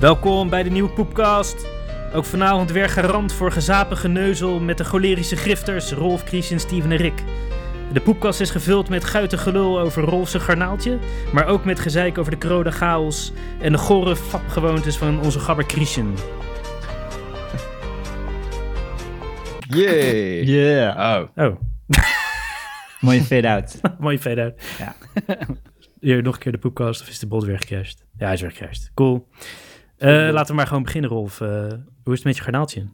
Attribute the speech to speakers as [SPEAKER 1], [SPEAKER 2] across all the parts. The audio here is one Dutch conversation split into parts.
[SPEAKER 1] Welkom bij de nieuwe Poepcast. Ook vanavond weer garant voor gezapen geneuzel met de cholerische grifters Rolf, Christian, Steven en Rick. De Poepcast is gevuld met guitig gelul over Rolfse garnaaltje, maar ook met gezeik over de krode chaos en de gore fapgewoontes van onze gabber Christian.
[SPEAKER 2] Yay!
[SPEAKER 3] Yeah.
[SPEAKER 2] Oh,
[SPEAKER 1] Oh,
[SPEAKER 3] Mooie fade-out.
[SPEAKER 1] mooi verder.
[SPEAKER 3] Ja.
[SPEAKER 1] Hier nog een keer de Poepcast of is de bot weer gecashed? Ja, hij is weer gecashed. Cool. Eh, laten we maar gewoon beginnen, Rolf. Eh, hoe is het met je garnaaltje?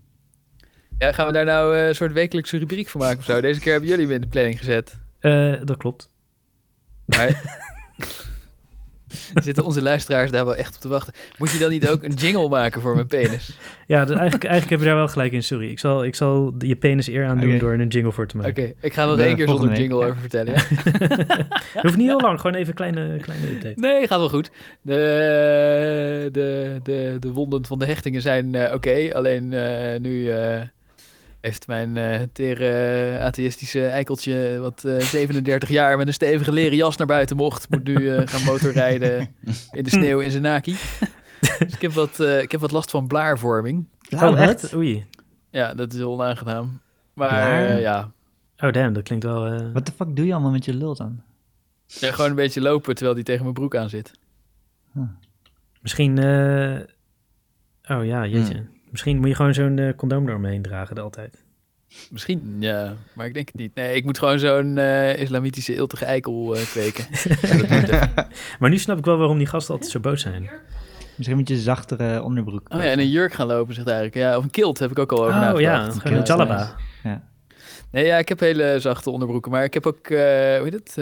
[SPEAKER 2] ja, gaan we daar nou eh, een soort wekelijkse rubriek van maken of zo? Deze keer hebben jullie hem in de planning gezet.
[SPEAKER 1] Eh, dat klopt.
[SPEAKER 2] Maar zitten onze luisteraars daar wel echt op te wachten. Moet je dan niet ook een jingle maken voor mijn penis?
[SPEAKER 1] Ja, dus eigenlijk, eigenlijk heb je daar wel gelijk in. Sorry, ik zal, ik zal je penis eer aan doen
[SPEAKER 3] Oké.
[SPEAKER 1] door er een jingle voor te
[SPEAKER 2] Oké,
[SPEAKER 1] maken.
[SPEAKER 2] ik ga er nog
[SPEAKER 3] Nee,
[SPEAKER 2] één keer zonder
[SPEAKER 3] volgende
[SPEAKER 2] jingle
[SPEAKER 3] week, ja.
[SPEAKER 2] over vertellen. ja.
[SPEAKER 1] Het hoeft niet heel lang, gewoon even een kleine, kleine update.
[SPEAKER 2] Nee, gaat wel goed. De, de, de, de wonden van de hechtingen zijn eh, oké. alleen eh, nu eh, heeft mijn eh tere atheïstische eikeltje, wat eh, 37 jaar met een stevige leren jas naar buiten mocht, moet nu eh, gaan motorrijden in de sneeuw in zijn naki. Dus ik heb, wat, eh, ik heb wat last van blaarvorming.
[SPEAKER 3] nou,
[SPEAKER 1] Oh, echt? Oei.
[SPEAKER 2] Ja, dat is onaangenaam. Maar
[SPEAKER 3] Blaar?
[SPEAKER 2] eh, ja.
[SPEAKER 1] Oh, damn, dat klinkt wel... eh,
[SPEAKER 3] Wat de fuck doe je allemaal met je lul dan?
[SPEAKER 2] ja, gewoon een beetje lopen terwijl die tegen mijn broek aan zit.
[SPEAKER 1] Misschien... eh, Oh ja, jeetje. Misschien moet je gewoon zo'n eh, condoom eromheen dragen de altijd.
[SPEAKER 2] Misschien, ja, maar ik denk het niet. Nee, ik moet gewoon zo'n eh, islamitische iltige eikel eh, kweken.
[SPEAKER 1] Maar nu snap ik wel waarom die gasten altijd zo boos zijn.
[SPEAKER 3] Misschien moet je zachtere onderbroek.
[SPEAKER 2] Oh ja, en een jurk gaan lopen, zegt eigenlijk. Ja, of een kilt heb ik ook al over
[SPEAKER 1] Oh
[SPEAKER 2] nagedacht.
[SPEAKER 1] ja, gewoon
[SPEAKER 3] Kilt
[SPEAKER 1] een
[SPEAKER 3] is
[SPEAKER 1] jalaba.
[SPEAKER 2] Nee, ja, ik heb hele zachte onderbroeken, maar ik heb ook, eh, hoe heet het, eh,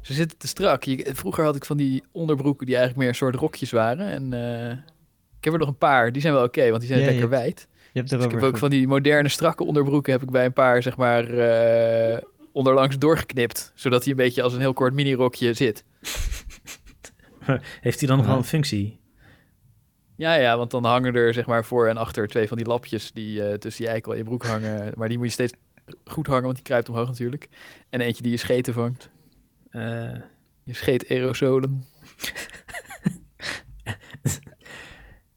[SPEAKER 2] ze zitten te strak. Je- vroeger had ik van die onderbroeken die eigenlijk meer een soort rokjes waren. En eh, ik heb er nog een paar, die zijn wel oké, want die zijn
[SPEAKER 3] Ja, je
[SPEAKER 2] lekker
[SPEAKER 3] hebt-
[SPEAKER 2] wijd.
[SPEAKER 3] Je hebt
[SPEAKER 2] Dus
[SPEAKER 3] er
[SPEAKER 2] ik heb ook van die moderne strakke onderbroeken heb ik bij een paar, zeg maar, eh, onderlangs doorgeknipt. Zodat hij een beetje als een heel kort minirokje zit.
[SPEAKER 1] Heeft hij dan nog wel een
[SPEAKER 3] Ja.
[SPEAKER 1] functie?
[SPEAKER 2] Ja, ja, want dan hangen er zeg maar voor en achter twee van die lapjes die eh, tussen je eikel en je broek hangen. Maar die moet je steeds goed hangen, want die kruipt omhoog natuurlijk. En eentje die je scheten vangt.
[SPEAKER 1] Eh,
[SPEAKER 2] Je scheet aerosolen.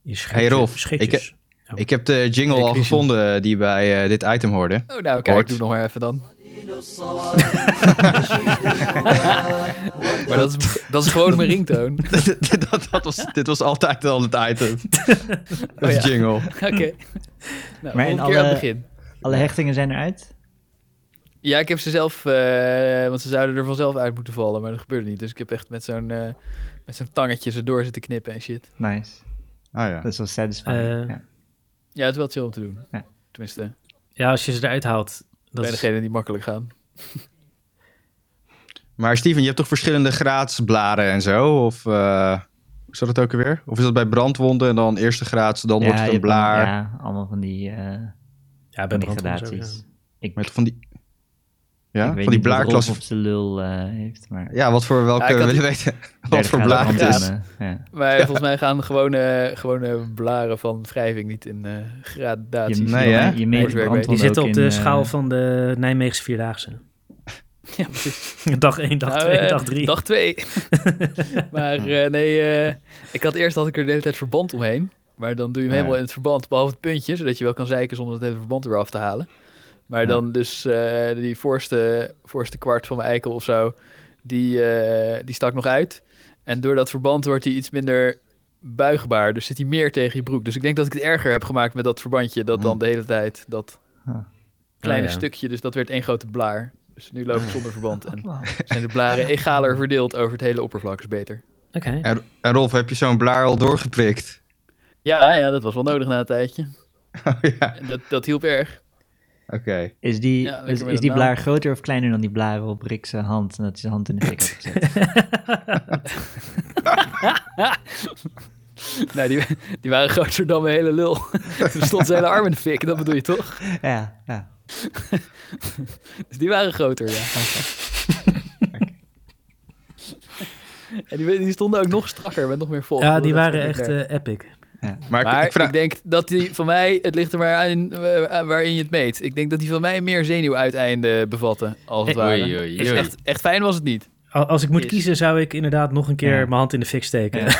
[SPEAKER 1] je scheet-
[SPEAKER 4] Hey, Rolf,
[SPEAKER 1] scheetjes.
[SPEAKER 3] Oh.
[SPEAKER 4] Ik heb de jingle
[SPEAKER 2] Ik
[SPEAKER 4] al
[SPEAKER 2] kies
[SPEAKER 4] gevonden die bij eh, dit item hoorde.
[SPEAKER 2] Oh, nou kijk,
[SPEAKER 4] Hoort.
[SPEAKER 2] doe nog maar even dan. maar dat is, dat is gewoon mijn ringtoon.
[SPEAKER 4] dat, dat was, dit was altijd al het item.
[SPEAKER 3] Oh,
[SPEAKER 4] dat is
[SPEAKER 2] ja.
[SPEAKER 4] jingle.
[SPEAKER 2] Oké. Nou,
[SPEAKER 3] Maar in
[SPEAKER 2] volgende keer aan
[SPEAKER 3] alle-
[SPEAKER 2] het begin.
[SPEAKER 3] Alle hechtingen zijn eruit?
[SPEAKER 2] Ja, ik heb ze zelf, eh, want ze zouden er vanzelf uit moeten vallen, maar dat gebeurde niet. Dus ik heb echt met zo'n eh, met zo'n tangetje ze door zitten knippen en shit.
[SPEAKER 3] Nice.
[SPEAKER 4] Ah ja.
[SPEAKER 3] Dat is wel satisfying.
[SPEAKER 1] Eh,
[SPEAKER 3] ja.
[SPEAKER 2] Ja, het is wel chill om te doen.
[SPEAKER 3] Ja.
[SPEAKER 2] Tenminste,
[SPEAKER 1] Ja, als je ze eruit haalt. Dat
[SPEAKER 2] bij
[SPEAKER 1] is...
[SPEAKER 2] degenen die makkelijk gaan.
[SPEAKER 4] Maar Steven, je hebt toch verschillende graadsblaren en zo? Of eh, hoe is dat ook alweer? Of is dat bij brandwonden en dan eerste graads, dan
[SPEAKER 3] Ja,
[SPEAKER 4] wordt het
[SPEAKER 3] je
[SPEAKER 4] een
[SPEAKER 3] hebt dan-
[SPEAKER 4] blaar?
[SPEAKER 3] Ja, allemaal van die, eh
[SPEAKER 1] Ja, bij
[SPEAKER 3] van die
[SPEAKER 1] brandwonden zo,
[SPEAKER 3] gradaties.
[SPEAKER 1] ja.
[SPEAKER 3] Ik,
[SPEAKER 4] Met van die,
[SPEAKER 3] ik
[SPEAKER 4] ja?
[SPEAKER 3] weet
[SPEAKER 4] Van die
[SPEAKER 3] niet wat Rolf
[SPEAKER 4] blaarklas.
[SPEAKER 3] op zijn lul eh, heeft, maar...
[SPEAKER 4] Ja, wat voor welke
[SPEAKER 2] Ja, ik had
[SPEAKER 4] wil je weten? Wat
[SPEAKER 3] Derde
[SPEAKER 4] voor
[SPEAKER 3] graad
[SPEAKER 4] blaar het is?
[SPEAKER 3] brandwonden, eh. Ja.
[SPEAKER 2] Maar volgens mij gaan gewone, gewone blaren van wrijving niet in eh gradaties.
[SPEAKER 3] Je,
[SPEAKER 4] Nee, hè?
[SPEAKER 3] je, je meet
[SPEAKER 2] Die
[SPEAKER 3] brandwonden
[SPEAKER 1] Die zitten
[SPEAKER 3] ook
[SPEAKER 1] op de
[SPEAKER 3] in, eh,
[SPEAKER 1] schaal van de Nijmeegse Vierdaagse.
[SPEAKER 2] Ja, precies.
[SPEAKER 1] Dag 1, dag
[SPEAKER 2] Nou,
[SPEAKER 1] 2,
[SPEAKER 2] eh,
[SPEAKER 1] dag 3.
[SPEAKER 2] Dag twee. maar eh, nee, eh, ik had eerst had ik er de hele tijd verband omheen. Maar dan doe je hem
[SPEAKER 4] Ja.
[SPEAKER 2] helemaal in het verband, behalve het puntje, zodat je wel kan zeiken zonder het hele verband eraf te halen. Maar
[SPEAKER 3] Ja.
[SPEAKER 2] dan dus eh, die voorste, voorste kwart van mijn eikel of zo, die, eh, die stak nog uit. En door dat verband wordt hij iets minder buigbaar, dus zit hij meer tegen je broek. Dus ik denk dat ik het erger heb gemaakt met dat verbandje, dat dan de hele tijd dat
[SPEAKER 3] Huh.
[SPEAKER 2] kleine
[SPEAKER 1] Oh, ja.
[SPEAKER 2] stukje, dus dat werd één grote blaar. Dus nu loop ik zonder verband en
[SPEAKER 3] Wow.
[SPEAKER 2] zijn de blaren egaler verdeeld over het hele oppervlak, is beter.
[SPEAKER 1] Oké.
[SPEAKER 4] En, en Rolf, heb je zo'n blaar al doorgeprikt?
[SPEAKER 2] Ja, ja, dat was wel nodig na een tijdje.
[SPEAKER 4] Oh ja,
[SPEAKER 2] En Dat, dat hielp erg.
[SPEAKER 4] oké.
[SPEAKER 3] Is die,
[SPEAKER 2] Ja, lekker
[SPEAKER 3] is,
[SPEAKER 2] met
[SPEAKER 3] is
[SPEAKER 2] een
[SPEAKER 3] die
[SPEAKER 2] naam.
[SPEAKER 3] blaar groter of kleiner dan die blaar waarop Rick zijn hand... en dat hij zijn hand in de fik had gezet?
[SPEAKER 2] Nou, die, die waren groter dan mijn hele lul. Er stond zijn hele arm in de fik, dat bedoel je toch?
[SPEAKER 3] ja, ja.
[SPEAKER 2] Dus die waren groter, ja. En die, die stonden ook nog strakker, met nog meer vol.
[SPEAKER 1] Ja, die
[SPEAKER 2] Dat
[SPEAKER 1] waren
[SPEAKER 2] vond ik
[SPEAKER 1] echt
[SPEAKER 2] erg.
[SPEAKER 1] eh, epic.
[SPEAKER 4] Maar,
[SPEAKER 2] Maar
[SPEAKER 4] ik, ik vraag...
[SPEAKER 2] ik denk dat die van mij, het ligt er maar aan eh, waarin je het meet. Ik denk dat die van mij meer zenuwuiteinden bevatten, als het
[SPEAKER 1] Eh,
[SPEAKER 2] ware.
[SPEAKER 4] Oei, oei,
[SPEAKER 2] Dus
[SPEAKER 4] oei.
[SPEAKER 2] echt, echt fijn was het niet.
[SPEAKER 1] Al- Als ik moet
[SPEAKER 2] Is-
[SPEAKER 1] kiezen, zou ik inderdaad nog een keer
[SPEAKER 3] Ja.
[SPEAKER 1] mijn hand in de fik steken.
[SPEAKER 3] Ja.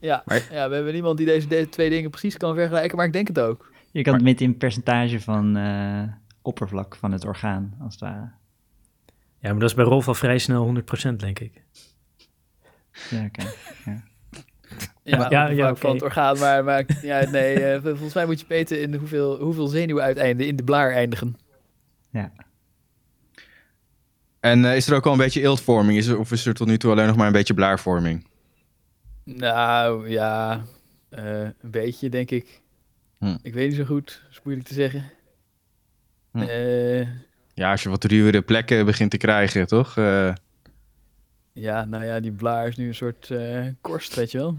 [SPEAKER 2] Ja,
[SPEAKER 4] Maar-
[SPEAKER 2] ja, we hebben niemand die deze, deze twee dingen precies kan vergelijken, maar ik denk het ook.
[SPEAKER 3] Je kan het meten in percentage van eh, oppervlak van het orgaan, als het ware.
[SPEAKER 1] Ja, maar dat is bij Rolf al vrij snel 100%, denk ik.
[SPEAKER 3] Ja, oké.
[SPEAKER 1] Ja,
[SPEAKER 2] maar-
[SPEAKER 1] ja, ja,
[SPEAKER 2] maar van het
[SPEAKER 1] oké.
[SPEAKER 2] orgaan, maar, maar ja, nee, eh, volgens mij moet je meten in hoeveel, hoeveel zenuwuiteinden in de blaar eindigen.
[SPEAKER 4] En eh, is er ook al een beetje eeltvorming? Is er, of is er tot nu toe alleen nog maar een beetje blaarvorming?
[SPEAKER 2] Nou, ja, eh, een beetje, denk ik.
[SPEAKER 4] Hm.
[SPEAKER 2] Ik weet niet zo goed, is moeilijk te zeggen.
[SPEAKER 4] Hm.
[SPEAKER 2] Eh,
[SPEAKER 4] Ja, als je wat ruwere plekken begint te krijgen, toch? Eh,
[SPEAKER 2] ja, nou ja, die blaar is nu een soort eh, korst, weet je wel.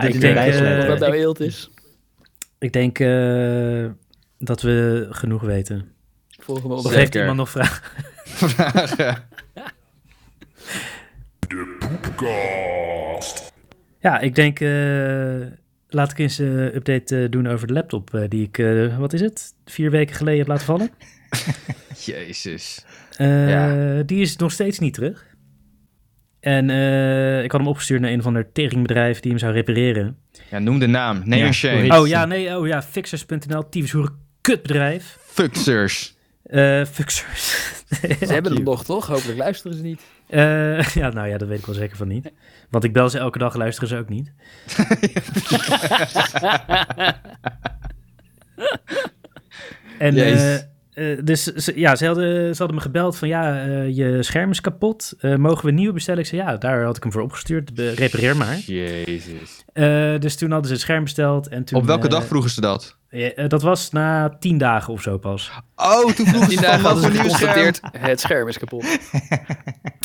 [SPEAKER 1] Ja,
[SPEAKER 3] dit
[SPEAKER 1] ik
[SPEAKER 3] in de
[SPEAKER 1] denk,
[SPEAKER 3] lijst?
[SPEAKER 1] eh,
[SPEAKER 2] Of dat
[SPEAKER 3] leuk.
[SPEAKER 2] nou eelt is,
[SPEAKER 1] Ik denk eh, dat we genoeg weten.
[SPEAKER 2] volgende
[SPEAKER 1] Of
[SPEAKER 2] onderwerp.
[SPEAKER 1] heeft
[SPEAKER 4] Zeker.
[SPEAKER 1] iemand nog vragen? Ja, ik denk... eh, laat ik eens een update eh, doen over de laptop eh, die ik... eh, wat is het? Vier weken geleden heb laten vallen.
[SPEAKER 4] Jezus.
[SPEAKER 1] Eh,
[SPEAKER 4] Ja.
[SPEAKER 1] Die is nog steeds niet terug. En eh, ik had hem opgestuurd naar een van de teringbedrijf die hem zou repareren.
[SPEAKER 4] Ja, noem de naam. Name
[SPEAKER 3] Ja,
[SPEAKER 4] and shame.
[SPEAKER 3] hoe
[SPEAKER 1] Oh ja, nee, oh ja, fixers.nl, tyfushoeren, kutbedrijf.
[SPEAKER 4] Fucksers.
[SPEAKER 1] Eh fixers.
[SPEAKER 2] Ze hebben hem nog, toch? Hopelijk luisteren ze niet.
[SPEAKER 1] Eh, ja, nou ja, dat weet ik wel zeker van niet. Want ik bel ze elke dag, luisteren ze ook niet. en eh,
[SPEAKER 4] Jezus.
[SPEAKER 1] eh, dus ze, ja, ze, hadden, ze hadden me gebeld van ja, eh, je scherm is kapot. Eh, mogen we een nieuwe bestellen? Ik zei ja, daar had ik hem voor opgestuurd. Be- repareer maar.
[SPEAKER 4] Jezus.
[SPEAKER 1] Eh, dus toen hadden ze het scherm besteld. En toen,
[SPEAKER 4] Op welke
[SPEAKER 1] eh,
[SPEAKER 4] dag vroegen ze dat?
[SPEAKER 1] ja, eh, dat was na tien dagen of zo pas.
[SPEAKER 4] Oh, toen vroegen
[SPEAKER 2] Die
[SPEAKER 4] ze van
[SPEAKER 2] dagen
[SPEAKER 4] wat
[SPEAKER 2] hadden
[SPEAKER 4] voor eh,
[SPEAKER 2] ze
[SPEAKER 4] nieuw scherm.
[SPEAKER 2] geconstateerd, het scherm is kapot.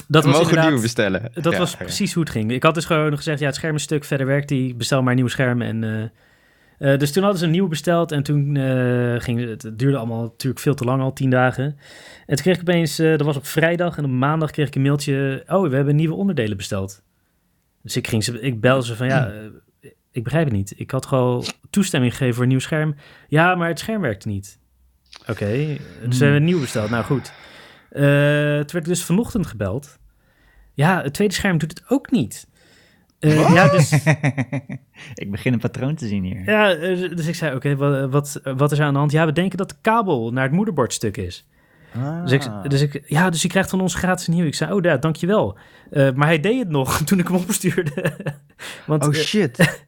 [SPEAKER 1] Dat
[SPEAKER 4] We
[SPEAKER 1] was
[SPEAKER 4] mogen
[SPEAKER 1] inderdaad-
[SPEAKER 4] nieuw bestellen.
[SPEAKER 1] Dat
[SPEAKER 4] Ja,
[SPEAKER 1] was
[SPEAKER 4] ja.
[SPEAKER 1] precies hoe het ging. Ik had dus gewoon gezegd, ja, het scherm is stuk, verder werkt die, bestel maar een nieuw scherm. En, eh, eh, dus toen hadden ze een nieuw besteld en toen eh, ging het, het duurde allemaal natuurlijk veel te lang, al tien dagen. En toen kreeg ik opeens, eh, dat was op vrijdag en op maandag kreeg ik een mailtje, oh, we hebben nieuwe onderdelen besteld. Dus ik, ging ze, ik bel ze van, ja, eh,
[SPEAKER 4] Hmm.
[SPEAKER 1] ik begrijp het niet. Ik had gewoon toestemming gegeven voor een nieuw scherm. Ja, maar het scherm werkte niet. Oké,
[SPEAKER 4] Hmm.
[SPEAKER 1] dus we hebben een nieuw besteld. Nou goed. Eh, het werd dus vanochtend gebeld. Ja, het tweede scherm doet het ook niet. Eh, ja, dus,
[SPEAKER 3] ik begin een patroon te zien hier.
[SPEAKER 1] ja, eh, dus ik zei, oké, wa- wat, wat is er aan de hand? Ja, we denken dat de kabel naar het moederbord stuk is. Dus ik,
[SPEAKER 3] Ah.
[SPEAKER 1] dus ik, ja, dus je krijgt van ons gratis een nieuw. Ik zei, oh ja, dankjewel. Eh maar hij deed het nog toen ik hem opstuurde. Want,
[SPEAKER 3] oh
[SPEAKER 1] eh,
[SPEAKER 3] shit.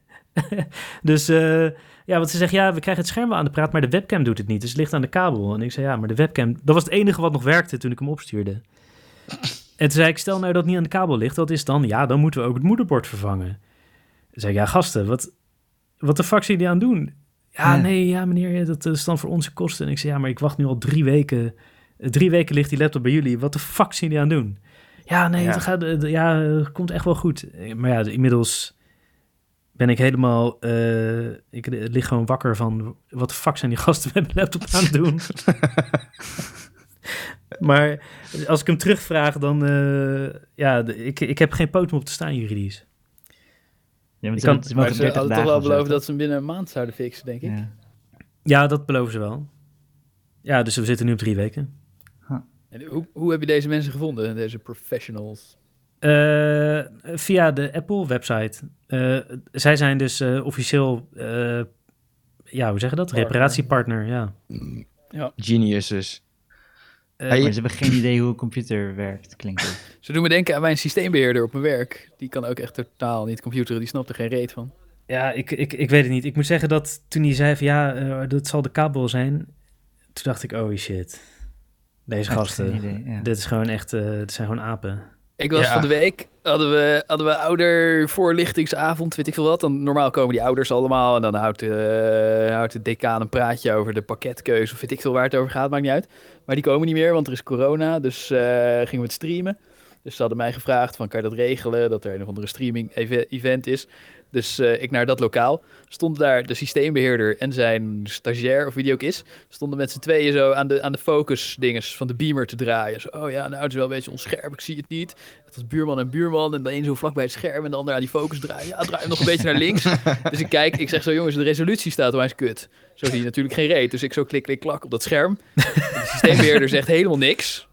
[SPEAKER 1] dus eh, ja, want ze zegt, ja, we krijgen het scherm wel aan de praat, maar de webcam doet het niet. Dus het ligt aan de kabel. En ik zei, ja, maar de webcam, dat was het enige wat nog werkte toen ik hem opstuurde. En toen zei ik, stel nou dat het niet aan de kabel ligt, wat is het dan? Ja, dan moeten we ook het moederbord vervangen. Toen zei ik, ja, gasten, wat, wat de fuck zijn jullie aan het doen? Ja,
[SPEAKER 3] Ja.
[SPEAKER 1] nee, ja, meneer, dat eh, is dan voor onze kosten. En ik zei, ja, maar ik wacht nu al drie weken. Eh, Drie weken ligt die laptop bij jullie. Wat de fuck zijn jullie aan het doen? Ja, nee,
[SPEAKER 4] Ja.
[SPEAKER 1] Het, gaat, het- ja, het komt echt wel goed. Eh, Maar ja, inmiddels ben ik helemaal... eh, ik lig gewoon wakker van... Wat de fuck zijn die gasten met mijn laptop aan het doen? maar als ik hem terugvraag, dan... eh, ja, de- ik, ik heb geen poot om op te staan juridisch.
[SPEAKER 3] Ja, want
[SPEAKER 1] kan-
[SPEAKER 3] het is
[SPEAKER 2] Maar
[SPEAKER 3] mogen
[SPEAKER 2] ze
[SPEAKER 3] 30
[SPEAKER 2] hadden toch
[SPEAKER 3] dagen
[SPEAKER 2] wel
[SPEAKER 3] of zo,
[SPEAKER 2] beloofd
[SPEAKER 3] toch?
[SPEAKER 2] dat ze hem binnen een maand zouden fixen, denk ik.
[SPEAKER 3] Ja.
[SPEAKER 1] Ja, dat beloven ze wel. Ja, dus we zitten nu op drie weken.
[SPEAKER 2] En hoe, hoe heb je deze mensen gevonden, deze professionals?
[SPEAKER 1] Eh, via de Apple-website. Eh, zij zijn dus eh, officieel, eh, ja, hoe zeg je dat?
[SPEAKER 2] Partner.
[SPEAKER 1] Reparatiepartner, ja.
[SPEAKER 4] Geniuses.
[SPEAKER 1] Eh,
[SPEAKER 4] Hey,
[SPEAKER 3] Maar ze hebben geen idee hoe een computer werkt, klinkt het.
[SPEAKER 2] Ze doen me denken aan mijn systeembeheerder op mijn werk. Die kan ook echt totaal niet computeren, die snapt er geen reet van.
[SPEAKER 1] Ja, ik, ik, ik weet het niet. Ik moet zeggen dat toen hij zei van ja, eh, dat zal de kabel zijn. Toen dacht ik, oh shit. Deze
[SPEAKER 3] Geen
[SPEAKER 1] gasten.
[SPEAKER 3] idee, ja.
[SPEAKER 1] Dit is gewoon echt, eh dit zijn gewoon apen.
[SPEAKER 2] Ik was
[SPEAKER 4] Ja.
[SPEAKER 2] van de week, hadden we, hadden we oudervoorlichtingsavond, weet ik veel wat. Dan normaal komen die ouders allemaal en dan houdt, eh, houdt de decaan een praatje over de pakketkeuze of weet ik veel waar het over gaat, maakt niet uit. Maar die komen niet meer, want er is corona, dus eh, gingen we het streamen. Dus ze hadden mij gevraagd van kan je dat regelen, dat er een of andere streaming eve- event is. Dus eh, ik naar dat lokaal, stond daar de systeembeheerder en zijn stagiair, of wie die ook is, stonden met z'n tweeën zo aan de, aan de focus dinges van de beamer te draaien. Zo, oh ja, nou het is wel een beetje onscherp, ik zie het niet. Het was buurman en buurman. En de een zo vlak bij het scherm en de ander aan die focus draaien. Ja, draai hem nog een beetje naar links. Dus ik kijk, ik zeg zo, jongens, de resolutie staat op, hij is kut. Zo zie je natuurlijk geen reet. Dus ik zo klik, klik, klak op dat scherm. En De systeembeheerder zegt helemaal niks.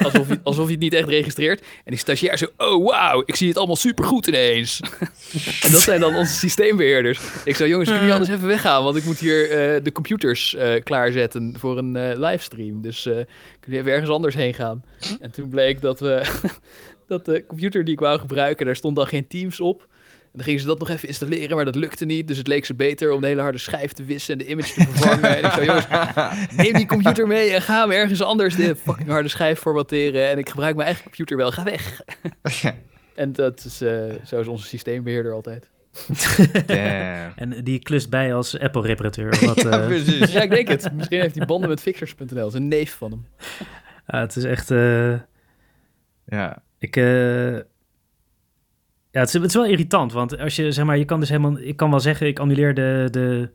[SPEAKER 2] Alsof je, alsof je het niet echt registreert. En die stagiair zo, oh wauw, ik zie het allemaal supergoed ineens. en dat zijn dan onze systeembeheerders. Ik zou jongens, kunnen jullie anders even weggaan? Want ik moet hier eh, de computers eh, klaarzetten voor een eh, livestream. Dus eh kunnen jullie even ergens anders heen gaan? En toen bleek dat we... dat de computer die ik wou gebruiken, daar stond dan geen Teams op. En dan gingen ze dat nog even installeren, maar dat lukte niet. Dus het leek ze beter om de hele harde schijf te wissen en de image te vervangen. en ik zei, jongens, neem die computer mee en ga hem ergens anders de fucking harde schijf formatteren. En ik gebruik mijn eigen computer wel, ga weg. En dat is, eh, zo is onze systeembeheerder altijd.
[SPEAKER 4] Damn.
[SPEAKER 1] En die klust bij als Apple-reparateur. of wat, eh.
[SPEAKER 4] precies.
[SPEAKER 2] Ja, ik denk het. Misschien heeft hij banden met fixers.nl. Dat is een neef van hem.
[SPEAKER 1] Ah, het is echt... eh,
[SPEAKER 4] Ja.
[SPEAKER 1] Ik, eh, ja, het is, het is wel irritant, want als je, zeg maar, je kan dus helemaal, ik kan wel zeggen, ik annuleer de, de,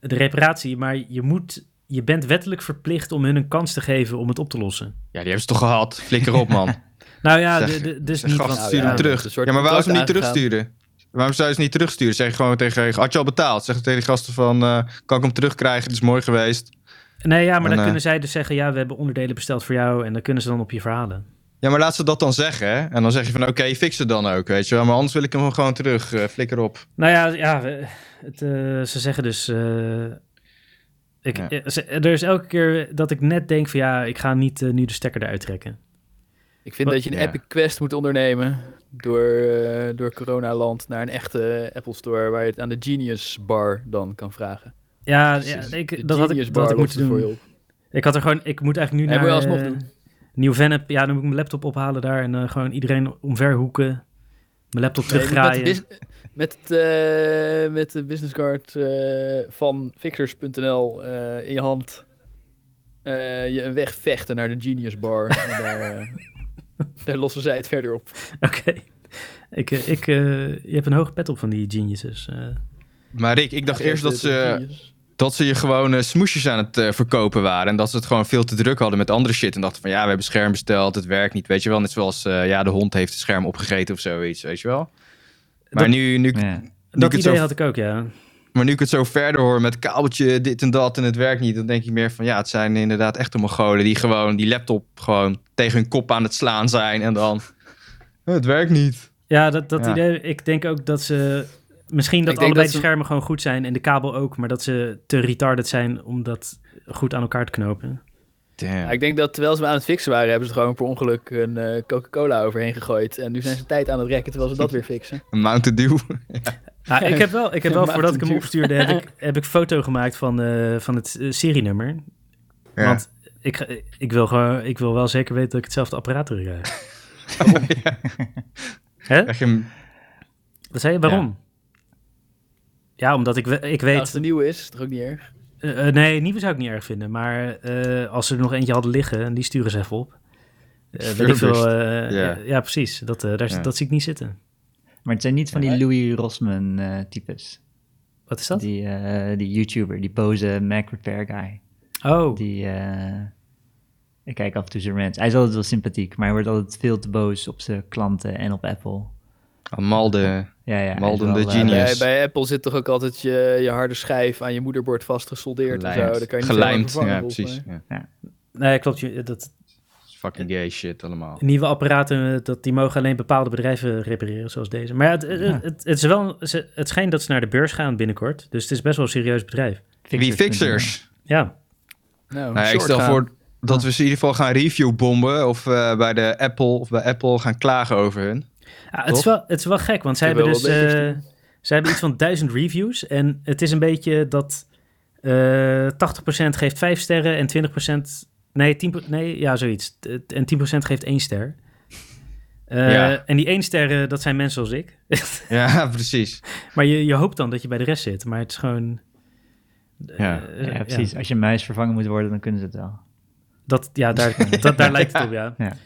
[SPEAKER 1] de reparatie, maar je moet, je bent wettelijk verplicht om hun een kans te geven om het op te lossen.
[SPEAKER 4] ja, die hebben ze toch gehad? Flikker op, man.
[SPEAKER 1] Nou ja,
[SPEAKER 4] Zeg,
[SPEAKER 1] de, de, dus
[SPEAKER 4] Zeg,
[SPEAKER 1] niet,
[SPEAKER 4] gast,
[SPEAKER 1] want-
[SPEAKER 4] stuur hem
[SPEAKER 1] ja,
[SPEAKER 2] dat
[SPEAKER 4] terug.
[SPEAKER 2] is een soort
[SPEAKER 4] ja, maar waarom ze hem niet
[SPEAKER 2] contract
[SPEAKER 4] terugsturen? Waarom zou je ze niet terugsturen? Zeg gewoon tegen, had je al betaald? Zeg tegen die gasten van, eh, kan ik hem terugkrijgen? Het is mooi geweest.
[SPEAKER 1] Nee, ja, maar
[SPEAKER 4] En,
[SPEAKER 1] dan
[SPEAKER 4] eh,
[SPEAKER 1] kunnen zij dus zeggen, ja, we hebben onderdelen besteld voor jou en dan kunnen ze dan op je verhalen.
[SPEAKER 4] Ja, maar laat ze dat dan zeggen, hè? En dan zeg je van, oké, fix het dan ook, weet je wel. Maar anders wil ik hem gewoon terug. eh, flikker op.
[SPEAKER 1] Nou ja, ja we- het, eh, ze zeggen dus. eh, ik,
[SPEAKER 4] Ja.
[SPEAKER 1] eh, ze- er is elke keer dat ik net denk van ja, ik ga niet eh, nu de stekker eruit trekken.
[SPEAKER 2] Ik vind
[SPEAKER 1] Wat-
[SPEAKER 2] dat je een
[SPEAKER 4] Ja.
[SPEAKER 2] epic quest moet ondernemen door, eh, door coronaland naar een echte Apple Store waar je het aan de Genius Bar dan kan vragen.
[SPEAKER 1] Ja, ja
[SPEAKER 2] Precies. De
[SPEAKER 1] ik, dat had ik,
[SPEAKER 2] Genius
[SPEAKER 1] dat had ik moeten
[SPEAKER 2] Bar lost het
[SPEAKER 1] doen.
[SPEAKER 2] Voor je op.
[SPEAKER 1] Ik had er gewoon, ik moet eigenlijk nu
[SPEAKER 2] Nee,
[SPEAKER 1] naar
[SPEAKER 2] moet je alsnog
[SPEAKER 1] eh,
[SPEAKER 2] doen.
[SPEAKER 1] Nieuw Vennep. Ja, dan moet ik mijn laptop ophalen daar en eh, gewoon iedereen omverhoeken. Mijn laptop
[SPEAKER 2] Nee, je moet met, de
[SPEAKER 1] terugdraaien.
[SPEAKER 2] bus- met, het, eh, met de businesscard eh, van fixers.nl eh, in je hand eh, je een weg vechten naar de Genius Bar. en daar, eh, daar lossen zij het verder op.
[SPEAKER 1] Oké. Ik, eh, ik, eh, je hebt een hoge pet op van die geniuses. eh.
[SPEAKER 4] Maar Rick, ik dacht
[SPEAKER 2] Ja,
[SPEAKER 4] eerst
[SPEAKER 2] de-
[SPEAKER 4] dat
[SPEAKER 2] de
[SPEAKER 4] ze,
[SPEAKER 2] Genius.
[SPEAKER 4] dat ze je gewoon eh, smoesjes aan het eh, verkopen waren. En dat ze het gewoon veel te druk hadden met andere shit. En dachten van, ja, we hebben scherm besteld, het werkt niet, weet je wel. Net zoals, eh, ja, de hond heeft het scherm opgegeten of zoiets, weet je wel. Maar
[SPEAKER 1] Dat-
[SPEAKER 4] nu, nu,
[SPEAKER 3] Ja.
[SPEAKER 4] ik
[SPEAKER 1] dat
[SPEAKER 4] het
[SPEAKER 1] idee
[SPEAKER 4] zo-
[SPEAKER 1] had ik ook, ja.
[SPEAKER 4] Maar nu ik het zo verder hoor met kabeltje, dit en dat en het werkt niet, dan denk ik meer van ja, het zijn inderdaad echte Mongolen die gewoon die laptop gewoon tegen hun kop aan het slaan zijn en dan het werkt niet.
[SPEAKER 1] Ja, dat, dat
[SPEAKER 4] Ja.
[SPEAKER 1] idee. Ik denk ook dat ze. Misschien dat
[SPEAKER 2] Ik denk
[SPEAKER 1] allebei
[SPEAKER 2] dat
[SPEAKER 1] de
[SPEAKER 2] ze-
[SPEAKER 1] schermen gewoon goed zijn en de kabel ook, maar dat ze te retarded zijn om dat goed aan elkaar te knopen.
[SPEAKER 2] Ja,
[SPEAKER 4] Damn.
[SPEAKER 2] ik denk dat terwijl ze me aan het fixen waren, hebben ze er gewoon per ongeluk een eh, Coca-Cola overheen gegooid. En nu zijn ze tijd aan het rekken terwijl ze dat weer fixen.
[SPEAKER 4] Een Mountain Dew.
[SPEAKER 1] Ah, ik heb wel, ik heb wel
[SPEAKER 2] Maakt
[SPEAKER 1] voordat ik hem
[SPEAKER 2] natuurlijk.
[SPEAKER 1] opstuurde, heb ik, heb ik foto gemaakt van, eh, van het eh, serienummer.
[SPEAKER 4] Ja.
[SPEAKER 1] Want ik, ga- ik, wil gewoon, ik wil wel zeker weten dat ik hetzelfde apparaat terugkrijg.
[SPEAKER 4] Ja,
[SPEAKER 1] Hè?
[SPEAKER 4] krijg je hem-
[SPEAKER 1] Dat zei je? Waarom? Ja, omdat ik, we- ik
[SPEAKER 2] Als
[SPEAKER 1] weet...
[SPEAKER 2] het een nieuw is, is het toch ook niet erg.
[SPEAKER 1] eh, eh, nee, nieuwe zou ik niet erg vinden, maar eh, als ze er nog eentje hadden liggen, en die sturen ze even op. Eh, weet ik veel, eh,
[SPEAKER 4] Ja.
[SPEAKER 1] ja. ja, precies. Dat, eh, daar,
[SPEAKER 4] Ja.
[SPEAKER 1] dat zie ik niet zitten.
[SPEAKER 3] Maar het zijn niet van die Louis Rosman eh, types.
[SPEAKER 1] Wat is dat?
[SPEAKER 3] Die, eh, die YouTuber, die boze Mac Repair guy.
[SPEAKER 1] oh,
[SPEAKER 3] Die, eh, ik kijk af en toe zijn rants. Hij is altijd wel sympathiek, maar hij wordt altijd veel te boos op zijn klanten en op Apple.
[SPEAKER 4] Amalde.
[SPEAKER 3] Ja, ja. hij is
[SPEAKER 4] Malden
[SPEAKER 3] wel,
[SPEAKER 4] the
[SPEAKER 3] eh,
[SPEAKER 4] Genius.
[SPEAKER 2] Bij,
[SPEAKER 4] Yes.
[SPEAKER 2] bij Apple zit toch ook altijd je, je harde schijf aan je moederbord vastgesoldeerd en zo. Daar kan je niet
[SPEAKER 4] Gelijmd.
[SPEAKER 2] veel aan vervangen,
[SPEAKER 4] Ja,
[SPEAKER 2] volgens
[SPEAKER 4] precies.
[SPEAKER 2] mij.
[SPEAKER 4] Ja.
[SPEAKER 1] nee, klopt. je- Dat,
[SPEAKER 4] Fucking gay shit allemaal.
[SPEAKER 1] nieuwe apparaten, eh, dat, die mogen alleen bepaalde bedrijven repareren, zoals deze. Maar ja, het, het, het, het is wel, ze- het schijnt dat ze naar de beurs gaan binnenkort. Dus het is best wel een serieus bedrijf.
[SPEAKER 4] Wie fixers?
[SPEAKER 1] Ja,
[SPEAKER 2] Nou,
[SPEAKER 4] Nou, ja, ik
[SPEAKER 2] short
[SPEAKER 4] stel
[SPEAKER 2] gaan. Oh.
[SPEAKER 4] voor dat we ze in ieder geval gaan reviewbomben of eh, bij de Apple of bij Apple gaan klagen over hun.
[SPEAKER 1] Ah, het, is wel, het is wel gek, want zij
[SPEAKER 2] Ik wil
[SPEAKER 1] hebben dus
[SPEAKER 2] wel wat
[SPEAKER 1] eh, zij hebben iets van duizend reviews. En het is een beetje dat eh 80% geeft vijf sterren en 20%... Nee, 10, nee, ja, zoiets. T- En 10% geeft één ster. Eh,
[SPEAKER 4] Ja.
[SPEAKER 1] En die één sterren, dat zijn mensen als ik.
[SPEAKER 4] Ja, precies.
[SPEAKER 1] Maar je, je hoopt dan dat je bij de rest zit. Maar het is gewoon.
[SPEAKER 4] Ja.
[SPEAKER 1] eh,
[SPEAKER 3] Ja, precies. Als je muis vervangen moet worden, dan kunnen ze het wel.
[SPEAKER 1] Dat, ja, daar, dat, daar lijkt het op, ja.
[SPEAKER 3] Ja.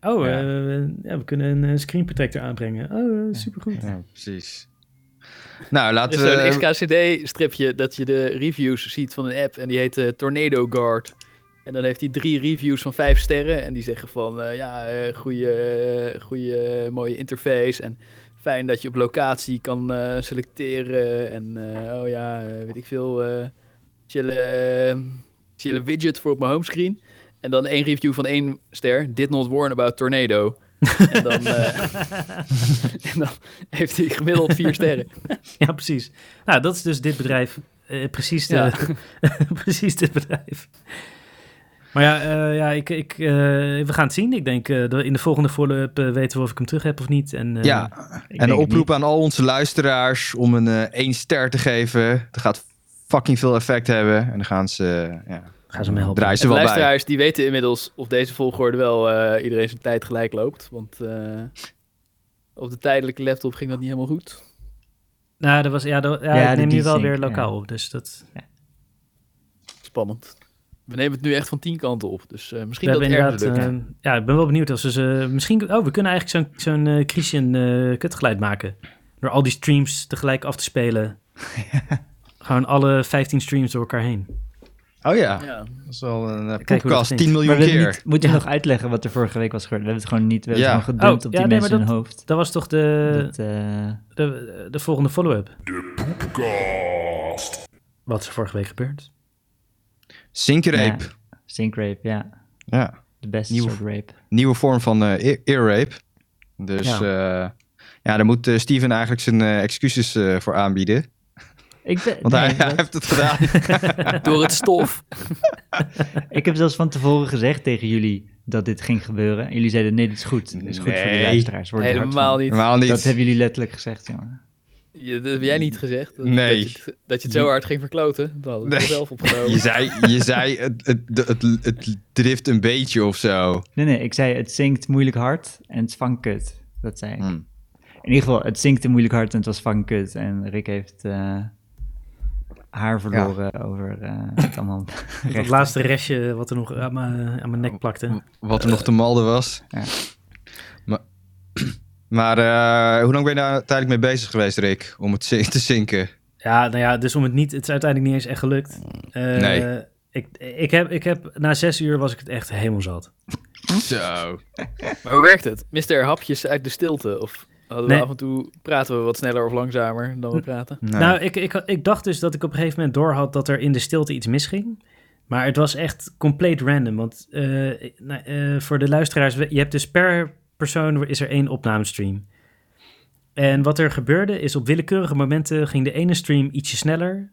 [SPEAKER 1] Oh,
[SPEAKER 4] Ja.
[SPEAKER 1] eh, ja, we kunnen een eh, screen protector aanbrengen. Oh, eh, supergoed.
[SPEAKER 4] Ja, precies. Nou,
[SPEAKER 2] Er is
[SPEAKER 4] laten
[SPEAKER 2] zo'n
[SPEAKER 4] we...
[SPEAKER 2] XKCD-stripje dat je de reviews ziet van een app en die heet eh, Tornado Guard. En dan heeft hij drie reviews van vijf sterren en die zeggen van eh, ja, eh goede, eh, goede, eh, mooie interface en fijn dat je op locatie kan eh, selecteren en eh, oh ja, eh, weet ik veel, eh chille, eh, chille widget voor op mijn homescreen. En dan één review van één ster. Did not warn about tornado. en, dan, eh, en dan heeft hij gemiddeld vier sterren.
[SPEAKER 1] Ja, precies. Nou, dat is dus dit bedrijf. Eh, precies, de,
[SPEAKER 2] Ja.
[SPEAKER 1] precies dit bedrijf. Maar ja, eh, ja ik, ik, eh, we gaan het zien. Ik denk eh, dat we in de volgende follow-up eh, weten we of ik hem terug heb of niet. En, eh,
[SPEAKER 4] ja,
[SPEAKER 3] Ik
[SPEAKER 4] en
[SPEAKER 3] denk
[SPEAKER 4] een
[SPEAKER 3] het
[SPEAKER 4] oproep aan al onze luisteraars om een eh één ster te geven. Dat gaat fucking veel effect hebben. En dan gaan ze, eh, ja,
[SPEAKER 1] Gaan ze me helpen.
[SPEAKER 4] draaien ze
[SPEAKER 2] En de
[SPEAKER 4] wel bij.
[SPEAKER 2] luisteraars die weten inmiddels of deze volgorde wel eh, iedereen zijn tijd gelijk loopt. Want eh, op de tijdelijke laptop ging dat niet helemaal goed.
[SPEAKER 1] Nou, dat was, ja, dat, ja,
[SPEAKER 3] Ja,
[SPEAKER 1] ik
[SPEAKER 3] de
[SPEAKER 1] neem nu wel
[SPEAKER 3] desync,
[SPEAKER 1] weer
[SPEAKER 3] ja.
[SPEAKER 1] lokaal op. Dus dat,
[SPEAKER 2] Spannend. We nemen het nu echt van tien kanten op. Dus eh,
[SPEAKER 1] we
[SPEAKER 2] misschien dat
[SPEAKER 1] hebben
[SPEAKER 2] het ergens
[SPEAKER 1] inderdaad.
[SPEAKER 2] lukt.
[SPEAKER 1] eh, ja, ik ben wel benieuwd als we ze. Misschien, oh, we kunnen eigenlijk zo'n zo'n eh, Christian eh, kutgeluid maken. Door al die streams tegelijk af te spelen. Gewoon alle 15 streams door elkaar heen.
[SPEAKER 4] Oh ja,
[SPEAKER 1] eh,
[SPEAKER 2] ja.
[SPEAKER 4] dat is al
[SPEAKER 1] Kijken
[SPEAKER 4] een eh,
[SPEAKER 1] hoe dat
[SPEAKER 4] podcast,
[SPEAKER 1] klinkt.
[SPEAKER 4] 10
[SPEAKER 3] niet. Maar
[SPEAKER 4] miljoen
[SPEAKER 3] we hebben
[SPEAKER 4] keer.
[SPEAKER 3] niet, moet je nog uitleggen wat er vorige week was gebeurd? We hebben het gewoon niet, we hebben
[SPEAKER 4] Ja.
[SPEAKER 3] het gewoon gedumpt
[SPEAKER 1] Oh,
[SPEAKER 3] op
[SPEAKER 1] ja,
[SPEAKER 3] die
[SPEAKER 1] nee,
[SPEAKER 3] mensen
[SPEAKER 1] maar
[SPEAKER 3] hun hoofd.
[SPEAKER 1] Dat was toch de.
[SPEAKER 3] dat, eh,
[SPEAKER 1] de, de volgende follow-up. De Poepcast. Wat is er vorige week gebeurd?
[SPEAKER 4] Zinkreep. Ja.
[SPEAKER 3] Sync rape, ja. De beste
[SPEAKER 4] Nieuw.
[SPEAKER 3] soort rape.
[SPEAKER 4] Nieuwe vorm van eh, ear earrape. Dus
[SPEAKER 1] Ja.
[SPEAKER 4] ja, ja daar moet eh, Steven eigenlijk zijn eh, excuses eh, voor aanbieden.
[SPEAKER 3] Ik, ben-
[SPEAKER 4] Want
[SPEAKER 3] nee,
[SPEAKER 4] hij, hij
[SPEAKER 3] dat-
[SPEAKER 4] heeft het gedaan.
[SPEAKER 2] Door het stof.
[SPEAKER 3] ik heb zelfs van tevoren gezegd tegen jullie dat dit ging gebeuren. En jullie zeiden, nee, dit is goed. Dit is goed voor de
[SPEAKER 4] Nee.
[SPEAKER 3] luisteraars. Word er hard
[SPEAKER 2] Helemaal
[SPEAKER 3] van.
[SPEAKER 2] niet.
[SPEAKER 4] Normaal niet.
[SPEAKER 3] Dat hebben jullie letterlijk gezegd, jongen.
[SPEAKER 2] Je- dat heb jij niet gezegd. Dat,
[SPEAKER 4] Nee.
[SPEAKER 2] Dat je, het- dat je het zo hard ging verkloten. Dat hadden we
[SPEAKER 4] Nee.
[SPEAKER 2] zelf
[SPEAKER 4] Je
[SPEAKER 2] opgenomen.
[SPEAKER 4] zei, je zei het, het, het, het, het drift een beetje of zo.
[SPEAKER 3] Nee, nee, ik zei, het zinkt moeilijk hard en het vangt kut. Dat zei ik.
[SPEAKER 4] Hm.
[SPEAKER 3] In ieder geval, het zinkte moeilijk hard en het was van kut. En Rick heeft eh, haar verloren over eh, het allemaal.
[SPEAKER 1] Dat
[SPEAKER 3] recht.
[SPEAKER 1] laatste restje eh, wat er nog aan mijn, eh, aan mijn nek plakte.
[SPEAKER 4] Wat er nog te malden was.
[SPEAKER 3] Ja.
[SPEAKER 4] Maar, maar eh, hoe lang ben je daar uiteindelijk mee bezig geweest, Rick? Om het zin- te zinken?
[SPEAKER 1] Ja, nou ja, dus om het niet... Het is uiteindelijk niet eens echt gelukt. Eh,
[SPEAKER 4] Nee.
[SPEAKER 1] Ik, ik, heb, ik heb... Na zes uur was ik het echt helemaal zat.
[SPEAKER 4] Zo. Nou,
[SPEAKER 2] Maar hoe werkt het? Mist er hapjes uit de stilte? Of hadden
[SPEAKER 1] Nee.
[SPEAKER 2] we af en toe praten we wat sneller of langzamer dan we praten?
[SPEAKER 4] Nee.
[SPEAKER 1] Nou, ik, ik, ik dacht dus dat ik op een gegeven moment door had... dat er in de stilte iets misging. Maar het was echt compleet random. Want eh, nou, eh, voor de luisteraars... we- Je hebt dus per persoon is er één opnamestream. En wat er gebeurde is op willekeurige momenten ging de ene stream ietsje sneller,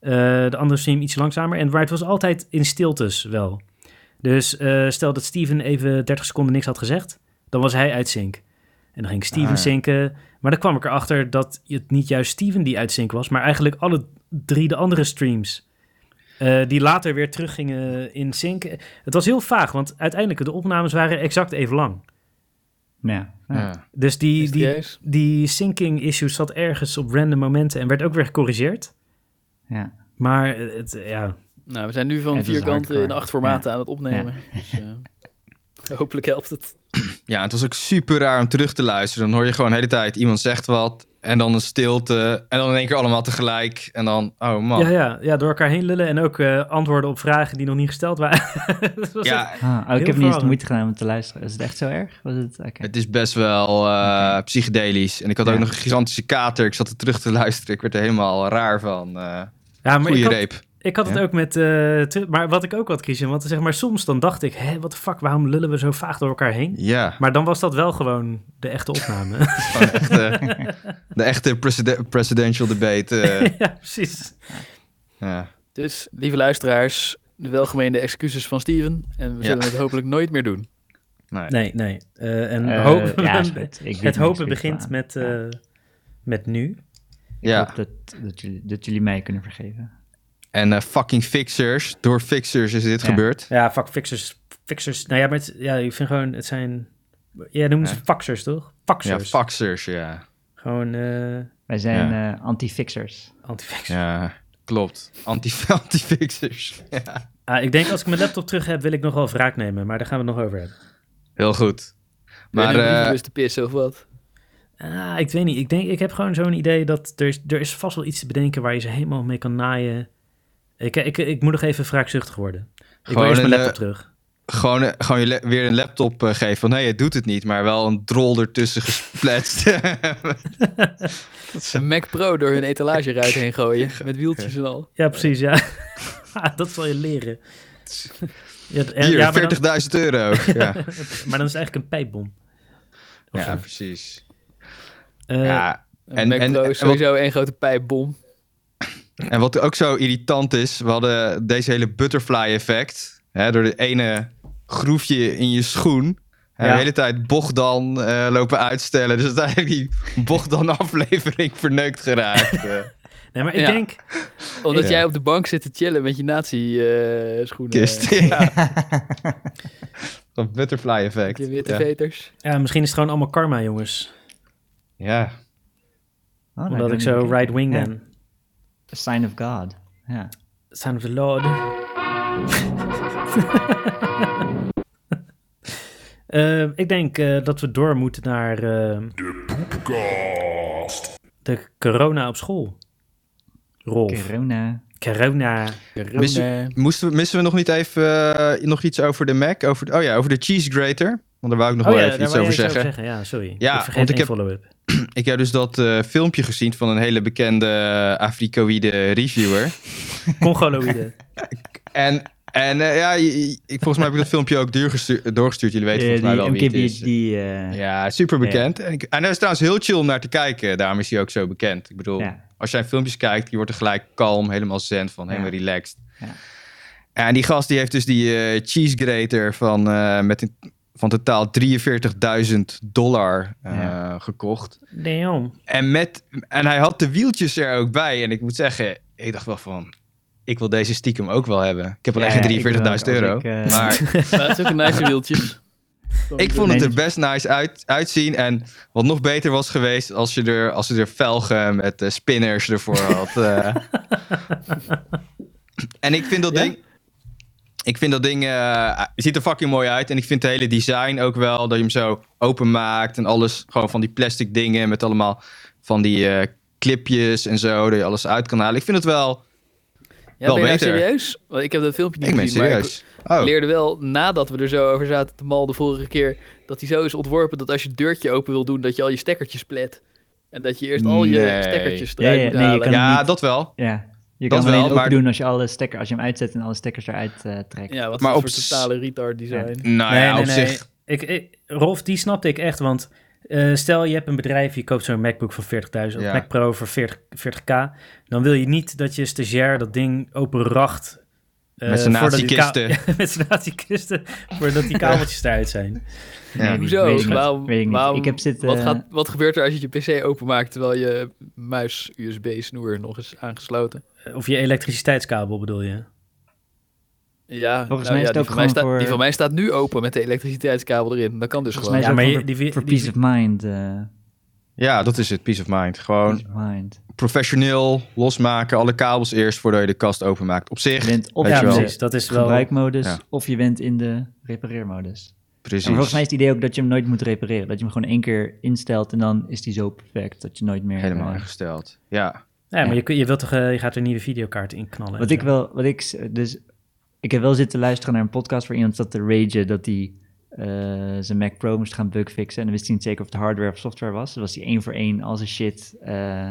[SPEAKER 1] eh, de andere stream iets langzamer. En maar het was altijd in stiltes wel. Dus eh, stel dat Steven even 30 seconden niks had gezegd, dan was hij uit sync. En dan ging Steven
[SPEAKER 4] Ah, ja.
[SPEAKER 1] zinken. Maar dan kwam ik erachter dat het niet juist Steven die uit sync was, maar eigenlijk alle drie de andere streams. eh, die later weer teruggingen in sync. Het was heel vaag, want uiteindelijk de opnames waren exact even lang.
[SPEAKER 3] Nou Ja, ja.
[SPEAKER 4] Ja.
[SPEAKER 1] Dus die, die,
[SPEAKER 2] Mysterieus.
[SPEAKER 1] die syncing issue zat ergens op random momenten en werd ook weer gecorrigeerd.
[SPEAKER 3] ja.
[SPEAKER 1] Maar het, ja,
[SPEAKER 2] Nou, we zijn nu van
[SPEAKER 3] Het is
[SPEAKER 2] vierkanten in
[SPEAKER 3] hardcore.
[SPEAKER 2] acht formaten aan het opnemen. Dus, eh, hopelijk helpt het.
[SPEAKER 4] ja, het was ook super raar om terug te luisteren. Dan hoor je gewoon de hele tijd iemand zegt wat. En dan een stilte. En dan in één keer allemaal tegelijk. En dan, oh man.
[SPEAKER 1] ja,
[SPEAKER 4] Ja,
[SPEAKER 1] ja, ja, door elkaar heen lullen en ook eh, antwoorden op vragen die nog niet gesteld waren. Dat was echt-
[SPEAKER 3] Ah, oh,
[SPEAKER 1] Heel
[SPEAKER 3] ik heb niet eens
[SPEAKER 1] verwarrend.
[SPEAKER 3] de moeite gedaan om te luisteren. Is het echt zo erg? Was het? Oké.
[SPEAKER 4] het is best wel eh, psychedelisch. En ik had
[SPEAKER 3] Ja.
[SPEAKER 4] ook nog een gigantische kater. Ik zat er terug te luisteren. Ik werd er helemaal raar van. eh
[SPEAKER 1] ja, maar
[SPEAKER 4] goeie
[SPEAKER 1] ik had,
[SPEAKER 4] reep.
[SPEAKER 1] ik had het
[SPEAKER 3] Ja.
[SPEAKER 1] ook met. eh, tu- maar wat ik ook had kiezen, want zeg maar soms dan dacht ik, hé, wat de fuck, waarom lullen we zo vaag door elkaar heen?
[SPEAKER 4] Ja.
[SPEAKER 1] Maar dan was dat wel gewoon de echte opname.
[SPEAKER 4] Gewoon echt, eh, de echte preside- presidential debate. eh,
[SPEAKER 1] ja, precies.
[SPEAKER 4] ja.
[SPEAKER 2] Dus, lieve luisteraars, de welgemeende excuses van Steven. En we
[SPEAKER 4] Ja.
[SPEAKER 2] zullen het hopelijk nooit meer doen.
[SPEAKER 4] Nee.
[SPEAKER 1] Nee, nee. Eh, en
[SPEAKER 3] Eh,
[SPEAKER 1] hopen-
[SPEAKER 3] ja, is goed. Ik bied
[SPEAKER 1] het
[SPEAKER 3] me
[SPEAKER 1] hopen
[SPEAKER 3] excuus
[SPEAKER 1] begint
[SPEAKER 3] aan.
[SPEAKER 1] met,
[SPEAKER 3] Ja.
[SPEAKER 1] eh, met nu.
[SPEAKER 3] Ik
[SPEAKER 4] Ja.
[SPEAKER 3] hoop dat, dat, jullie, dat jullie mij kunnen vergeven.
[SPEAKER 4] En eh, fucking fixers. Door fixers is dit
[SPEAKER 3] Ja.
[SPEAKER 4] gebeurd.
[SPEAKER 1] Ja, fuck fixers. Fixers. Nou ja, maar het, ja, ik vind gewoon, het zijn. Jij noemt ze
[SPEAKER 4] Ja.
[SPEAKER 1] faxers, toch?
[SPEAKER 4] Ja,
[SPEAKER 1] Faxers.
[SPEAKER 4] faxers, ja.
[SPEAKER 1] Gewoon eh
[SPEAKER 3] Wij zijn eh, anti-fixers.
[SPEAKER 1] anti-faxers.
[SPEAKER 4] Ja, klopt. Anti- Anti-fixers. ja.
[SPEAKER 1] Ah, ik denk als ik mijn laptop terug heb, wil ik nog wel wraak nemen, maar daar gaan we het nog over hebben.
[SPEAKER 4] Heel goed.
[SPEAKER 2] Maar,
[SPEAKER 4] Maar eh,
[SPEAKER 2] dus te pissen of wat?
[SPEAKER 1] Ah, ik weet niet. Ik, denk, ik heb gewoon zo'n idee dat er, is- er is vast wel iets te bedenken waar je ze helemaal mee kan naaien. Ik, ik, ik moet nog even wraakzuchtig worden. Ik wil
[SPEAKER 4] Gewoon
[SPEAKER 1] eerst mijn
[SPEAKER 4] een, eh,
[SPEAKER 1] laptop terug.
[SPEAKER 4] gewoon, eh, gewoon je le- weer een laptop eh, geven van... hé, hey, het doet het niet, maar wel een drol ertussen gespletst.
[SPEAKER 2] Een Mac Pro door hun etalageruit heen gooien. Met wieltjes en al.
[SPEAKER 1] Ja, precies, ja. Ah, dat zal je leren. Ja, en-
[SPEAKER 4] Hier,
[SPEAKER 1] ja, maar,
[SPEAKER 4] 40.000
[SPEAKER 1] dan,
[SPEAKER 4] euro. Ja,
[SPEAKER 1] maar dan is het eigenlijk een pijpbom. Of
[SPEAKER 4] ja
[SPEAKER 1] zo.
[SPEAKER 4] precies.
[SPEAKER 1] Eh,
[SPEAKER 4] ja, En-
[SPEAKER 2] En, Mac
[SPEAKER 4] en-
[SPEAKER 2] Pro
[SPEAKER 4] en
[SPEAKER 2] is sowieso één grote pijpbom.
[SPEAKER 4] En wat ook zo irritant is, we hadden deze hele butterfly effect. Hè, door het ene groefje in je schoen. Hè,
[SPEAKER 3] Ja.
[SPEAKER 4] De hele tijd Bogdan eh, lopen uitstellen. Dus uiteindelijk die Bogdan aflevering verneukt geraakt. eh.
[SPEAKER 1] nee, maar ik
[SPEAKER 2] ja.
[SPEAKER 1] denk...
[SPEAKER 2] Omdat
[SPEAKER 4] Ja.
[SPEAKER 2] jij op de bank zit te chillen met je nazi-schoenen. eh,
[SPEAKER 4] Kist, ja. Dat butterfly effect.
[SPEAKER 2] je witte
[SPEAKER 4] Ja.
[SPEAKER 2] veters.
[SPEAKER 1] Ja, misschien is het gewoon allemaal karma, jongens.
[SPEAKER 4] Ja.
[SPEAKER 3] Oh, nou,
[SPEAKER 1] Omdat
[SPEAKER 3] dan-
[SPEAKER 1] ik zo right-wing
[SPEAKER 3] Ja.
[SPEAKER 1] ben.
[SPEAKER 3] A sign of God. Ja.
[SPEAKER 1] Son of the Lord. Eh, ik denk eh, dat we door moeten naar... de De corona op school. Rolf.
[SPEAKER 3] Corona.
[SPEAKER 1] corona.
[SPEAKER 4] Missen, moesten we, missen we nog niet even eh, nog iets over de Mac? Over, oh ja, over de cheese grater. Want daar wou ik nog wel even
[SPEAKER 1] Oh daar
[SPEAKER 4] iets
[SPEAKER 1] wou
[SPEAKER 4] over
[SPEAKER 1] jij
[SPEAKER 4] zeggen.
[SPEAKER 1] Ja, sorry.
[SPEAKER 4] Ja,
[SPEAKER 1] ik vergeet
[SPEAKER 4] want ik
[SPEAKER 1] één
[SPEAKER 4] heb-
[SPEAKER 1] follow-up.
[SPEAKER 4] Ik heb dus dat eh, filmpje gezien van een hele bekende Afrikoïde reviewer.
[SPEAKER 1] Congoloïde.
[SPEAKER 4] En, en eh, ja, je- je- ik, volgens mij heb ik dat filmpje ook doorgestu- doorgestuurd. Jullie weten
[SPEAKER 3] Eh,
[SPEAKER 4] volgens mij wel
[SPEAKER 3] die
[SPEAKER 4] wie
[SPEAKER 3] MKB,
[SPEAKER 4] het is.
[SPEAKER 3] die... eh,
[SPEAKER 4] Ja, super bekend. En, ik- en hij is trouwens heel chill om naar te kijken. Daarom is hij ook zo bekend. Ik bedoel,
[SPEAKER 3] Ja.
[SPEAKER 4] als jij filmpjes kijkt, je wordt er gelijk kalm, helemaal zen van,
[SPEAKER 3] Ja.
[SPEAKER 4] helemaal relaxed.
[SPEAKER 3] Ja.
[SPEAKER 4] En die gast die heeft dus die eh, cheese grater van, eh, met een, van totaal 43.000 dollar eh,
[SPEAKER 3] Ja.
[SPEAKER 4] gekocht.
[SPEAKER 1] Damn.
[SPEAKER 4] En, met, en hij had de wieltjes er ook bij. En ik moet zeggen, ik dacht wel van... Ik wil deze stiekem ook wel hebben. Ik heb wel
[SPEAKER 3] Ja,
[SPEAKER 4] echt
[SPEAKER 3] ja, ik wil ook,
[SPEAKER 4] 43.000 euro.
[SPEAKER 3] als ik, eh,
[SPEAKER 4] Maar
[SPEAKER 2] Maar het is ook een nice wieltjes.
[SPEAKER 4] ik vond het er
[SPEAKER 3] Nee.
[SPEAKER 4] best nice uit, uitzien. En wat nog beter was geweest... als je er, als je er velgen met eh, spinners ervoor had. eh. en ik vind dat
[SPEAKER 2] Ja?
[SPEAKER 4] ding... Ik vind dat ding... eh, het ziet er fucking mooi uit. En ik vind het hele design ook wel... dat je hem zo openmaakt. En alles gewoon van die plastic dingen... met allemaal van die... eh, clipjes en zo, dat je alles uit kan halen. Ik vind het wel...
[SPEAKER 2] Ja, ben je nou
[SPEAKER 4] beter.
[SPEAKER 2] serieus? Want ik heb dat filmpje niet
[SPEAKER 4] Ik ben
[SPEAKER 2] gezien, maar
[SPEAKER 4] serieus. Oh,
[SPEAKER 2] Ik leerde wel, nadat we er zo over zaten te mal de vorige keer, dat hij zo is ontworpen dat als je het deurtje open wil doen, dat je al je stekkertjes plet. En dat je eerst al je
[SPEAKER 4] Nee.
[SPEAKER 2] stekkertjes
[SPEAKER 3] Ja, ja,
[SPEAKER 2] eruit moet
[SPEAKER 3] nee, je
[SPEAKER 2] halen.
[SPEAKER 3] kan-
[SPEAKER 4] ja,
[SPEAKER 3] niet.
[SPEAKER 4] dat wel.
[SPEAKER 3] Ja. Je
[SPEAKER 4] Dat
[SPEAKER 3] kan het
[SPEAKER 4] wel,
[SPEAKER 3] alleen
[SPEAKER 4] maar-
[SPEAKER 3] maar... doen als je, alle stekker, als je hem uitzet en alle stekkers eruit eh, trekt.
[SPEAKER 2] Ja, wat
[SPEAKER 4] Maar
[SPEAKER 2] voor
[SPEAKER 4] op
[SPEAKER 2] soort
[SPEAKER 4] s-
[SPEAKER 2] totale retard design.
[SPEAKER 4] Nou ja, op zich.
[SPEAKER 1] Ik, ik- Rolf, die snapte ik echt, want... eh, stel, je hebt een bedrijf, je koopt zo'n MacBook voor 40.000,
[SPEAKER 4] Ja.
[SPEAKER 1] of Mac Pro voor 40, 40k. Dan wil je niet dat je stagiair dat ding openracht... eh,
[SPEAKER 4] Met zijn
[SPEAKER 1] voordat die ka-
[SPEAKER 4] nazi-kisten.
[SPEAKER 1] met zijn nazi-kisten, voordat die kabeltjes eruit zijn.
[SPEAKER 4] Ja.
[SPEAKER 3] Nee,
[SPEAKER 2] Hoezo?
[SPEAKER 3] Weet ik niet.
[SPEAKER 2] Waarom-
[SPEAKER 3] Weet ik niet.
[SPEAKER 2] waarom-
[SPEAKER 3] ik heb zitten...
[SPEAKER 2] Wat, gaat, wat gebeurt er als je je PC openmaakt terwijl je muis USB-snoer nog is aangesloten?
[SPEAKER 1] Of je elektriciteitskabel bedoel je?
[SPEAKER 2] Ja,
[SPEAKER 3] Volgens
[SPEAKER 2] nou
[SPEAKER 3] mij
[SPEAKER 2] ja,
[SPEAKER 3] is het
[SPEAKER 2] die
[SPEAKER 3] ook
[SPEAKER 2] van mij
[SPEAKER 3] gewoon
[SPEAKER 2] staat,
[SPEAKER 3] voor-
[SPEAKER 2] Die van mij staat nu open met de elektriciteitskabel erin. Dat kan dus
[SPEAKER 3] Volgens mij
[SPEAKER 2] gewoon.
[SPEAKER 1] Ja,
[SPEAKER 3] is dat
[SPEAKER 1] maar
[SPEAKER 3] voor-
[SPEAKER 1] je- die- die-
[SPEAKER 3] voor
[SPEAKER 1] die-
[SPEAKER 3] peace of mind. eh,
[SPEAKER 4] Ja, dat is het. Peace of mind.
[SPEAKER 3] peace
[SPEAKER 4] Gewoon
[SPEAKER 3] of mind.
[SPEAKER 4] professioneel losmaken. Alle kabels eerst voordat je de kast openmaakt. Op
[SPEAKER 3] Je
[SPEAKER 4] zich.
[SPEAKER 3] bent of
[SPEAKER 4] Weet
[SPEAKER 1] ja,
[SPEAKER 4] je wel.
[SPEAKER 1] precies. Dat is
[SPEAKER 3] in
[SPEAKER 1] wel...
[SPEAKER 3] de gebruikmodus,
[SPEAKER 4] Ja.
[SPEAKER 3] of je bent in de repareermodus.
[SPEAKER 4] Precies.
[SPEAKER 3] Maar volgens mij is het idee ook dat je hem nooit moet repareren. Dat je hem gewoon één keer instelt en dan is die zo perfect dat je nooit meer...
[SPEAKER 4] helemaal
[SPEAKER 3] eh,
[SPEAKER 4] ingesteld. Ja.
[SPEAKER 1] Ja, maar je, kun- je, wilt toch, eh, je gaat er nieuwe videokaart in knallen.
[SPEAKER 3] Wat
[SPEAKER 1] en
[SPEAKER 3] ik
[SPEAKER 1] zo.
[SPEAKER 3] wel, wat ik, s- dus ik heb wel zitten luisteren naar een podcast waar iemand zat te ragen dat hij eh, zijn Mac Pro moest gaan bugfixen. En dan wist hij niet zeker of het hardware of software was. Dus was hij één voor één al zijn shit eh,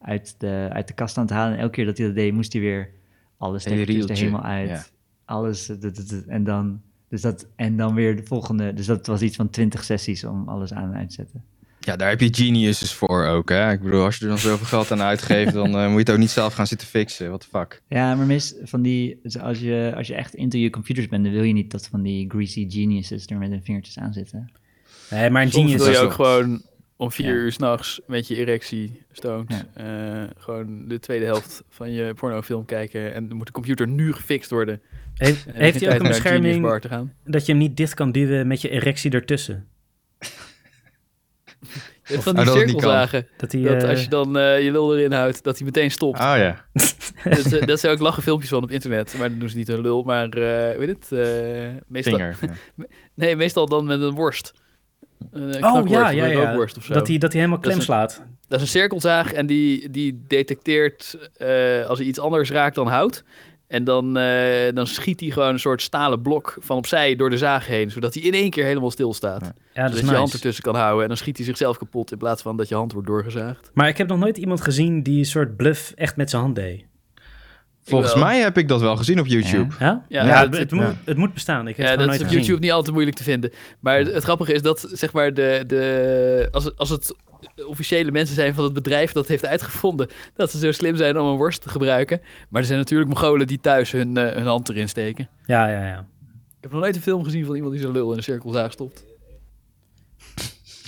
[SPEAKER 3] uit, de, uit de kast aan het halen. En elke keer dat hij dat deed, moest hij weer alles
[SPEAKER 4] Hele
[SPEAKER 3] er
[SPEAKER 4] rieltje,
[SPEAKER 3] helemaal uit.
[SPEAKER 4] ja.
[SPEAKER 3] Alles, eh, dat- dat- dat- en dan... Dus dat, en dan weer de volgende. Dus dat was iets van 20 sessies om alles aan en uit te zetten.
[SPEAKER 4] ja, daar heb je geniuses voor ook. Hè? Ik bedoel, als je er dan zoveel geld aan uitgeeft, dan eh, moet je het ook niet zelf gaan zitten fixen. What the fuck.
[SPEAKER 3] Ja, maar mis van die. dus Als je, als je echt into je computers bent, dan wil je niet dat van die greasy geniuses er met hun vingertjes aan zitten.
[SPEAKER 1] Nee, maar een
[SPEAKER 2] Soms
[SPEAKER 1] genius...
[SPEAKER 2] wil je
[SPEAKER 4] Dat
[SPEAKER 2] ook
[SPEAKER 4] is
[SPEAKER 2] gewoon om vier
[SPEAKER 3] Ja.
[SPEAKER 2] uur s'nachts met je erectie stoned eh, gewoon de tweede helft van je pornofilm kijken en dan moet de computer nu gefixt worden. En
[SPEAKER 1] Heeft,
[SPEAKER 2] dan
[SPEAKER 1] heeft
[SPEAKER 2] geen
[SPEAKER 1] hij ook
[SPEAKER 2] tijd
[SPEAKER 1] een
[SPEAKER 2] naar Genius
[SPEAKER 1] bescherming
[SPEAKER 2] Bar te gaan.
[SPEAKER 1] dat je hem niet dicht kan duwen met je erectie ertussen?
[SPEAKER 2] Je hebt van
[SPEAKER 4] Oh,
[SPEAKER 2] die
[SPEAKER 4] dat het niet kan.
[SPEAKER 2] cirkelzagen,
[SPEAKER 1] Dat hij...
[SPEAKER 2] dat
[SPEAKER 1] eh,
[SPEAKER 2] als je dan eh, je lul erin houdt, dat hij meteen stopt.
[SPEAKER 4] Oh ja.
[SPEAKER 2] Dat, eh, dat zijn ook lachen filmpjes van op internet, maar dan doen ze niet een lul, maar eh weet het? eh, meestal,
[SPEAKER 4] Vinger. Ja.
[SPEAKER 2] nee, meestal dan met een worst. Een eh,
[SPEAKER 1] Oh
[SPEAKER 2] knakworst
[SPEAKER 1] ja,
[SPEAKER 2] of
[SPEAKER 1] ja,
[SPEAKER 2] een
[SPEAKER 1] ja.
[SPEAKER 2] rookworst of zo.
[SPEAKER 1] Dat hij, dat hij helemaal
[SPEAKER 2] Dat
[SPEAKER 1] klem
[SPEAKER 2] is
[SPEAKER 1] slaat.
[SPEAKER 2] Dat is een cirkelzaag en die, die detecteert eh, als hij iets anders raakt dan hout. En dan, eh, dan schiet hij gewoon een soort stalen blok van opzij door de zaag heen. Zodat hij in één keer helemaal stilstaat.
[SPEAKER 4] Ja,
[SPEAKER 1] Ja, dat
[SPEAKER 2] zodat
[SPEAKER 1] is
[SPEAKER 2] je hand
[SPEAKER 1] nice.
[SPEAKER 2] ertussen kan houden. En dan schiet hij zichzelf kapot in plaats van dat je hand wordt doorgezaagd.
[SPEAKER 1] Maar ik heb nog nooit iemand gezien die een soort bluff echt met zijn hand deed.
[SPEAKER 4] Volgens
[SPEAKER 2] wel.
[SPEAKER 4] mij heb ik dat wel gezien op YouTube.
[SPEAKER 1] Ja?
[SPEAKER 2] Ja,
[SPEAKER 1] Ja,
[SPEAKER 2] ja,
[SPEAKER 1] het,
[SPEAKER 2] het-
[SPEAKER 1] het moet, het moet bestaan. Ik heb
[SPEAKER 2] Ja,
[SPEAKER 1] het
[SPEAKER 2] dat
[SPEAKER 1] gewoon
[SPEAKER 2] is op
[SPEAKER 1] nooit gezien.
[SPEAKER 2] YouTube niet altijd moeilijk te vinden. Maar het, het grappige is dat, zeg maar, de, de, als, het- als het officiële mensen zijn van het bedrijf dat heeft uitgevonden, dat ze zo slim zijn om een worst te gebruiken. Maar er zijn natuurlijk Mongolen die thuis hun, eh, hun hand erin steken.
[SPEAKER 1] Ja, ja, ja.
[SPEAKER 2] Ik heb nog nooit een film gezien van iemand die zijn lul in een cirkelzaag stopt.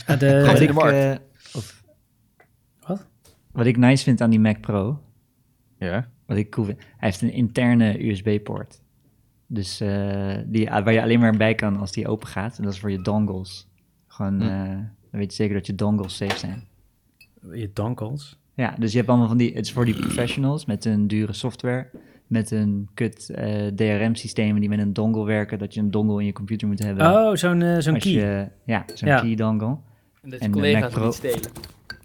[SPEAKER 1] Ja, de-
[SPEAKER 3] Wat
[SPEAKER 2] in de
[SPEAKER 3] ik,
[SPEAKER 2] markt.
[SPEAKER 3] eh, of-
[SPEAKER 1] Wat?
[SPEAKER 3] Wat ik nice vind aan die Mac Pro,
[SPEAKER 4] Ja.
[SPEAKER 3] wat ik cool vind, hij heeft een interne USB-poort. Dus eh, die, waar je alleen maar bij kan als die open gaat. En dat is voor je dongles. Gewoon,
[SPEAKER 4] Hm.
[SPEAKER 3] eh, dan weet je zeker dat je dongles safe zijn.
[SPEAKER 1] je dankels.
[SPEAKER 3] Ja, dus je hebt allemaal van die, het is voor die professionals met hun dure software, met hun kut eh, DRM-systemen die met een dongle werken, dat je een dongle in je computer moet hebben.
[SPEAKER 1] Oh, zo'n eh, zo'n
[SPEAKER 3] Als
[SPEAKER 1] key.
[SPEAKER 3] je- ja, zo'n
[SPEAKER 1] Ja.
[SPEAKER 3] key dongle.
[SPEAKER 2] En dat je
[SPEAKER 3] En de
[SPEAKER 2] collega's
[SPEAKER 3] Mac
[SPEAKER 2] hem
[SPEAKER 3] Pro.
[SPEAKER 2] niet stelen.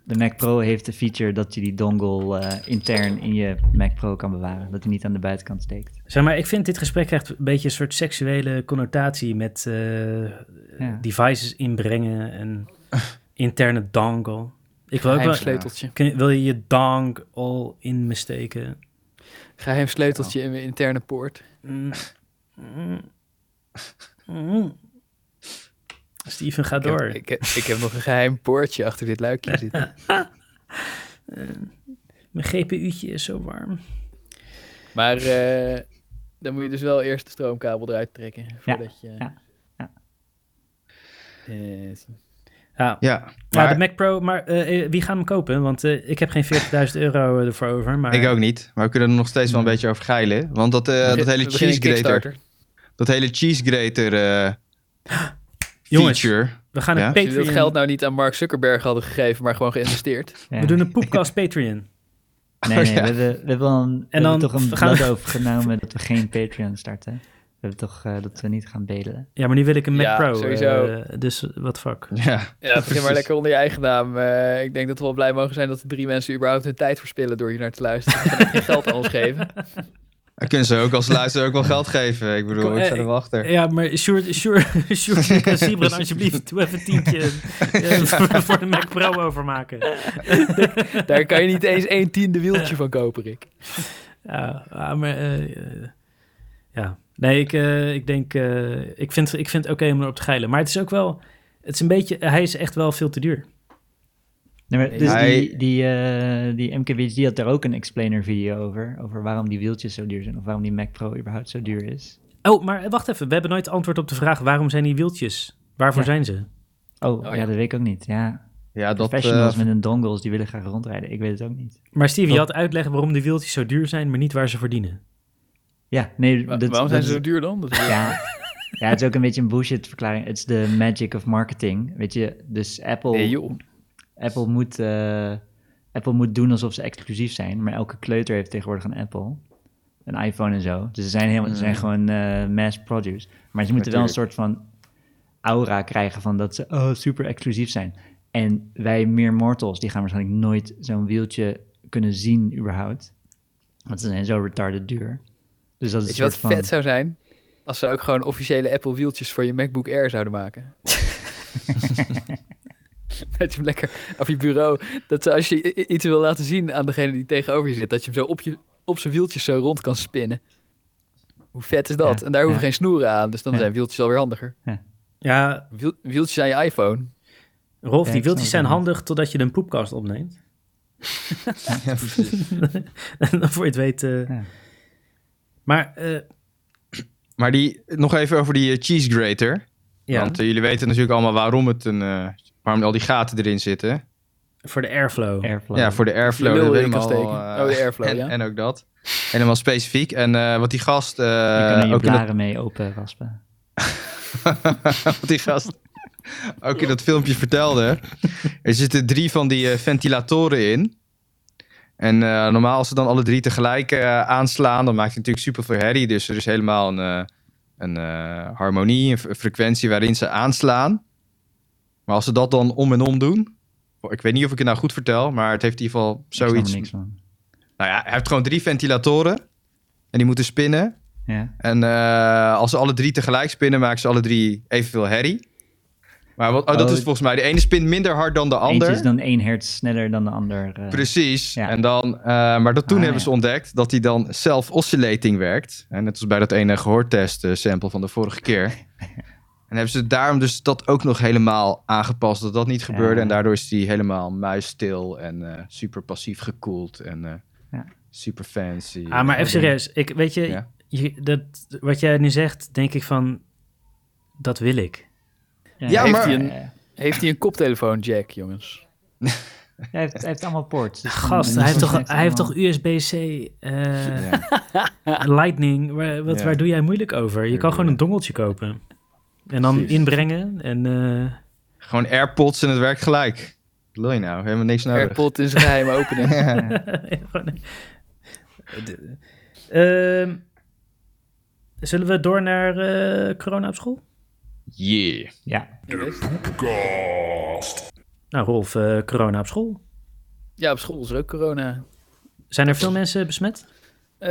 [SPEAKER 3] De Mac Pro heeft de feature dat je die dongle eh, intern in je Mac Pro kan bewaren, dat hij niet aan de buitenkant steekt.
[SPEAKER 1] Zeg maar, ik vind dit gesprek echt een beetje een soort seksuele connotatie met eh,
[SPEAKER 3] Ja.
[SPEAKER 1] devices inbrengen en interne dongle. Ik wil ook
[SPEAKER 2] Geheim
[SPEAKER 1] wel,
[SPEAKER 2] sleuteltje.
[SPEAKER 1] Kun je- wil je je dongle in me steken?
[SPEAKER 2] Geheim sleuteltje in mijn interne poort.
[SPEAKER 1] Mm. Mm. Mm. Steven, ga
[SPEAKER 2] Ik heb,
[SPEAKER 1] door.
[SPEAKER 2] ik, heb, ik heb nog een geheim poortje achter dit luikje zitten.
[SPEAKER 1] Mijn GPU'tje is zo warm.
[SPEAKER 2] Maar eh, dan moet je dus wel eerst de stroomkabel eruit trekken. Voordat je...
[SPEAKER 3] ja, ja.
[SPEAKER 2] Eh,
[SPEAKER 1] Ja,
[SPEAKER 4] Ja,
[SPEAKER 1] ja
[SPEAKER 4] maar
[SPEAKER 1] de Mac Pro, maar eh, eh, wie gaat hem kopen? Want eh, ik heb geen 40.000 euro eh, ervoor over. Maar
[SPEAKER 4] ik ook niet. Maar we kunnen er nog steeds wel een
[SPEAKER 1] Nee.
[SPEAKER 4] beetje over geilen. Want dat, eh, dat hele
[SPEAKER 2] We beginnen
[SPEAKER 4] cheese
[SPEAKER 2] een
[SPEAKER 4] grater,
[SPEAKER 2] Kickstarter.
[SPEAKER 4] dat hele cheese grater eh,
[SPEAKER 1] Jongens.
[SPEAKER 4] feature.
[SPEAKER 1] we gaan een
[SPEAKER 4] Ja?
[SPEAKER 2] Als jullie
[SPEAKER 1] Patreon.
[SPEAKER 2] dat geld nou niet aan Mark Zuckerberg hadden gegeven, maar gewoon geïnvesteerd.
[SPEAKER 3] Ja.
[SPEAKER 1] We doen een poepkast Patreon.
[SPEAKER 3] Nee, nee,
[SPEAKER 4] Oh, ja.
[SPEAKER 3] we, hebben, we hebben wel een, we hebben
[SPEAKER 1] dan
[SPEAKER 3] toch een
[SPEAKER 1] gaan we-
[SPEAKER 3] blad overgenomen dat we geen Patreon starten. We hebben toch eh, dat we niet gaan bedelen.
[SPEAKER 1] Ja, maar nu wil ik een Mac
[SPEAKER 2] Ja,
[SPEAKER 1] Pro.
[SPEAKER 2] sowieso.
[SPEAKER 1] eh, dus wat fuck.
[SPEAKER 4] Ja.
[SPEAKER 2] Ja, begin maar lekker onder je eigen naam. Eh, ik denk dat we wel blij mogen zijn dat de drie mensen überhaupt hun tijd verspillen door hier naar te luisteren. en geen geld aan ons geven.
[SPEAKER 4] Dan kunnen ze ook als luisteraar ook wel geld geven. Ik bedoel,
[SPEAKER 1] Kom,
[SPEAKER 4] ik
[SPEAKER 1] eh,
[SPEAKER 4] sta er wel achter.
[SPEAKER 1] Ja, maar Sjoerd, Sjoerd, Sjoerd, Lucas, Sibran, alsjeblieft, doe even een tientje eh, voor- voor de Mac Pro overmaken.
[SPEAKER 2] Daar kan je niet eens een tiende wieltje van kopen, Rick.
[SPEAKER 1] Ja, ah, maar eh, eh, ja. Nee, ik, eh, ik denk, eh, ik vind, ik vind het oké om erop te geilen. Maar het is ook wel, het is een beetje, eh, hij is echt wel veel te duur.
[SPEAKER 3] Nee, maar
[SPEAKER 2] Nee,
[SPEAKER 3] dus
[SPEAKER 4] hij-
[SPEAKER 3] die, die, eh, die MKBHD had daar ook een explainer video over. Over waarom die wieltjes zo duur zijn. Of waarom die Mac Pro überhaupt zo duur is.
[SPEAKER 1] Oh, maar wacht even, we hebben nooit antwoord op de vraag, waarom zijn die wieltjes? Waarvoor
[SPEAKER 3] Ja.
[SPEAKER 1] zijn ze?
[SPEAKER 3] Oh,
[SPEAKER 2] Oh,
[SPEAKER 3] ja.
[SPEAKER 2] ja.
[SPEAKER 3] dat weet ik ook niet. Ja,
[SPEAKER 4] Ja, dat,
[SPEAKER 3] professionals
[SPEAKER 4] eh,
[SPEAKER 3] met een dongles die willen graag rondrijden. Ik weet het ook niet.
[SPEAKER 1] Maar Steven, je
[SPEAKER 4] Dat-
[SPEAKER 1] had uitleggen waarom de wieltjes zo duur zijn, maar niet waar ze verdienen.
[SPEAKER 3] Ja, nee.
[SPEAKER 2] Wa-
[SPEAKER 3] dat-
[SPEAKER 2] waarom zijn
[SPEAKER 3] dat
[SPEAKER 2] ze
[SPEAKER 3] is-
[SPEAKER 2] zo duur dan? Dat is-
[SPEAKER 3] Ja. ja, het is ook een beetje een bullshit verklaring. Het is de magic of marketing. Weet je, dus Apple,
[SPEAKER 2] Nee, joh.
[SPEAKER 3] Apple, moet, eh, Apple moet doen alsof ze exclusief zijn. Maar elke kleuter heeft tegenwoordig een Apple. Een iPhone en zo. Dus ze zijn, helemaal, ze
[SPEAKER 4] Mm.
[SPEAKER 3] zijn gewoon eh, mass produce. Maar ze moeten wel een soort van aura krijgen van dat ze oh, super exclusief zijn. En wij meer mortals, die gaan waarschijnlijk nooit zo'n wieltje kunnen zien überhaupt. Want ze zijn zo retarded duur. Dus dat is
[SPEAKER 2] Weet je
[SPEAKER 3] een
[SPEAKER 2] wat
[SPEAKER 3] soort van...
[SPEAKER 2] vet zou zijn? Als ze ook gewoon officiële Apple wieltjes voor je MacBook Air zouden maken. dat je hem lekker op je bureau... Dat ze als je i- i- iets wil laten zien aan degene die tegenover je zit... dat je hem zo op, je, op zijn wieltjes zo rond kan spinnen. Hoe vet is dat?
[SPEAKER 3] Ja,
[SPEAKER 2] en daar hoeven
[SPEAKER 3] ja.
[SPEAKER 2] geen snoeren aan, dus dan
[SPEAKER 3] Ja.
[SPEAKER 2] zijn wieltjes alweer handiger.
[SPEAKER 1] Ja,
[SPEAKER 2] Wiel- wieltjes aan je iPhone.
[SPEAKER 1] Rolf, die
[SPEAKER 3] Ja, ik snap
[SPEAKER 1] wieltjes
[SPEAKER 3] het
[SPEAKER 1] zijn
[SPEAKER 3] wel.
[SPEAKER 1] handig totdat je een poepkast opneemt.
[SPEAKER 4] ja, precies.
[SPEAKER 1] en dan voor je het weet... eh,
[SPEAKER 3] Ja.
[SPEAKER 1] Maar, eh,
[SPEAKER 4] maar die, nog even over die eh, cheese grater.
[SPEAKER 1] ja,
[SPEAKER 4] Want eh, jullie weten natuurlijk allemaal waarom, het een, eh, waarom al die gaten erin zitten.
[SPEAKER 1] voor de airflow.
[SPEAKER 3] Airflow.
[SPEAKER 4] Ja, voor de airflow.
[SPEAKER 2] Je lul
[SPEAKER 4] dat weet
[SPEAKER 2] in
[SPEAKER 4] ik
[SPEAKER 2] kan
[SPEAKER 4] al,
[SPEAKER 2] steken.
[SPEAKER 4] eh,
[SPEAKER 2] Oh, de airflow,
[SPEAKER 4] en,
[SPEAKER 2] ja.
[SPEAKER 4] En ook dat. Helemaal specifiek. En eh, wat die gast... eh,
[SPEAKER 3] je kan er je
[SPEAKER 4] ook in dat-
[SPEAKER 3] blaren mee open raspen.
[SPEAKER 4] wat die gast ook in dat filmpje vertelde. Er zitten drie van die eh, ventilatoren in. En eh, normaal als ze dan alle drie tegelijk eh, aanslaan, dan maakt het natuurlijk super veel herrie. Dus er is helemaal een, eh, een eh, harmonie, een fre- frequentie waarin ze aanslaan. Maar als ze dat dan om en om doen. Ik weet niet of ik het nou goed vertel, maar het heeft in ieder geval
[SPEAKER 3] Ik snap er
[SPEAKER 4] zoiets.
[SPEAKER 3] niks van.
[SPEAKER 4] Nou ja, hij heeft gewoon drie ventilatoren. En die moeten spinnen.
[SPEAKER 3] Ja.
[SPEAKER 4] En eh, als ze alle drie tegelijk spinnen, maken ze alle drie evenveel herrie. Maar wat, oh, dat
[SPEAKER 3] Oh,
[SPEAKER 4] is
[SPEAKER 3] het-
[SPEAKER 4] volgens mij. De ene spint minder hard dan de ander.
[SPEAKER 3] Eentje is dan 1 hertz sneller dan de ander. eh.
[SPEAKER 4] Precies.
[SPEAKER 3] Ja.
[SPEAKER 4] En dan, eh, maar dat toen
[SPEAKER 3] Ah,
[SPEAKER 4] hebben
[SPEAKER 3] ja.
[SPEAKER 4] ze ontdekt dat hij dan self-oscillating werkt. En net als bij dat ene gehoortest eh, sample van de vorige keer. en hebben ze daarom dus dat ook nog helemaal aangepast dat dat niet gebeurde.
[SPEAKER 3] Ja.
[SPEAKER 4] En daardoor is hij helemaal muisstil en eh, super passief gekoeld en eh,
[SPEAKER 3] Ja.
[SPEAKER 4] super fancy.
[SPEAKER 1] Ah, maar even serieus. Ik, weet je,
[SPEAKER 4] Ja.
[SPEAKER 1] je- dat, wat jij nu zegt, denk ik van, dat wil ik.
[SPEAKER 4] Ja,
[SPEAKER 2] heeft
[SPEAKER 4] maar-
[SPEAKER 2] hij een, heeft hij een koptelefoon jack, jongens?
[SPEAKER 3] Hij heeft, hij heeft allemaal poorts. dus
[SPEAKER 1] Gast,
[SPEAKER 3] dan-
[SPEAKER 1] hij heeft toch,
[SPEAKER 3] heeft
[SPEAKER 1] hij heeft toch
[SPEAKER 3] allemaal-
[SPEAKER 1] USB-C, eh,
[SPEAKER 4] Ja.
[SPEAKER 1] Lightning, waar, wat,
[SPEAKER 4] Ja.
[SPEAKER 1] waar doe jij moeilijk over? Je kan gewoon een dongeltje kopen. En dan
[SPEAKER 4] Precies.
[SPEAKER 1] inbrengen en... eh,
[SPEAKER 4] Gewoon AirPods en het werkt gelijk. Wat wil je nou? Helemaal niks nodig.
[SPEAKER 2] AirPod in zijn geheim openen.
[SPEAKER 1] Gewoon- De- Ehm, zullen we door naar eh, corona op school?
[SPEAKER 4] Yeah.
[SPEAKER 3] Ja,
[SPEAKER 1] Nou, Rolf, eh, corona op school.
[SPEAKER 2] Ja, op school is er ook corona.
[SPEAKER 1] Zijn er veel mensen besmet?
[SPEAKER 2] Eh,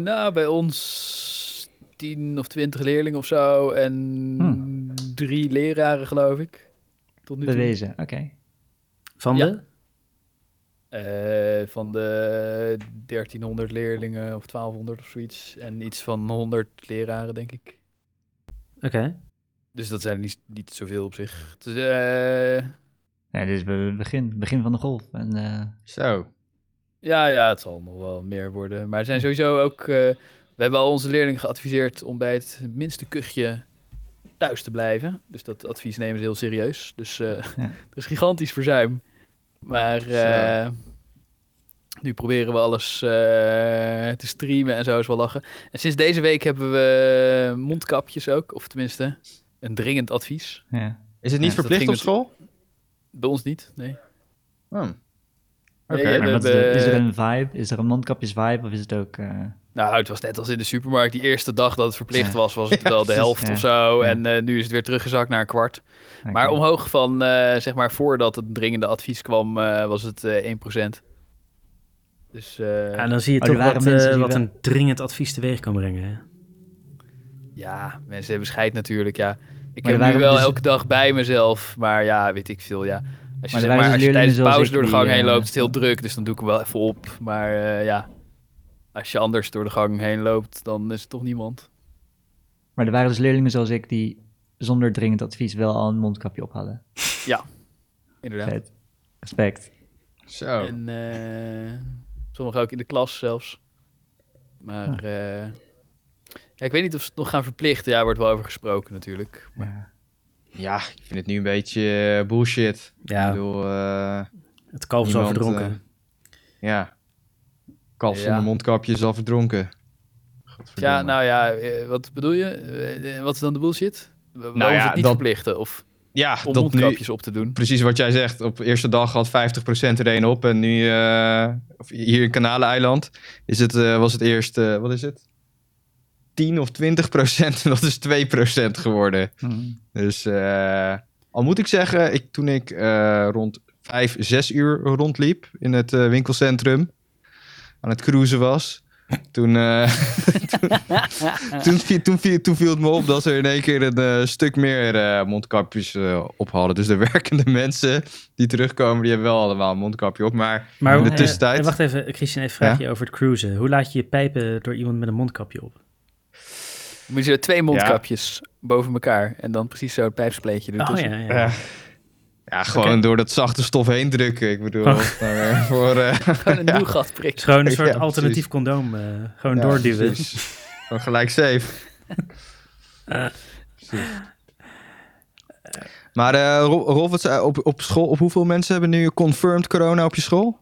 [SPEAKER 2] nou, bij ons 10 of 20 leerlingen of zo. En drie leraren, geloof ik. Tot nu toe.
[SPEAKER 3] bewezen. Oké.
[SPEAKER 1] Van
[SPEAKER 2] Ja.
[SPEAKER 1] de?
[SPEAKER 2] Eh, van de 1300 leerlingen of 1200 of zoiets. En iets van 100 leraren, denk ik.
[SPEAKER 1] Oké.
[SPEAKER 2] Dus dat zijn niet, niet zoveel op zich. Het is, eh,
[SPEAKER 3] Ja, dit is be- het begin, begin van de golf. En, eh,
[SPEAKER 4] Zo.
[SPEAKER 2] ja, ja, het zal nog wel meer worden. Maar er zijn sowieso ook. eh, we hebben al onze leerlingen geadviseerd om bij het minste kuchje thuis te blijven. Dus dat advies nemen ze heel serieus. Dus eh, er is gigantisch verzuim. Maar eh, nu proberen we alles eh, te streamen en zo is wel lachen. En sinds deze week hebben we mondkapjes ook. Of tenminste, een dringend advies.
[SPEAKER 3] ja.
[SPEAKER 4] Is het niet
[SPEAKER 2] Ja, dat
[SPEAKER 4] verplicht
[SPEAKER 2] ging
[SPEAKER 4] op school?
[SPEAKER 2] Bij ons niet, nee.
[SPEAKER 4] Oh.
[SPEAKER 2] Nee,
[SPEAKER 4] Oké.
[SPEAKER 2] ja,
[SPEAKER 3] Maar
[SPEAKER 2] we
[SPEAKER 3] wat is, er, is er
[SPEAKER 2] hebben-
[SPEAKER 3] een vibe? Is er een mondkapjes vibe? Of is het ook... eh,
[SPEAKER 2] Nou, het was net als in de supermarkt. Die eerste dag dat het verplicht
[SPEAKER 3] Ja.
[SPEAKER 2] was, was het wel de helft
[SPEAKER 3] Ja.
[SPEAKER 2] of zo.
[SPEAKER 3] Ja.
[SPEAKER 2] En eh, nu is het weer teruggezakt naar een kwart.
[SPEAKER 3] oké.
[SPEAKER 2] Maar omhoog van, eh, zeg maar, voordat het dringende advies kwam, eh, was het eh 1%. Dus eh,
[SPEAKER 1] Ja, dan zie je
[SPEAKER 3] Oh, er
[SPEAKER 1] toch
[SPEAKER 3] waren
[SPEAKER 1] wat,
[SPEAKER 3] mensen
[SPEAKER 1] eh,
[SPEAKER 3] die
[SPEAKER 1] wat
[SPEAKER 3] wel-
[SPEAKER 1] een dringend advies teweeg kan brengen. hè?
[SPEAKER 2] ja, mensen hebben scheid natuurlijk, ja. Ik
[SPEAKER 3] Maar er
[SPEAKER 2] heb nu
[SPEAKER 3] waren
[SPEAKER 2] wel
[SPEAKER 3] dus-
[SPEAKER 2] elke dag bij mezelf, maar ja, weet ik veel, ja. Als je, zeg
[SPEAKER 3] er waren
[SPEAKER 2] maar,
[SPEAKER 3] dus
[SPEAKER 2] als je tijdens de
[SPEAKER 3] leerlingen
[SPEAKER 2] pauze
[SPEAKER 3] zoals ik
[SPEAKER 2] door de
[SPEAKER 3] die,
[SPEAKER 2] gang heen
[SPEAKER 3] eh,
[SPEAKER 2] loopt, is het heel druk. Dus dan doe ik hem wel even op. Maar eh, ja, als je anders door de gang heen loopt, dan is het toch niemand.
[SPEAKER 3] Maar er waren dus leerlingen zoals ik die zonder dringend advies wel al een mondkapje op hadden.
[SPEAKER 2] Inderdaad.
[SPEAKER 3] Vet. Respect.
[SPEAKER 4] Zo.
[SPEAKER 2] En eh sommigen ook in de klas zelfs. Maar eh, ja, ik weet niet of ze het nog gaan verplichten. Ja, er wordt wel over gesproken natuurlijk.
[SPEAKER 3] Ja.
[SPEAKER 4] Ja, ik vind het nu een beetje eh, bullshit. Ik
[SPEAKER 1] Ja,
[SPEAKER 4] bedoel, eh,
[SPEAKER 1] het kalf is al
[SPEAKER 4] niemand, eh,
[SPEAKER 1] verdronken.
[SPEAKER 4] ja. Kalf
[SPEAKER 2] Ja.
[SPEAKER 4] zonder mondkapje is al verdronken.
[SPEAKER 2] Ja,
[SPEAKER 4] Godverdomme.
[SPEAKER 2] nou ja, eh, wat bedoel je? Eh, eh, wat is dan de bullshit? W- Waarom
[SPEAKER 4] Nou ja,
[SPEAKER 2] ze het niet
[SPEAKER 4] dat-
[SPEAKER 2] verplichten? Of
[SPEAKER 4] ja,
[SPEAKER 2] om
[SPEAKER 4] dat nu,
[SPEAKER 2] mondkapjes op te doen?
[SPEAKER 4] precies wat jij zegt. Op de eerste dag had 50% er één op. En nu, eh, of hier in Kanaleiland, is het, eh, was het eerst, eh, wat is het? 10 of 20 procent. En dat is 2 geworden.
[SPEAKER 3] Hm.
[SPEAKER 4] Dus eh, al moet ik zeggen, ik, toen ik eh, rond vijf, zes uur rondliep in het eh, winkelcentrum, aan het cruisen was, toen, eh, toen, toen, viel, toen, viel, toen viel het me op dat ze in één keer een eh, stuk meer eh, mondkapjes eh, op hadden. Dus de werkende mensen die terugkomen, die hebben wel allemaal een mondkapje op. Maar
[SPEAKER 1] Maar
[SPEAKER 4] in de
[SPEAKER 1] eh,
[SPEAKER 4] tussentijd-
[SPEAKER 1] eh, wacht even, Christian, even vraag je over het cruisen. Hoe laat je je pijpen door iemand met een mondkapje op?
[SPEAKER 2] Moet je twee mondkapjes boven elkaar en dan precies zo het pijpspleetje doen.
[SPEAKER 1] Oh ja, ja.
[SPEAKER 4] ja, ja, gewoon door dat zachte stof heen drukken. Ik bedoel,
[SPEAKER 1] Oh.
[SPEAKER 4] of het nou weer voor... eh,
[SPEAKER 2] Gewoon een doelgat prikken.
[SPEAKER 1] Het is gewoon een soort
[SPEAKER 4] Ja,
[SPEAKER 1] alternatief
[SPEAKER 4] precies.
[SPEAKER 1] condoom. eh, gewoon
[SPEAKER 4] ja,
[SPEAKER 1] doorduwen.
[SPEAKER 4] precies. Gewoon gelijk safe.
[SPEAKER 1] Eh,
[SPEAKER 4] Maar eh, Ro- Rolf, wat zei- op, op school, op hoeveel mensen hebben nu confirmed corona op je school?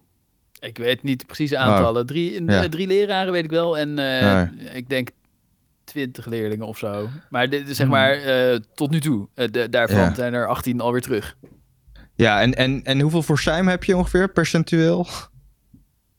[SPEAKER 2] Ik weet niet precies de aantallen. Drie, in-
[SPEAKER 4] Nou, Ja.
[SPEAKER 2] eh, drie leraren weet ik wel. En eh, ik denk twintig leerlingen of zo. Maar dit is zeg
[SPEAKER 3] Hmm.
[SPEAKER 2] maar eh, tot nu toe. Eh, de- daarvan
[SPEAKER 4] Ja.
[SPEAKER 2] zijn er 18 alweer terug.
[SPEAKER 4] Ja, en, en, en hoeveel voorzuim heb je ongeveer percentueel?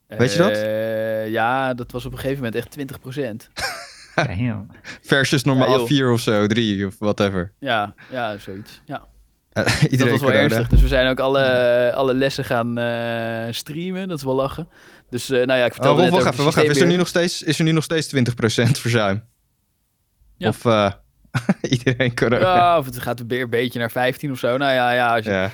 [SPEAKER 4] Weet je dat?
[SPEAKER 2] Eh, ja, dat was op een gegeven moment echt 20 procent.
[SPEAKER 3] Damn.
[SPEAKER 4] Versus
[SPEAKER 2] Ja,
[SPEAKER 4] normaal
[SPEAKER 2] joh.
[SPEAKER 4] 4 of zo, 3 of whatever.
[SPEAKER 2] Ja, ja, zoiets. Ja.
[SPEAKER 4] Eh,
[SPEAKER 2] Dat
[SPEAKER 4] Iedereen
[SPEAKER 2] was wel
[SPEAKER 4] corona.
[SPEAKER 2] ernstig. Dus we zijn ook alle, alle lessen gaan eh, streamen. Dat is wel lachen. Dus eh, nou ja, ik
[SPEAKER 4] Oh,
[SPEAKER 2] vertelde
[SPEAKER 4] Rolf,
[SPEAKER 2] net
[SPEAKER 4] wacht
[SPEAKER 2] over
[SPEAKER 4] even,
[SPEAKER 2] de
[SPEAKER 4] wacht even. Is er, nu
[SPEAKER 2] systeemleer.
[SPEAKER 4] nog steeds, is er nu nog steeds 20% verzuim?
[SPEAKER 2] Ja.
[SPEAKER 4] Of, eh, Iedereen corona.
[SPEAKER 2] Ja, of het gaat weer een beetje naar 15 of zo. Nou ja, ja als je-
[SPEAKER 4] Ja.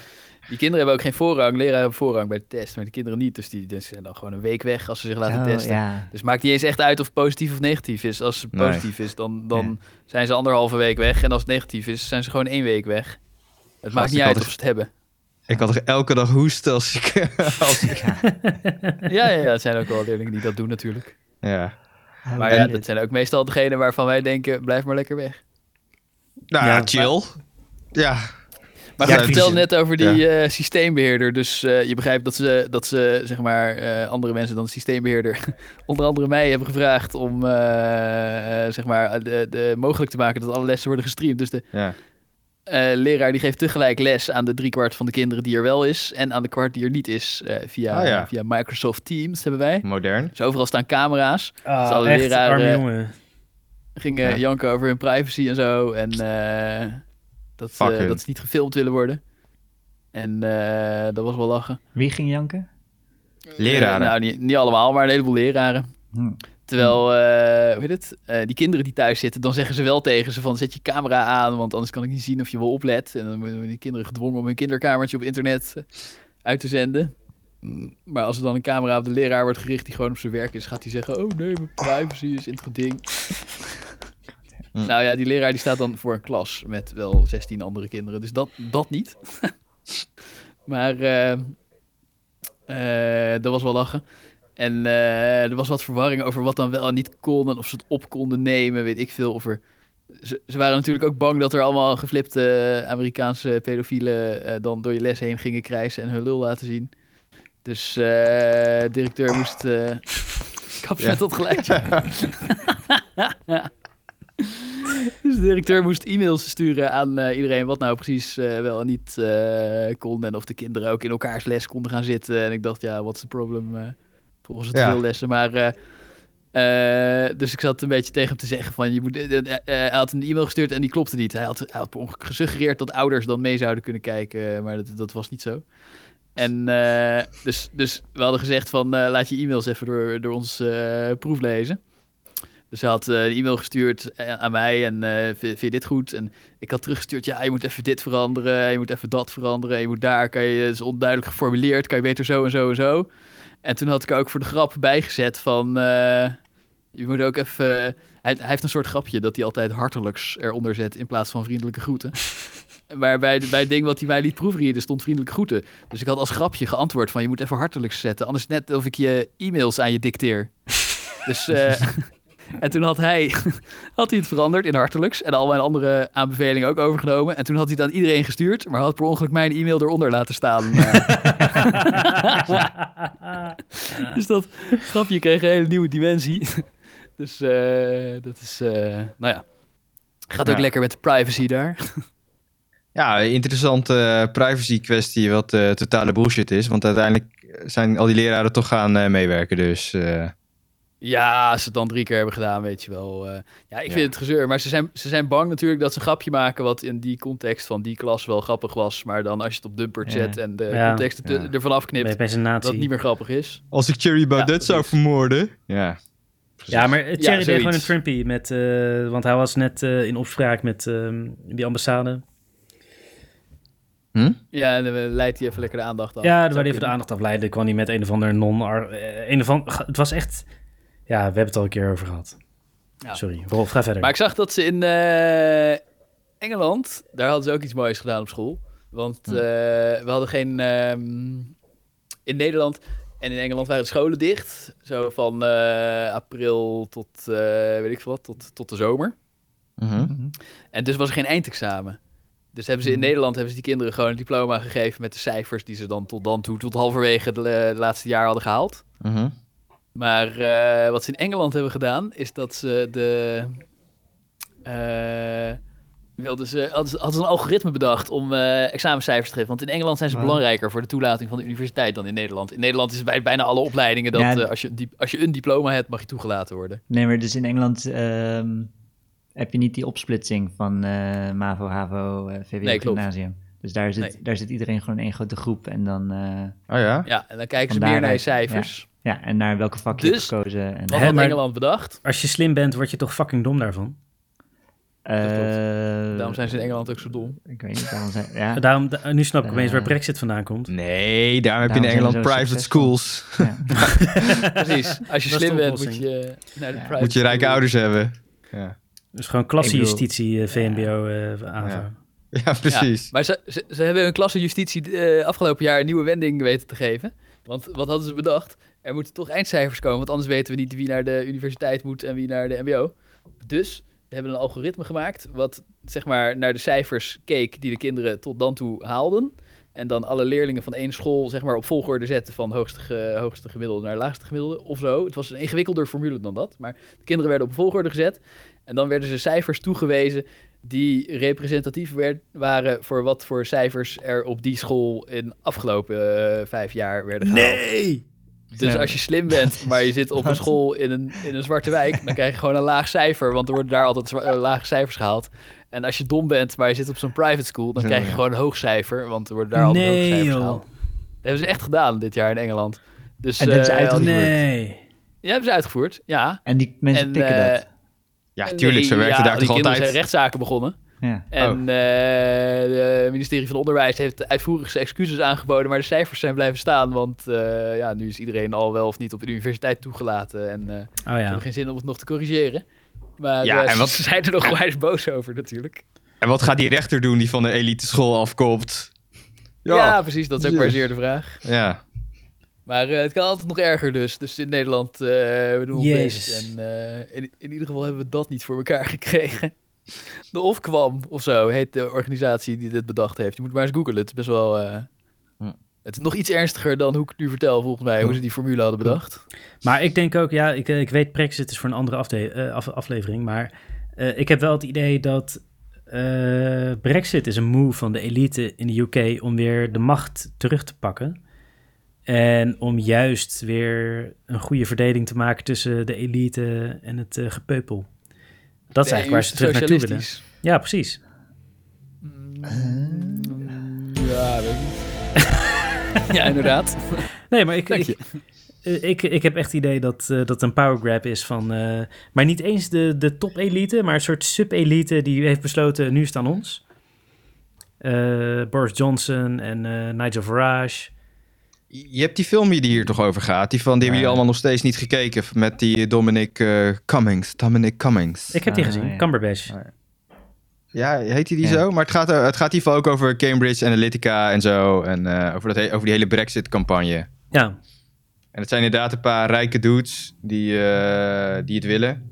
[SPEAKER 2] die kinderen hebben ook geen voorrang. Leraren hebben voorrang bij de test, maar de kinderen niet. Dus die die zijn dan gewoon een week weg als ze zich laten
[SPEAKER 3] Oh,
[SPEAKER 2] testen.
[SPEAKER 3] ja.
[SPEAKER 2] Dus maakt niet eens echt uit of het positief of negatief is. Als het
[SPEAKER 4] Nee.
[SPEAKER 2] positief is, dan, dan zijn ze anderhalve week weg. En als het negatief is, zijn ze gewoon één week weg. Het maakt
[SPEAKER 4] ik
[SPEAKER 2] niet
[SPEAKER 4] had
[SPEAKER 2] uit
[SPEAKER 4] dus-
[SPEAKER 2] of ze het hebben.
[SPEAKER 4] Ik had er elke dag hoesten als ik... als ik-
[SPEAKER 2] Ja, ja, ja, het zijn ook wel leerlingen die dat doen natuurlijk.
[SPEAKER 4] ja.
[SPEAKER 2] Maar ja, dat zijn ook meestal degenen waarvan wij denken, blijf maar lekker weg.
[SPEAKER 4] Nou ja,
[SPEAKER 3] Ja.
[SPEAKER 4] chill.
[SPEAKER 2] Maar
[SPEAKER 4] Ja.
[SPEAKER 1] Ja,
[SPEAKER 2] goed, ik
[SPEAKER 1] precies.
[SPEAKER 2] vertelde net over die eh, systeembeheerder. Dus eh, je begrijpt dat ze, dat ze zeg maar, eh, andere mensen dan de systeembeheerder... onder andere mij hebben gevraagd om eh, eh, zeg maar, eh, de, de, mogelijk te maken dat alle lessen worden gestreamd. Dus de
[SPEAKER 4] Ja.
[SPEAKER 2] eh, leraar die geeft tegelijk les aan de driekwart van de kinderen die er wel is... en aan de kwart die er niet is eh, via,
[SPEAKER 4] Ah, ja.
[SPEAKER 2] via Microsoft Teams hebben wij.
[SPEAKER 4] Modern.
[SPEAKER 2] Dus overal staan camera's.
[SPEAKER 1] Ah,
[SPEAKER 2] Zal de
[SPEAKER 1] echt,
[SPEAKER 2] leraar,
[SPEAKER 1] arme
[SPEAKER 2] eh,
[SPEAKER 1] jongen.
[SPEAKER 2] Gingen
[SPEAKER 4] Ja.
[SPEAKER 2] janken over hun privacy en zo. En eh, dat,
[SPEAKER 4] Fuck
[SPEAKER 2] eh,
[SPEAKER 4] hun.
[SPEAKER 2] dat ze niet gefilmd willen worden. En eh, dat was wel lachen.
[SPEAKER 3] Wie ging janken?
[SPEAKER 4] Leraren.
[SPEAKER 2] Eh, nou, niet, niet allemaal, maar een heleboel leraren.
[SPEAKER 3] Hm.
[SPEAKER 2] Terwijl, eh, hoe heet het? Eh, die kinderen die thuis zitten, dan zeggen ze wel tegen ze van... zet je camera aan, want anders kan ik niet zien of je wel oplet. En dan worden die kinderen gedwongen om hun kinderkamertje op internet eh, uit te zenden. Hmm. Maar als er dan een camera op de leraar wordt gericht die gewoon op zijn werk is... gaat hij zeggen, oh nee, mijn privacy is in het geding.
[SPEAKER 4] Hm.
[SPEAKER 2] Nou ja, die leraar die staat dan voor een klas met wel 16 andere kinderen. Dus dat, dat niet. maar eh, eh, dat was wel lachen. En eh, er was wat verwarring over wat dan wel en niet kon en of ze het op konden nemen, weet ik veel. Of er... ze, ze waren natuurlijk ook bang dat er allemaal geflipte eh, Amerikaanse pedofielen eh, dan door je les heen gingen krijsen en hun lul laten zien. Dus eh, de directeur moest... eh Kap je
[SPEAKER 4] Ja.
[SPEAKER 2] met dat geluidje. dus de directeur moest e-mails sturen aan eh, iedereen wat nou precies eh, wel en niet eh, kon. En of de kinderen ook in elkaars les konden gaan zitten. En ik dacht, ja, what's the problem? eh volgens het
[SPEAKER 4] Ja.
[SPEAKER 2] veel lessen. Maar, eh, eh, dus ik zat een beetje tegen hem te zeggen van, je moet, eh, eh, eh, hij had een e-mail gestuurd en die klopte niet. Hij had, hij had per ongeluk gesuggereerd dat ouders dan mee zouden kunnen kijken, eh, maar dat, dat was niet zo. En eh, dus, dus we hadden gezegd van, eh, laat je e-mails even door, door ons eh, proeflezen. Dus hij had eh, een e-mail gestuurd eh, aan mij en eh, vind, vind je dit goed? En ik had teruggestuurd, ja, je moet even dit veranderen, je moet even dat veranderen, je moet daar, kan je, het is onduidelijk geformuleerd, kan je beter zo en zo en zo. En toen had ik er ook voor de grap bijgezet van... eh, je moet ook even... hij, hij heeft een soort grapje dat hij altijd hartelijks eronder zet... in plaats van vriendelijke groeten. Maar bij, bij het ding wat hij mij liet proefreden stond vriendelijke groeten. Dus ik had als grapje geantwoord van... je moet even hartelijks zetten, anders net of ik je e-mails aan je dicteer. dus... eh, en toen had hij, had hij het veranderd in hartelijks... en al mijn andere aanbevelingen ook overgenomen. En toen had hij het aan iedereen gestuurd... maar had per ongeluk mijn e-mail eronder laten staan... eh. Dus dat grapje kreeg een hele nieuwe dimensie. Dus eh, dat is, eh, nou ja. Gaat ook
[SPEAKER 4] Ja.
[SPEAKER 2] lekker met de privacy daar.
[SPEAKER 4] nou, Ja, interessante eh, privacy kwestie wat eh, totale bullshit is. Want uiteindelijk zijn al die leraren toch gaan eh, meewerken. Dus eh,
[SPEAKER 2] Ja, als ze het dan drie keer hebben gedaan, weet je wel. eh. ja, ik
[SPEAKER 4] Ja.
[SPEAKER 2] vind het gezeur. Maar ze zijn, ze zijn bang natuurlijk dat ze een grapje maken... wat in die context van die klas wel grappig was. Maar dan als je het op Dumpert
[SPEAKER 3] Ja.
[SPEAKER 2] zet en de
[SPEAKER 1] Ja.
[SPEAKER 2] context er-
[SPEAKER 4] Ja.
[SPEAKER 2] ervan afknipt...
[SPEAKER 1] Bij, bij zijn
[SPEAKER 2] dat het
[SPEAKER 1] natie.
[SPEAKER 2] niet meer grappig is.
[SPEAKER 4] als ik Cherry Baudet
[SPEAKER 2] precies.
[SPEAKER 4] zou vermoorden. Ja.
[SPEAKER 1] Ja, maar Cherry deed
[SPEAKER 2] zoiets.
[SPEAKER 1] gewoon een Trumpy. Met, eh, want hij was net eh, in opspraak met ehm, die ambassade.
[SPEAKER 4] Hm?
[SPEAKER 2] Ja, en dan eh, leidt hij even lekker de aandacht af.
[SPEAKER 1] ja, daar
[SPEAKER 2] Zou
[SPEAKER 1] wou hij even de
[SPEAKER 2] kunnen.
[SPEAKER 1] aandacht afleiden. kwam hij met een of ander non... ar- eh, Een of ander, het was echt... Ja, we hebben het al een keer over gehad.
[SPEAKER 2] Ja.
[SPEAKER 1] Sorry, Rolf, ga verder.
[SPEAKER 2] Maar ik zag dat ze in eh, Engeland, daar hadden ze ook iets moois gedaan op school. Want eh, we hadden geen. ehm, in Nederland en in Engeland waren de scholen dicht. Zo van eh, april tot eh, weet ik veel wat, tot, tot de zomer.
[SPEAKER 4] Mhm.
[SPEAKER 2] En dus was er geen eindexamen. Dus hebben
[SPEAKER 3] Hmm.
[SPEAKER 2] ze in Nederland hebben ze die kinderen gewoon een diploma gegeven met de cijfers die ze dan tot dan toe, tot halverwege het eh, laatste jaar hadden gehaald.
[SPEAKER 4] Mhm.
[SPEAKER 2] Maar eh, wat ze in Engeland hebben gedaan, is dat ze de. eh, wilden ze, hadden, ze, hadden ze een algoritme bedacht om eh, examencijfers te geven. Want in Engeland zijn ze
[SPEAKER 3] Wauw.
[SPEAKER 2] belangrijker voor de toelating van de universiteit dan in Nederland. In Nederland is het bij bijna alle opleidingen dat
[SPEAKER 3] Ja,
[SPEAKER 2] eh, als, je, een diep- als je een diploma hebt, mag je toegelaten worden.
[SPEAKER 3] Nee, maar dus in Engeland ehm, heb je niet die opsplitsing van eh, MAVO, HAVO, eh, VWO,
[SPEAKER 2] Nee, klopt.
[SPEAKER 3] gymnasium. Dus daar zit,
[SPEAKER 2] Nee.
[SPEAKER 3] daar zit iedereen gewoon in één grote groep. En dan, eh,
[SPEAKER 4] Oh ja.
[SPEAKER 2] Ja, en dan kijken ze
[SPEAKER 3] Van
[SPEAKER 2] meer naar je
[SPEAKER 3] daaruit,
[SPEAKER 2] cijfers.
[SPEAKER 3] ja, en naar welke vak je hebt
[SPEAKER 2] Dus-
[SPEAKER 3] gekozen. En,
[SPEAKER 2] Wat
[SPEAKER 1] Hè,
[SPEAKER 2] had
[SPEAKER 1] maar-
[SPEAKER 2] Engeland bedacht?
[SPEAKER 1] Als je slim bent, word je toch fucking dom daarvan?
[SPEAKER 3] Eh,
[SPEAKER 2] Daarom zijn ze in Engeland ook zo dom.
[SPEAKER 3] Ik weet niet, daarom zijn... Ja,
[SPEAKER 1] Daarom, da- nu snap ik
[SPEAKER 3] Eh.
[SPEAKER 1] opeens waar Brexit vandaan komt.
[SPEAKER 4] Nee, daarom heb je
[SPEAKER 3] Daarom zijn we
[SPEAKER 4] in Engeland
[SPEAKER 3] zo
[SPEAKER 4] private
[SPEAKER 3] succesvol.
[SPEAKER 4] schools.
[SPEAKER 3] ja.
[SPEAKER 2] Precies. Als je
[SPEAKER 1] Dat is
[SPEAKER 2] slim
[SPEAKER 1] de
[SPEAKER 2] bent, moet
[SPEAKER 1] oplossing.
[SPEAKER 2] je eh, naar de
[SPEAKER 3] Ja.
[SPEAKER 2] private
[SPEAKER 4] Moet je rijke
[SPEAKER 2] school.
[SPEAKER 4] ouders hebben. Ja,
[SPEAKER 1] Dus gewoon klasse
[SPEAKER 3] Ik bedoel-
[SPEAKER 1] justitie, eh, VMBO, eh aanvang.
[SPEAKER 4] ja precies.
[SPEAKER 2] Ja, maar ze, ze, ze hebben hun klasse justitie eh, afgelopen jaar een nieuwe wending weten te geven. Want wat hadden ze bedacht? Er moeten toch eindcijfers komen, want anders weten we niet wie naar de universiteit moet en wie naar de MBO. Dus we hebben een algoritme gemaakt wat zeg maar naar de cijfers keek die de kinderen tot dan toe haalden. En dan alle leerlingen van één school zeg maar op volgorde zetten van hoogste, ge- hoogste gemiddelde naar laagste gemiddelde of zo. Het was een ingewikkelder formule dan dat, maar de kinderen werden op volgorde gezet. En dan werden ze cijfers toegewezen die representatief werd, waren voor wat voor cijfers er op die school in afgelopen eh, vijf jaar werden gehaald.
[SPEAKER 1] Nee!
[SPEAKER 2] Dus
[SPEAKER 3] Ja.
[SPEAKER 2] als je slim bent, maar je zit op een
[SPEAKER 3] Wat?
[SPEAKER 2] school in een, in een zwarte wijk, dan krijg je gewoon een laag cijfer, want er worden daar altijd zwa- eh, lage cijfers gehaald. En als je dom bent, maar je zit op zo'n private school, dan
[SPEAKER 4] Ja,
[SPEAKER 2] krijg je
[SPEAKER 4] ja.
[SPEAKER 2] gewoon een hoog cijfer, want er worden daar altijd hoge
[SPEAKER 1] Nee,
[SPEAKER 2] cijfers
[SPEAKER 1] joh.
[SPEAKER 2] gehaald. Dat hebben ze echt gedaan dit jaar in Engeland. Dus,
[SPEAKER 3] En dat is
[SPEAKER 2] eh,
[SPEAKER 3] uit-
[SPEAKER 2] ja,
[SPEAKER 1] Nee.
[SPEAKER 2] hebben ze uitgevoerd, ja.
[SPEAKER 3] En die mensen
[SPEAKER 2] En,
[SPEAKER 3] pikken
[SPEAKER 2] eh,
[SPEAKER 3] dat.
[SPEAKER 4] Ja, tuurlijk, ze
[SPEAKER 2] Nee,
[SPEAKER 4] werkten
[SPEAKER 2] ja,
[SPEAKER 4] daar
[SPEAKER 2] die
[SPEAKER 4] toch
[SPEAKER 2] kinderen
[SPEAKER 4] altijd.
[SPEAKER 2] zijn rechtszaken begonnen.
[SPEAKER 3] Ja.
[SPEAKER 2] En eh, het ministerie van Onderwijs heeft uitvoerig zijn excuses aangeboden, maar de cijfers zijn blijven staan, want eh, ja, nu is iedereen al wel of niet op de universiteit toegelaten. En, eh,
[SPEAKER 1] Oh
[SPEAKER 2] Ik
[SPEAKER 1] ja.
[SPEAKER 2] heb geen zin om het nog te corrigeren. Maar
[SPEAKER 4] Ja,
[SPEAKER 2] eh,
[SPEAKER 4] en wat-
[SPEAKER 2] ze zijn er nog onwijs boos over natuurlijk.
[SPEAKER 4] En wat gaat die rechter doen die van de elite school afkomt?
[SPEAKER 2] Ja,
[SPEAKER 4] Ja, ja.
[SPEAKER 2] precies. Dat is ook maar zeer de vraag. Maar eh, het kan altijd nog erger dus. Dus in Nederland, eh we doen ons
[SPEAKER 1] Jezus.
[SPEAKER 2] best. En eh, in, in ieder geval hebben we dat niet voor elkaar gekregen. De Ofkwam of zo heet de organisatie die dit bedacht heeft. Je moet maar eens googlen. Het is best wel... eh,
[SPEAKER 4] Hm.
[SPEAKER 2] Het is nog iets ernstiger dan hoe ik het nu vertel, volgens mij, hoe ze die formule hadden bedacht.
[SPEAKER 1] Maar ik denk ook, ja, ik, eh, ik weet Brexit is voor een andere afde- eh, af- aflevering, maar eh, ik heb wel het idee dat eh, Brexit is een move van de elite in de UK om weer de macht terug te pakken. En om juist weer een goede verdeling te maken tussen de elite en het eh, gepeupel. Dat is
[SPEAKER 2] De
[SPEAKER 1] eigenlijk waar ze
[SPEAKER 2] EU
[SPEAKER 1] terug naartoe willen.
[SPEAKER 2] socialistisch. Mm,
[SPEAKER 1] Ja, precies.
[SPEAKER 2] Ja, weet ik niet. ja, inderdaad.
[SPEAKER 1] Nee, maar ik,
[SPEAKER 2] Dank je.
[SPEAKER 1] ik, eh, ik, ik heb echt het idee dat eh, dat een power grab is van... eh, maar niet eens de, de top-elite, maar een soort sub-elite die heeft besloten... nu is het aan ons. Eh, Boris Johnson en eh, Nigel Farage.
[SPEAKER 4] Je hebt die film die hier toch over gaat. Die van die hebben
[SPEAKER 3] Ja.
[SPEAKER 4] jullie allemaal nog steeds niet gekeken. Met die Dominic eh, Cummings. Dominic Cummings.
[SPEAKER 1] Ik heb die
[SPEAKER 3] Ah,
[SPEAKER 1] gezien,
[SPEAKER 3] ja.
[SPEAKER 1] Cumberbatch.
[SPEAKER 4] Ja, heet die die
[SPEAKER 3] Ja.
[SPEAKER 4] zo? Maar het gaat, er- het gaat in ieder geval ook over Cambridge Analytica en zo. En eh, over, dat he- over die hele Brexit-campagne.
[SPEAKER 1] Ja,
[SPEAKER 4] En het zijn inderdaad een paar rijke dudes die, eh, die het willen.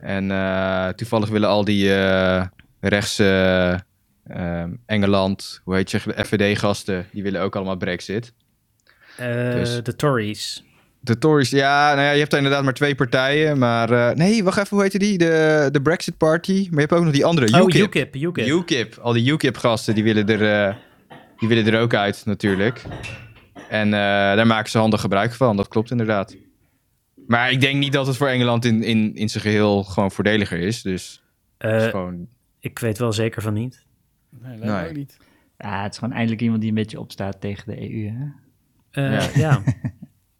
[SPEAKER 4] En eh, toevallig willen al die eh, rechtse ehm, Engeland, hoe heet je, FVD-gasten, die willen ook allemaal Brexit.
[SPEAKER 1] eh,
[SPEAKER 4] Dus-
[SPEAKER 1] de Tories.
[SPEAKER 4] De Tories, ja, nou ja, je hebt daar inderdaad maar twee partijen. Maar eh, nee, wacht even, hoe heette die? De, de Brexit Party. Maar je hebt ook nog die andere,
[SPEAKER 1] Oh,
[SPEAKER 4] UKIP.
[SPEAKER 1] UKIP, UKIP.
[SPEAKER 4] UKIP. Al die UKIP-gasten, die, willen er, eh, die willen er ook uit natuurlijk. En eh, daar maken ze handig gebruik van, dat klopt inderdaad. Maar ik denk niet dat het voor Engeland in, in, in zijn geheel gewoon voordeliger is. Dus het is
[SPEAKER 1] Eh,
[SPEAKER 4] gewoon...
[SPEAKER 1] ik weet wel zeker van niet.
[SPEAKER 2] Nee,
[SPEAKER 4] me Nee. ook
[SPEAKER 2] niet.
[SPEAKER 3] Ja, het is gewoon eindelijk iemand die een beetje opstaat tegen de EU. Hè?
[SPEAKER 1] Eh,
[SPEAKER 4] Ja.
[SPEAKER 1] ja.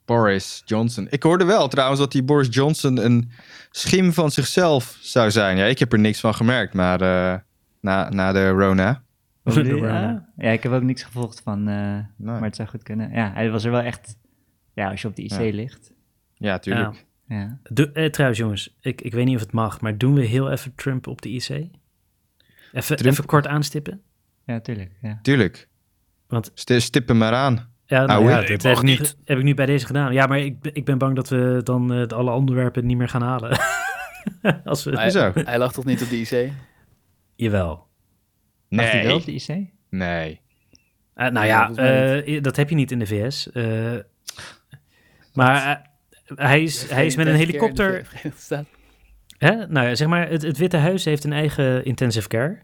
[SPEAKER 4] Boris Johnson. Ik hoorde wel trouwens dat die Boris Johnson een schim van zichzelf zou zijn. Ja, ik heb er niks van gemerkt, maar eh, na, na de Rona.
[SPEAKER 1] Wat
[SPEAKER 3] Oh,
[SPEAKER 1] bedoel je?
[SPEAKER 3] ja? ja, ik heb ook niks gevolgd van, eh, maar het zou goed kunnen. Ja, hij was er wel echt, ja, als je op de IC
[SPEAKER 4] Ja.
[SPEAKER 3] ligt.
[SPEAKER 4] Ja, tuurlijk.
[SPEAKER 1] Ja.
[SPEAKER 3] Ja.
[SPEAKER 1] Doe- eh, trouwens, jongens, ik, ik weet niet of het mag, maar doen we heel even Trump op de IC? Even, even kort aanstippen?
[SPEAKER 3] ja, tuurlijk. Ja.
[SPEAKER 4] Tuurlijk.
[SPEAKER 1] Want-
[SPEAKER 4] Sti- Stip hem maar aan.
[SPEAKER 1] Ja, nou,
[SPEAKER 4] Ouwe.
[SPEAKER 1] ja,
[SPEAKER 4] Nee,
[SPEAKER 1] dat
[SPEAKER 4] mag
[SPEAKER 1] heb, ik nu-
[SPEAKER 4] niet.
[SPEAKER 1] heb ik nu bij deze gedaan. Ja, maar ik, ben- ik ben bang dat we dan eh, alle onderwerpen niet meer gaan halen. Als we...
[SPEAKER 2] Nee.
[SPEAKER 4] Zo.
[SPEAKER 2] Hij lag toch niet op de IC?
[SPEAKER 1] Jawel.
[SPEAKER 3] Mag hij wel
[SPEAKER 4] Nee.
[SPEAKER 3] op de IC?
[SPEAKER 4] Nee.
[SPEAKER 1] Eh, nou
[SPEAKER 2] Nee,
[SPEAKER 1] ja,
[SPEAKER 2] volgens mij
[SPEAKER 1] eh, dat heb je niet in de VS. eh. maar eh, hij, is, hij is met een helikopter... Hè? Nou ja, zeg maar, het, het Witte Huis heeft een eigen intensive care.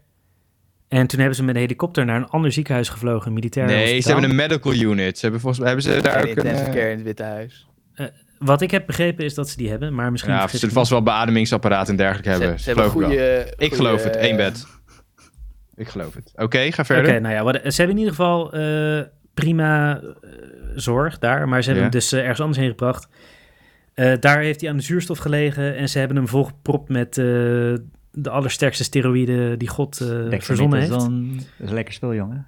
[SPEAKER 1] En toen hebben ze hem met een helikopter naar een ander ziekenhuis gevlogen, een militair
[SPEAKER 4] Nee, ze
[SPEAKER 1] hospitaal.
[SPEAKER 4] hebben een medical unit. Ze hebben volgens mij hebben ze daar ook een.
[SPEAKER 2] intensive
[SPEAKER 4] eh,
[SPEAKER 2] care in het Witte Huis.
[SPEAKER 1] Wat ik heb begrepen is dat ze die hebben, maar misschien...
[SPEAKER 4] ja, ze
[SPEAKER 1] vergis ik
[SPEAKER 4] zullen vast wel een beademingsapparaat en dergelijke
[SPEAKER 2] Ze,
[SPEAKER 4] hebben.
[SPEAKER 2] ze hebben
[SPEAKER 4] geloof ik wel.
[SPEAKER 2] goede... eh,
[SPEAKER 4] Ik geloof het, één bed. Ik geloof het. Oké, ga
[SPEAKER 1] Oké,
[SPEAKER 4] verder.
[SPEAKER 1] nou ja, wat- ze hebben in ieder geval eh, prima eh, zorg daar, maar ze hebben
[SPEAKER 4] Ja.
[SPEAKER 1] hem dus eh, ergens anders heen gebracht. Eh, daar heeft hij aan de zuurstof gelegen en ze hebben hem volgepropt met eh, de allersterkste steroïde die God eh,
[SPEAKER 3] Dexamethason.
[SPEAKER 1] verzonnen heeft.
[SPEAKER 3] Dat is een lekker spul, jongen.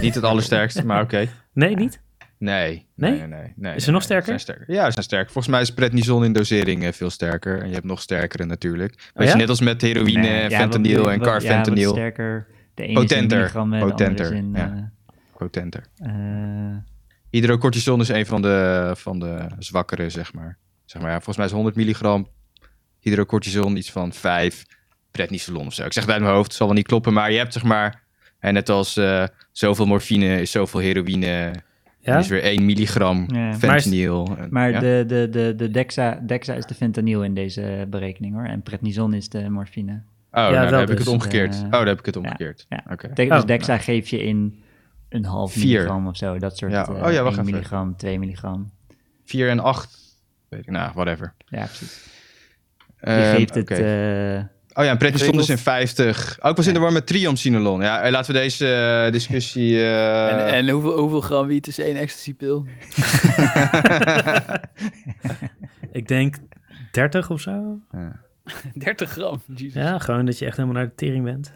[SPEAKER 4] Niet het allersterkste, maar oké.
[SPEAKER 1] Nee, niet?
[SPEAKER 4] Nee.
[SPEAKER 1] Nee?
[SPEAKER 4] Nee, nee, nee, nee,
[SPEAKER 1] Is ze
[SPEAKER 4] nee,
[SPEAKER 1] nog
[SPEAKER 4] ze zijn
[SPEAKER 1] sterker?
[SPEAKER 4] Ja, ze zijn sterker. Volgens mij is prednison in dosering eh, veel sterker. En je hebt nog sterkere natuurlijk. Weet
[SPEAKER 1] Oh ja?
[SPEAKER 4] je, net als met heroïne,
[SPEAKER 3] Nee, ja,
[SPEAKER 4] en
[SPEAKER 3] wat-
[SPEAKER 4] fentanyl eh, en
[SPEAKER 3] wat- Ja, wat
[SPEAKER 4] carfentanyl.
[SPEAKER 3] sterker. De ene is in
[SPEAKER 4] Potenter.
[SPEAKER 3] milligram en de andere is
[SPEAKER 4] Potenter,
[SPEAKER 3] in...
[SPEAKER 4] ja. Potenter.
[SPEAKER 3] eh, eh,
[SPEAKER 4] Hydrocortison is een van de, van de zwakkere, zeg maar. Zeg maar ja, volgens mij is 100 milligram hydrocortison iets van 5 prednisolon of zo. Ik zeg het uit mijn hoofd, het zal wel niet kloppen. Maar je hebt zeg maar, en net als eh, zoveel morfine is zoveel heroïne...
[SPEAKER 1] Ja?
[SPEAKER 4] Er is weer 1 milligram
[SPEAKER 3] Ja.
[SPEAKER 4] fentanyl.
[SPEAKER 3] maar
[SPEAKER 4] Ja?
[SPEAKER 3] de, de, de, de Dexa, Dexa is de fentanyl in deze berekening, hoor. En prednison is de morfine.
[SPEAKER 4] Oh, nou,
[SPEAKER 1] wel
[SPEAKER 4] dan heb ik
[SPEAKER 1] dus,
[SPEAKER 4] het omgekeerd.
[SPEAKER 3] eh,
[SPEAKER 4] oh, dan heb ik het omgekeerd.
[SPEAKER 3] ja.
[SPEAKER 4] Oké.
[SPEAKER 3] Dek-
[SPEAKER 1] Oh.
[SPEAKER 3] dus Dexa geef je in een half
[SPEAKER 4] Vier.
[SPEAKER 3] milligram of zo. Dat soort
[SPEAKER 4] Ja,
[SPEAKER 3] ja.
[SPEAKER 4] oh ja, wacht even.
[SPEAKER 3] milligram, 2 milligram.
[SPEAKER 4] 4 en 8. Weet ik, nou, whatever.
[SPEAKER 3] Ja, precies. Je
[SPEAKER 4] Ehm,
[SPEAKER 3] geeft het...
[SPEAKER 4] oké.
[SPEAKER 3] eh,
[SPEAKER 4] oh ja, en prednison is
[SPEAKER 2] Pretos.
[SPEAKER 4] in 50. Oh, ik was in de war met triamcinolon. Ja, eh, laten we deze eh, discussie... eh,
[SPEAKER 2] en en hoeveel, hoeveel gram wiet is één ecstasypil?
[SPEAKER 1] Ik denk 30 of zo.
[SPEAKER 2] 30 gram, jezus.
[SPEAKER 1] Ja, gewoon dat je echt helemaal naar de tering bent.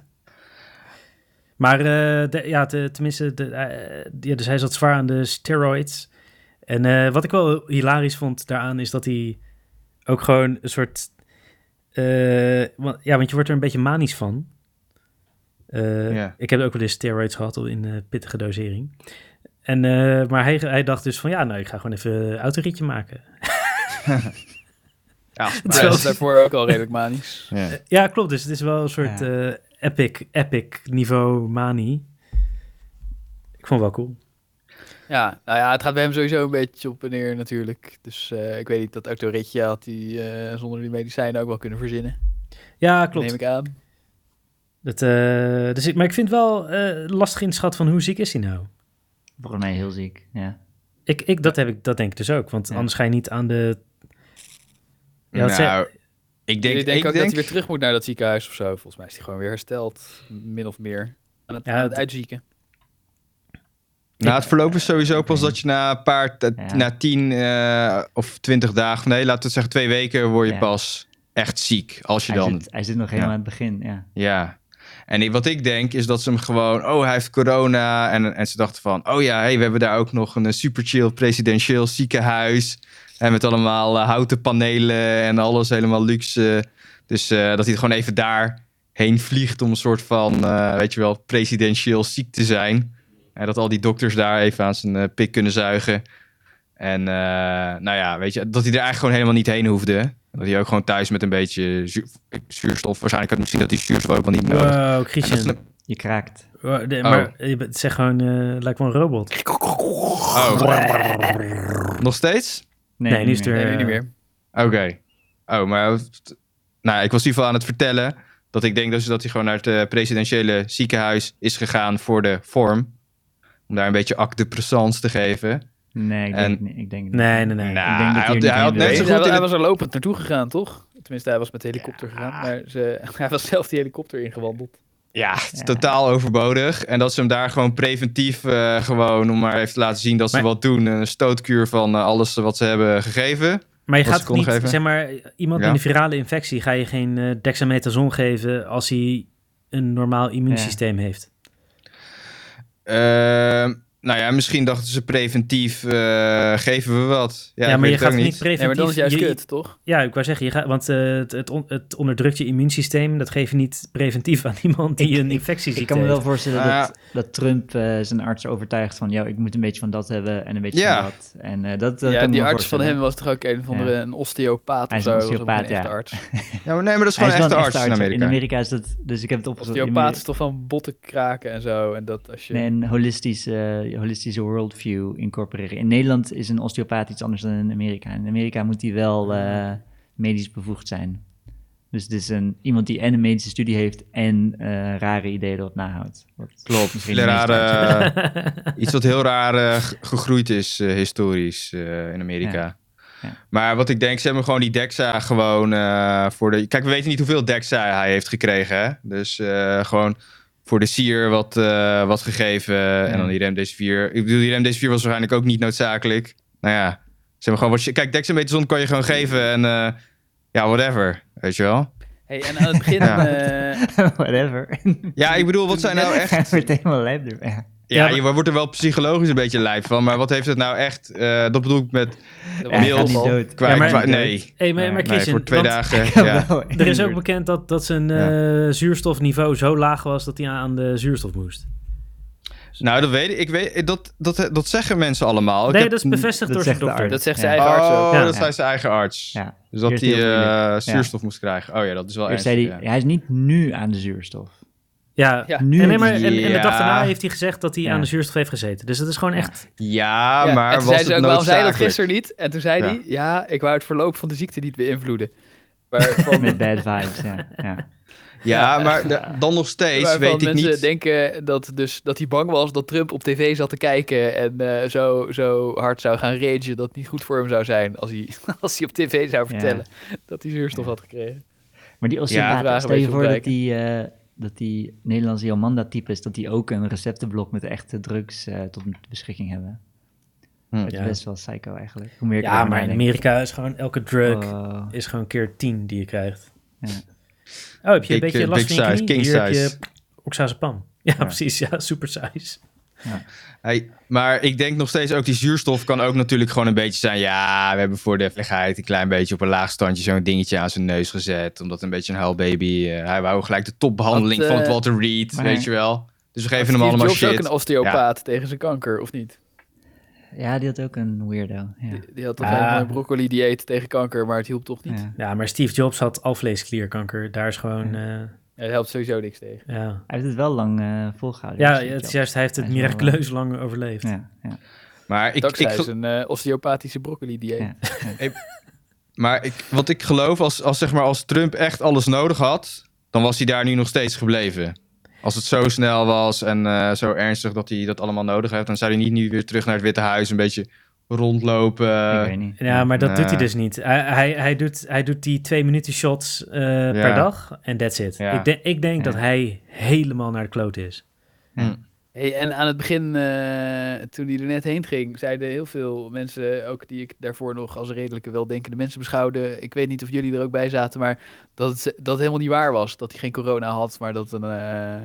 [SPEAKER 1] Maar eh, de- ja, te- tenminste, de, eh, ja, dus hij zat zwaar aan de steroids. En eh, wat ik wel hilarisch vond daaraan is dat hij ook gewoon een soort... eh, want, ja, want je wordt er een beetje manisch van. Eh,
[SPEAKER 4] Ja.
[SPEAKER 1] Ik heb ook wel eens steroids gehad in eh, pittige dosering. En, eh, maar hij, hij dacht dus van ja, nou ik ga gewoon even een autorietje maken.
[SPEAKER 4] ja,
[SPEAKER 2] Maar
[SPEAKER 1] Zo.
[SPEAKER 2] dat is daarvoor ook al redelijk manisch.
[SPEAKER 4] ja.
[SPEAKER 1] Ja, klopt. Dus het is wel een soort
[SPEAKER 3] Ja.
[SPEAKER 1] eh, epic, epic niveau mani. Ik vond het wel cool.
[SPEAKER 2] Ja, nou ja, het gaat bij hem sowieso een beetje op en neer natuurlijk. Dus eh, ik weet niet, dat autoritje had hij eh, zonder die medicijnen ook wel kunnen verzinnen.
[SPEAKER 1] Ja, klopt.
[SPEAKER 2] Neem ik aan.
[SPEAKER 1] Dat, eh, dus ik, maar ik vind wel eh, lastig inschat van hoe ziek is hij nou?
[SPEAKER 3] volgens mij heel ziek, ja.
[SPEAKER 1] Ik, ik, dat, heb ik, dat denk ik dus ook, want
[SPEAKER 3] Ja.
[SPEAKER 1] anders ga je niet aan de... Ja, wat
[SPEAKER 4] Nou, ik
[SPEAKER 2] Jullie
[SPEAKER 4] denk,
[SPEAKER 2] denken
[SPEAKER 4] ik
[SPEAKER 2] ook
[SPEAKER 4] denk,
[SPEAKER 2] dat hij weer terug moet naar dat ziekenhuis of zo. Volgens mij is hij gewoon weer hersteld, min of meer. Aan het,
[SPEAKER 1] Ja,
[SPEAKER 2] aan het
[SPEAKER 1] het-
[SPEAKER 2] uitzieken.
[SPEAKER 4] Nou, het verloop is sowieso pas dat je na een paar, t-
[SPEAKER 3] Ja.
[SPEAKER 4] na tien eh, of twintig dagen, nee, laten we het zeggen twee weken, word je
[SPEAKER 3] Ja.
[SPEAKER 4] pas echt ziek. Als je
[SPEAKER 3] Hij
[SPEAKER 4] dan
[SPEAKER 3] zit, hij zit nog helemaal aan het begin, ja.
[SPEAKER 4] Ja. En ik- wat ik denk is dat ze hem gewoon, oh, hij heeft corona. En, en ze dachten van, oh ja, hey, we hebben daar ook nog een eh, super chill presidentieel ziekenhuis. En met allemaal eh, houten panelen en alles helemaal luxe. Dus eh, dat hij het gewoon even daarheen vliegt om een soort van, eh, weet je wel, presidentieel ziek te zijn. En dat al die dokters daar even aan zijn eh, pik kunnen zuigen. En eh, nou ja, weet je, dat hij er eigenlijk gewoon helemaal niet heen hoefde. Dat hij ook gewoon thuis met een beetje zuur- zuurstof. Waarschijnlijk had misschien dat die zuurstof ook wel niet nodig.
[SPEAKER 1] Wow,
[SPEAKER 4] En dat
[SPEAKER 1] Christian.
[SPEAKER 4] is-
[SPEAKER 3] Je kraakt.
[SPEAKER 1] Wow, de- Maar je bent- zeg gewoon, eh lijkt wel een robot.
[SPEAKER 4] Oh. Nog steeds?
[SPEAKER 1] Nee, nu
[SPEAKER 3] niet
[SPEAKER 1] is
[SPEAKER 3] meer.
[SPEAKER 1] er-
[SPEAKER 2] Nee, nu
[SPEAKER 1] Eh,
[SPEAKER 2] niet meer.
[SPEAKER 4] Oké. Oh, maar nou, ik was in ieder geval aan het vertellen dat ik denk dus dat hij gewoon naar het eh, presidentiële ziekenhuis is gegaan voor de vorm. Om daar een beetje acte de présence te geven.
[SPEAKER 3] Nee, ik
[SPEAKER 4] En-
[SPEAKER 3] denk, niet- ik denk niet.
[SPEAKER 1] Nee, nee, nee.
[SPEAKER 4] Nou,
[SPEAKER 3] Ik denk dat
[SPEAKER 4] hij
[SPEAKER 3] hij er
[SPEAKER 4] had,
[SPEAKER 3] niet
[SPEAKER 4] hij had
[SPEAKER 3] heen
[SPEAKER 4] net
[SPEAKER 2] Nee,
[SPEAKER 4] zo
[SPEAKER 3] wil.
[SPEAKER 4] goed
[SPEAKER 2] hij,
[SPEAKER 4] in
[SPEAKER 2] hij
[SPEAKER 4] het-
[SPEAKER 2] was er lopend naartoe gegaan, toch? Tenminste, hij was met de helikopter gegaan. Maar ze, hij was zelf die helikopter ingewandeld.
[SPEAKER 4] Ja, het is
[SPEAKER 3] Ja.
[SPEAKER 4] totaal overbodig. En dat ze hem daar gewoon preventief, eh, gewoon om maar even te laten zien dat ze
[SPEAKER 1] Maar-
[SPEAKER 4] wat doen. Een stootkuur van eh, alles wat ze hebben gegeven.
[SPEAKER 1] Maar je
[SPEAKER 4] Wat
[SPEAKER 1] gaat
[SPEAKER 4] ze kon
[SPEAKER 1] niet,
[SPEAKER 4] geven.
[SPEAKER 1] zeg maar, iemand
[SPEAKER 4] Ja.
[SPEAKER 1] met een virale infectie ga je geen eh dexamethason geven als hij een normaal immuunsysteem heeft.
[SPEAKER 4] Ehm, nou ja, misschien dachten ze preventief, eh, geven we wat. Ja,
[SPEAKER 1] Ja,
[SPEAKER 4] ik
[SPEAKER 1] maar
[SPEAKER 4] weet
[SPEAKER 1] je
[SPEAKER 4] het ook
[SPEAKER 1] gaat niet
[SPEAKER 4] niet.
[SPEAKER 1] preventief...
[SPEAKER 2] Nee, maar dat is juist
[SPEAKER 1] je-
[SPEAKER 2] kut, toch?
[SPEAKER 1] Ja, ik wou zeggen, je gaat, want eh, het, het, on- het onderdrukt je immuunsysteem. Dat geef je niet preventief aan iemand die
[SPEAKER 3] Ik-
[SPEAKER 1] een eh.
[SPEAKER 3] ik-
[SPEAKER 1] infectieziekte
[SPEAKER 3] Ik kan me wel
[SPEAKER 1] heeft.
[SPEAKER 3] voorstellen
[SPEAKER 4] Ah.
[SPEAKER 3] dat, dat Trump eh, zijn arts overtuigt van... ...joh, ik moet een beetje van dat hebben en een beetje
[SPEAKER 4] Ja.
[SPEAKER 3] van dat. En eh, dat eh,
[SPEAKER 2] ja,
[SPEAKER 3] kan ik
[SPEAKER 2] die
[SPEAKER 3] me
[SPEAKER 2] arts van hem
[SPEAKER 3] voorstellen.
[SPEAKER 2] was toch ook een van de een osteopaat
[SPEAKER 3] Hij
[SPEAKER 2] of zo.
[SPEAKER 3] is een
[SPEAKER 2] was ook
[SPEAKER 3] osteopaat,
[SPEAKER 2] een echte
[SPEAKER 3] ja.
[SPEAKER 2] arts.
[SPEAKER 4] Ja, maar nee, maar dat is
[SPEAKER 3] Hij
[SPEAKER 4] gewoon
[SPEAKER 3] is
[SPEAKER 4] echt
[SPEAKER 3] wel
[SPEAKER 4] de
[SPEAKER 3] een
[SPEAKER 4] arts
[SPEAKER 3] echte
[SPEAKER 4] in
[SPEAKER 3] arts.
[SPEAKER 4] Amerika.
[SPEAKER 3] In Amerika is dat... Dus ik heb het opgezocht. in
[SPEAKER 2] Osteopaat is
[SPEAKER 3] Ameri-
[SPEAKER 2] toch van botten kraken en zo. En dat als je...
[SPEAKER 3] Nee, een holistische, eh, holistische worldview incorporeren. In Nederland is een osteopaat iets anders dan in Amerika. In Amerika moet hij wel eh, medisch bevoegd zijn. Dus het is een, iemand die en een medische studie heeft en eh, rare ideeën erop nahoudt. Wat
[SPEAKER 4] Klopt.
[SPEAKER 3] misschien
[SPEAKER 4] Hele
[SPEAKER 3] de meeste
[SPEAKER 4] rare,
[SPEAKER 3] artsen-
[SPEAKER 4] eh, iets wat heel raar eh, g- gegroeid is eh, historisch eh, in Amerika.
[SPEAKER 3] Ja.
[SPEAKER 4] Maar wat ik denk, ze hebben gewoon die Dexa gewoon eh, voor de... Kijk, we weten niet hoeveel Dexa hij heeft gekregen, hè? Dus eh, gewoon voor de sier wat, eh, wat gegeven en dan die remdesivir. Ik bedoel, die remdesivir was waarschijnlijk ook niet noodzakelijk. Nou ja, ze hebben gewoon wat... je- Kijk, dexamethason kan je gewoon geven en eh, ja, whatever. Weet je wel?
[SPEAKER 2] Hey, en aan het begin...
[SPEAKER 4] Ja.
[SPEAKER 2] eh,
[SPEAKER 3] Whatever.
[SPEAKER 4] Ja, ik bedoel, wat zijn nou echt...
[SPEAKER 3] Hij wordt helemaal lijp door. Ja.
[SPEAKER 1] Ja,
[SPEAKER 4] Ja,
[SPEAKER 1] maar-
[SPEAKER 4] je wordt er wel psychologisch een beetje lijf van, maar wat heeft het nou echt... eh, dat bedoel ik met
[SPEAKER 2] dat was-
[SPEAKER 3] Hij gaat
[SPEAKER 4] Mails.
[SPEAKER 3] niet dood.
[SPEAKER 4] kwijt.
[SPEAKER 1] Ja, maar-
[SPEAKER 4] kwijt- nee,
[SPEAKER 1] Hey, maar, maar
[SPEAKER 4] nee,
[SPEAKER 1] Christian,
[SPEAKER 4] voor twee
[SPEAKER 1] want
[SPEAKER 4] dagen. Ja.
[SPEAKER 3] Wel,
[SPEAKER 1] er is ook
[SPEAKER 3] inderdaad.
[SPEAKER 1] bekend dat, dat zijn eh, zuurstofniveau zo laag was dat hij aan de zuurstof moest.
[SPEAKER 4] Nou, dat weet ik. ik weet, dat, dat, dat zeggen mensen allemaal. Ik
[SPEAKER 1] nee,
[SPEAKER 4] heb-
[SPEAKER 1] dat is bevestigd
[SPEAKER 3] dat
[SPEAKER 1] door zijn
[SPEAKER 3] zegt de
[SPEAKER 1] dokter.
[SPEAKER 3] arts.
[SPEAKER 2] Dat zegt
[SPEAKER 3] Ja.
[SPEAKER 2] zijn
[SPEAKER 4] Oh,
[SPEAKER 2] eigen arts ook.
[SPEAKER 3] Ja.
[SPEAKER 4] dat
[SPEAKER 3] Ja.
[SPEAKER 4] zei zijn eigen arts.
[SPEAKER 3] Ja.
[SPEAKER 4] Dus dat
[SPEAKER 3] Eerst
[SPEAKER 4] hij
[SPEAKER 3] heel
[SPEAKER 4] eh,
[SPEAKER 3] vriendelijk.
[SPEAKER 4] zuurstof moest krijgen. Oh ja, dat is wel
[SPEAKER 3] Eerst
[SPEAKER 4] ernstig.
[SPEAKER 3] zei
[SPEAKER 4] ja.
[SPEAKER 3] hij, hij is niet nu aan de zuurstof.
[SPEAKER 1] Ja,
[SPEAKER 2] Ja.
[SPEAKER 3] Nu
[SPEAKER 1] En, nee, maar, en, en de dag
[SPEAKER 4] Ja.
[SPEAKER 1] daarna heeft hij gezegd dat hij
[SPEAKER 3] Ja.
[SPEAKER 1] aan de zuurstof heeft gezeten. Dus dat is gewoon echt...
[SPEAKER 4] Ja,
[SPEAKER 2] Ja,
[SPEAKER 4] maar
[SPEAKER 2] en toen
[SPEAKER 4] was
[SPEAKER 2] zei ze
[SPEAKER 4] het
[SPEAKER 2] ook, waarom zei je dat
[SPEAKER 4] noodzakelijk?
[SPEAKER 2] gisteren niet? En toen zei
[SPEAKER 4] Ja.
[SPEAKER 2] hij, ja. ik wou het verloop van de ziekte niet beïnvloeden. Waarvan,
[SPEAKER 3] Met bad vibes, ja. ja.
[SPEAKER 4] Ja, maar da- dan nog steeds
[SPEAKER 2] waarvan
[SPEAKER 4] weet ik
[SPEAKER 2] mensen
[SPEAKER 4] niet.
[SPEAKER 2] denken dat, dus, dat hij bang was dat Trump op tv zat te kijken en eh, zo, zo hard zou gaan ragen dat het niet goed voor hem zou zijn als hij, als hij op tv zou
[SPEAKER 3] Ja.
[SPEAKER 2] vertellen dat hij zuurstof had gekregen.
[SPEAKER 3] Maar die osteopaat,
[SPEAKER 2] vragen
[SPEAKER 3] stel
[SPEAKER 2] een
[SPEAKER 3] je
[SPEAKER 2] beetje
[SPEAKER 3] voor dat
[SPEAKER 2] ontwijken.
[SPEAKER 3] die, eh, dat die Nederlandse Jomanda-type is, dat die ook een receptenblok met echte drugs eh, tot beschikking hebben.
[SPEAKER 4] Hm.
[SPEAKER 3] Dat is
[SPEAKER 1] Ja.
[SPEAKER 3] best wel psycho eigenlijk. Hoe meer ik
[SPEAKER 1] Ja,
[SPEAKER 3] erover
[SPEAKER 1] maar in
[SPEAKER 3] nadenk.
[SPEAKER 1] Amerika is gewoon elke drug
[SPEAKER 3] Oh,
[SPEAKER 1] is gewoon keer 10 die je krijgt.
[SPEAKER 3] Ja.
[SPEAKER 1] Oh, heb je een
[SPEAKER 4] Big,
[SPEAKER 1] beetje
[SPEAKER 4] eh,
[SPEAKER 1] last
[SPEAKER 4] big
[SPEAKER 1] van je
[SPEAKER 4] size,
[SPEAKER 1] knie?
[SPEAKER 4] king
[SPEAKER 1] Hier heb je
[SPEAKER 4] size.
[SPEAKER 1] oxazepam. Ja,
[SPEAKER 3] Ja.
[SPEAKER 1] precies. Ja, super size.
[SPEAKER 4] Hey, maar ik denk nog steeds ook die zuurstof kan ook natuurlijk gewoon een beetje zijn. Ja, we hebben voor de veiligheid een klein beetje op een laag standje zo'n dingetje aan zijn neus gezet. Omdat een beetje een huilbaby. eh, hij wou gelijk de topbehandeling
[SPEAKER 2] Had, eh,
[SPEAKER 4] van het Walter Reed,
[SPEAKER 3] maar-
[SPEAKER 4] weet je wel. Dus we geven hem
[SPEAKER 2] Steve
[SPEAKER 4] allemaal
[SPEAKER 2] Jobs ook
[SPEAKER 4] shit.
[SPEAKER 2] een osteopaat tegen zijn kanker, of niet?
[SPEAKER 3] ja, die had ook een weirdo. Ja.
[SPEAKER 2] Die, die had toch
[SPEAKER 1] Ah.
[SPEAKER 2] helemaal een broccoli-dieet tegen kanker, maar het hielp toch niet?
[SPEAKER 3] Ja.
[SPEAKER 1] Ja, maar Steve Jobs had alvleesklierkanker. Daar is gewoon... eh,
[SPEAKER 2] Ja, Het helpt sowieso niks tegen.
[SPEAKER 1] ja.
[SPEAKER 3] Hij heeft het wel lang eh, volgehouden.
[SPEAKER 1] ja,
[SPEAKER 3] die
[SPEAKER 1] het is
[SPEAKER 3] job.
[SPEAKER 1] juist, hij heeft het
[SPEAKER 3] Hij is wel, eh,
[SPEAKER 1] miraculeus lang overleefd.
[SPEAKER 3] Ja, ja,
[SPEAKER 4] Maar ik, ik,
[SPEAKER 2] Dankzij zijn eh, osteopathische broccoli-dieet.
[SPEAKER 3] ja, ja.
[SPEAKER 4] Maar ik, wat ik geloof, als, als, zeg maar, als Trump echt alles nodig had, dan was hij daar nu nog steeds gebleven. Als het zo snel was en eh, zo ernstig dat hij dat allemaal nodig heeft, dan zou hij niet nu weer terug naar het Witte Huis een beetje rondlopen.
[SPEAKER 3] ik weet niet.
[SPEAKER 1] Ja, maar dat
[SPEAKER 4] Nee.
[SPEAKER 1] doet hij dus niet. Hij, hij, hij, doet, hij doet die twee minuten shots eh, per dag en that's it.
[SPEAKER 4] Ja.
[SPEAKER 1] Ik, de- ik denk
[SPEAKER 3] Ja.
[SPEAKER 1] dat hij helemaal naar de kloot is.
[SPEAKER 2] Hey, en aan het begin, eh, toen hij er net heen ging, zeiden heel veel mensen, ook die ik daarvoor nog als redelijke weldenkende mensen beschouwde, ik weet niet of jullie er ook bij zaten, maar dat het, dat het helemaal niet waar was. Dat hij geen corona had, maar dat het een, eh,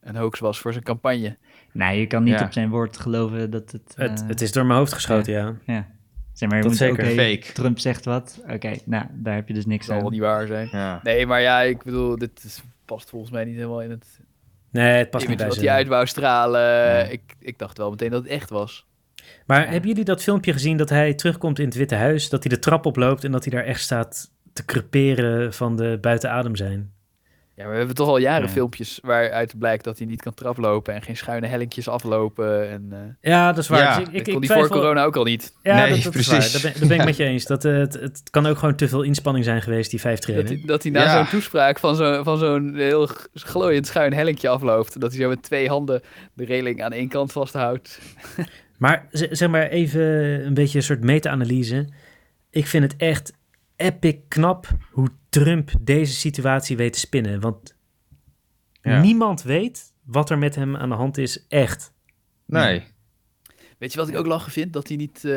[SPEAKER 2] een hoax was voor zijn campagne.
[SPEAKER 3] Nee, je kan niet
[SPEAKER 4] Ja.
[SPEAKER 3] op zijn woord geloven dat het...
[SPEAKER 1] het,
[SPEAKER 3] eh,
[SPEAKER 1] het is door mijn hoofd geschoten, ja.
[SPEAKER 3] Ja. Zeg maar, je
[SPEAKER 1] Dat
[SPEAKER 3] moet,
[SPEAKER 1] zeker.
[SPEAKER 3] oké,
[SPEAKER 4] Fake.
[SPEAKER 3] Trump zegt wat. Oké, nou, daar heb je dus
[SPEAKER 2] Dat
[SPEAKER 3] niks
[SPEAKER 2] zal wel
[SPEAKER 3] aan.
[SPEAKER 2] niet waar zijn.
[SPEAKER 4] Ja.
[SPEAKER 2] Nee, maar ja, ik bedoel, dit is- past volgens mij niet helemaal in het
[SPEAKER 1] Nee, het past
[SPEAKER 2] image
[SPEAKER 1] niet bij
[SPEAKER 2] wat
[SPEAKER 1] ze.
[SPEAKER 2] hij uit wou stralen. Ik, ik dacht wel meteen dat het echt was.
[SPEAKER 1] Maar
[SPEAKER 3] Ja.
[SPEAKER 1] hebben jullie dat filmpje gezien dat hij terugkomt in het Witte Huis, dat hij de trap oploopt en dat hij daar echt staat te creperen van de buiten adem zijn?
[SPEAKER 2] Ja, maar we hebben toch al jaren
[SPEAKER 3] Ja.
[SPEAKER 2] filmpjes waaruit blijkt dat hij niet kan traplopen en geen schuine hellinkjes aflopen. En, eh,
[SPEAKER 1] Ja, dat is waar.
[SPEAKER 4] Ja,
[SPEAKER 1] Dus ik, ik,
[SPEAKER 2] dat kon
[SPEAKER 1] ik
[SPEAKER 2] hij voor
[SPEAKER 1] twijfel-
[SPEAKER 2] corona ook al niet.
[SPEAKER 1] Ja,
[SPEAKER 4] Nee,
[SPEAKER 1] dat, dat is waar.
[SPEAKER 4] precies.
[SPEAKER 1] Dat ben, dat ben ik met je eens. Dat, eh, het, het kan ook gewoon te veel inspanning zijn geweest, die vijf
[SPEAKER 2] Dat
[SPEAKER 1] treden.
[SPEAKER 2] hij, dat hij na
[SPEAKER 4] Ja.
[SPEAKER 2] zo'n toespraak van zo'n van zo'n heel g- glooiend schuin hellinkje afloopt. Dat hij zo met twee handen de reling aan één kant vasthoudt.
[SPEAKER 1] Maar z- zeg maar even een beetje een soort meta-analyse. Ik vind het echt epic knap hoe Trump deze situatie weet te spinnen. Want
[SPEAKER 4] Ja.
[SPEAKER 1] niemand weet wat er met hem aan de hand is, echt.
[SPEAKER 4] Nee.
[SPEAKER 2] Weet je wat ik ook lachen vind? Dat hij niet eh,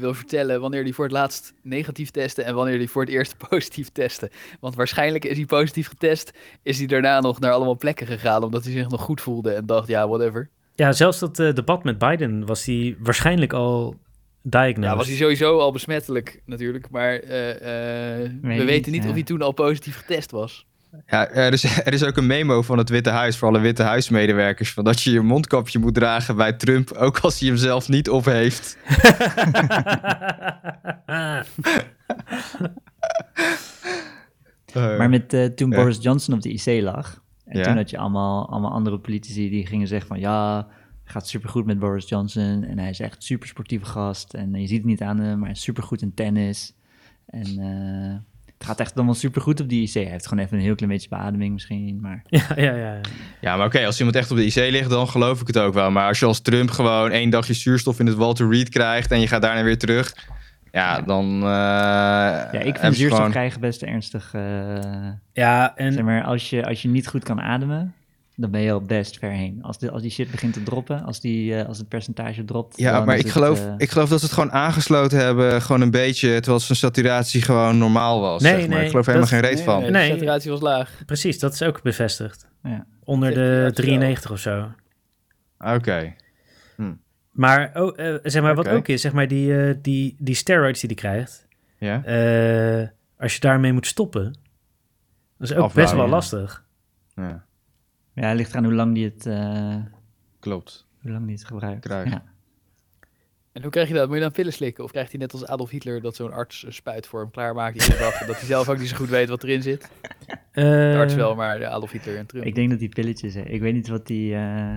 [SPEAKER 2] wil vertellen wanneer hij voor het laatst negatief testte en wanneer hij voor het eerst positief testte. Want waarschijnlijk is hij positief getest, is hij daarna nog naar allemaal plekken gegaan omdat hij zich nog goed voelde en dacht, ja, whatever.
[SPEAKER 1] Ja, zelfs dat eh, debat met Biden was hij waarschijnlijk al diagnosed.
[SPEAKER 2] Ja, was hij sowieso al besmettelijk natuurlijk, maar eh, eh, we
[SPEAKER 3] niet,
[SPEAKER 2] weten niet
[SPEAKER 3] ja.
[SPEAKER 2] of hij toen al positief getest was.
[SPEAKER 4] Ja, eh, er, is, er is ook een memo van het Witte Huis voor alle Witte Huismedewerkers. Van dat je je mondkapje moet dragen bij Trump, ook als hij hem zelf niet op heeft. Eh,
[SPEAKER 3] Maar met, eh, toen
[SPEAKER 4] Ja.
[SPEAKER 3] Boris Johnson op de IC lag, en
[SPEAKER 4] Ja.
[SPEAKER 3] toen had je allemaal, allemaal andere politici die gingen zeggen van ja, het gaat supergoed met Boris Johnson en hij is echt een supersportieve gast en je ziet het niet aan hem, maar hij is supergoed in tennis en eh, het gaat echt allemaal supergoed op die IC. Hij heeft gewoon even een heel klein beetje beademing misschien, maar
[SPEAKER 1] ja, ja, ja.
[SPEAKER 4] Ja, maar oké, als iemand echt op de IC ligt, dan geloof ik het ook wel. Maar als je als Trump gewoon één dagje zuurstof in het Walter Reed krijgt en je gaat daarna weer terug, ja, dan. eh,
[SPEAKER 3] ja, ik
[SPEAKER 4] hebben
[SPEAKER 3] vind
[SPEAKER 4] ze
[SPEAKER 3] zuurstof
[SPEAKER 4] gewoon-
[SPEAKER 3] krijgen best ernstig, eh,
[SPEAKER 1] ja en
[SPEAKER 4] Hm.
[SPEAKER 3] zeg maar, als je, als je niet goed kan ademen, dan ben je al best ver heen. Als, de, als die shit begint te droppen, als, die, eh, als het percentage dropt.
[SPEAKER 4] Ja,
[SPEAKER 3] dan
[SPEAKER 4] maar
[SPEAKER 3] is
[SPEAKER 4] ik
[SPEAKER 3] het,
[SPEAKER 4] geloof,
[SPEAKER 3] eh,
[SPEAKER 4] ik geloof dat ze het gewoon aangesloten hebben, gewoon een beetje, terwijl zijn saturatie gewoon normaal was.
[SPEAKER 1] Nee,
[SPEAKER 4] zeg maar.
[SPEAKER 1] nee,
[SPEAKER 4] ik geloof er helemaal
[SPEAKER 1] dat-
[SPEAKER 4] geen reet van.
[SPEAKER 2] Nee,
[SPEAKER 1] Nee.
[SPEAKER 2] de saturatie was laag.
[SPEAKER 1] Precies, dat is ook bevestigd.
[SPEAKER 3] Ja.
[SPEAKER 1] Onder
[SPEAKER 2] Ja,
[SPEAKER 1] de
[SPEAKER 2] zo.
[SPEAKER 1] 93 of zo.
[SPEAKER 4] Ah, Oké.
[SPEAKER 1] Maar, oh, eh, zeg maar
[SPEAKER 4] Oké.
[SPEAKER 1] wat ook is, zeg maar die, eh, die, die steroids die hij krijgt.
[SPEAKER 4] Ja.
[SPEAKER 1] eh, als je daarmee moet stoppen, dat is ook best
[SPEAKER 4] Afbouwen,
[SPEAKER 1] wel
[SPEAKER 4] ja.
[SPEAKER 1] lastig.
[SPEAKER 4] ja,
[SPEAKER 3] ja, het ligt aan hoe lang die het, eh,
[SPEAKER 4] klopt.
[SPEAKER 3] hoe lang die het gebruikt.
[SPEAKER 4] Gebruikt.
[SPEAKER 3] Ja.
[SPEAKER 2] En hoe krijg je dat? Moet je dan pillen slikken? Of krijgt hij net als Adolf Hitler dat zo'n arts een spuit voor hem klaarmaakt? iedere dag, en dat hij zelf ook niet zo goed weet wat erin zit? De arts
[SPEAKER 1] Eh,
[SPEAKER 2] wel, maar de Adolf Hitler en Trump.
[SPEAKER 3] Eh. Ik denk dat die pilletjes, hè. ik weet niet wat die. eh,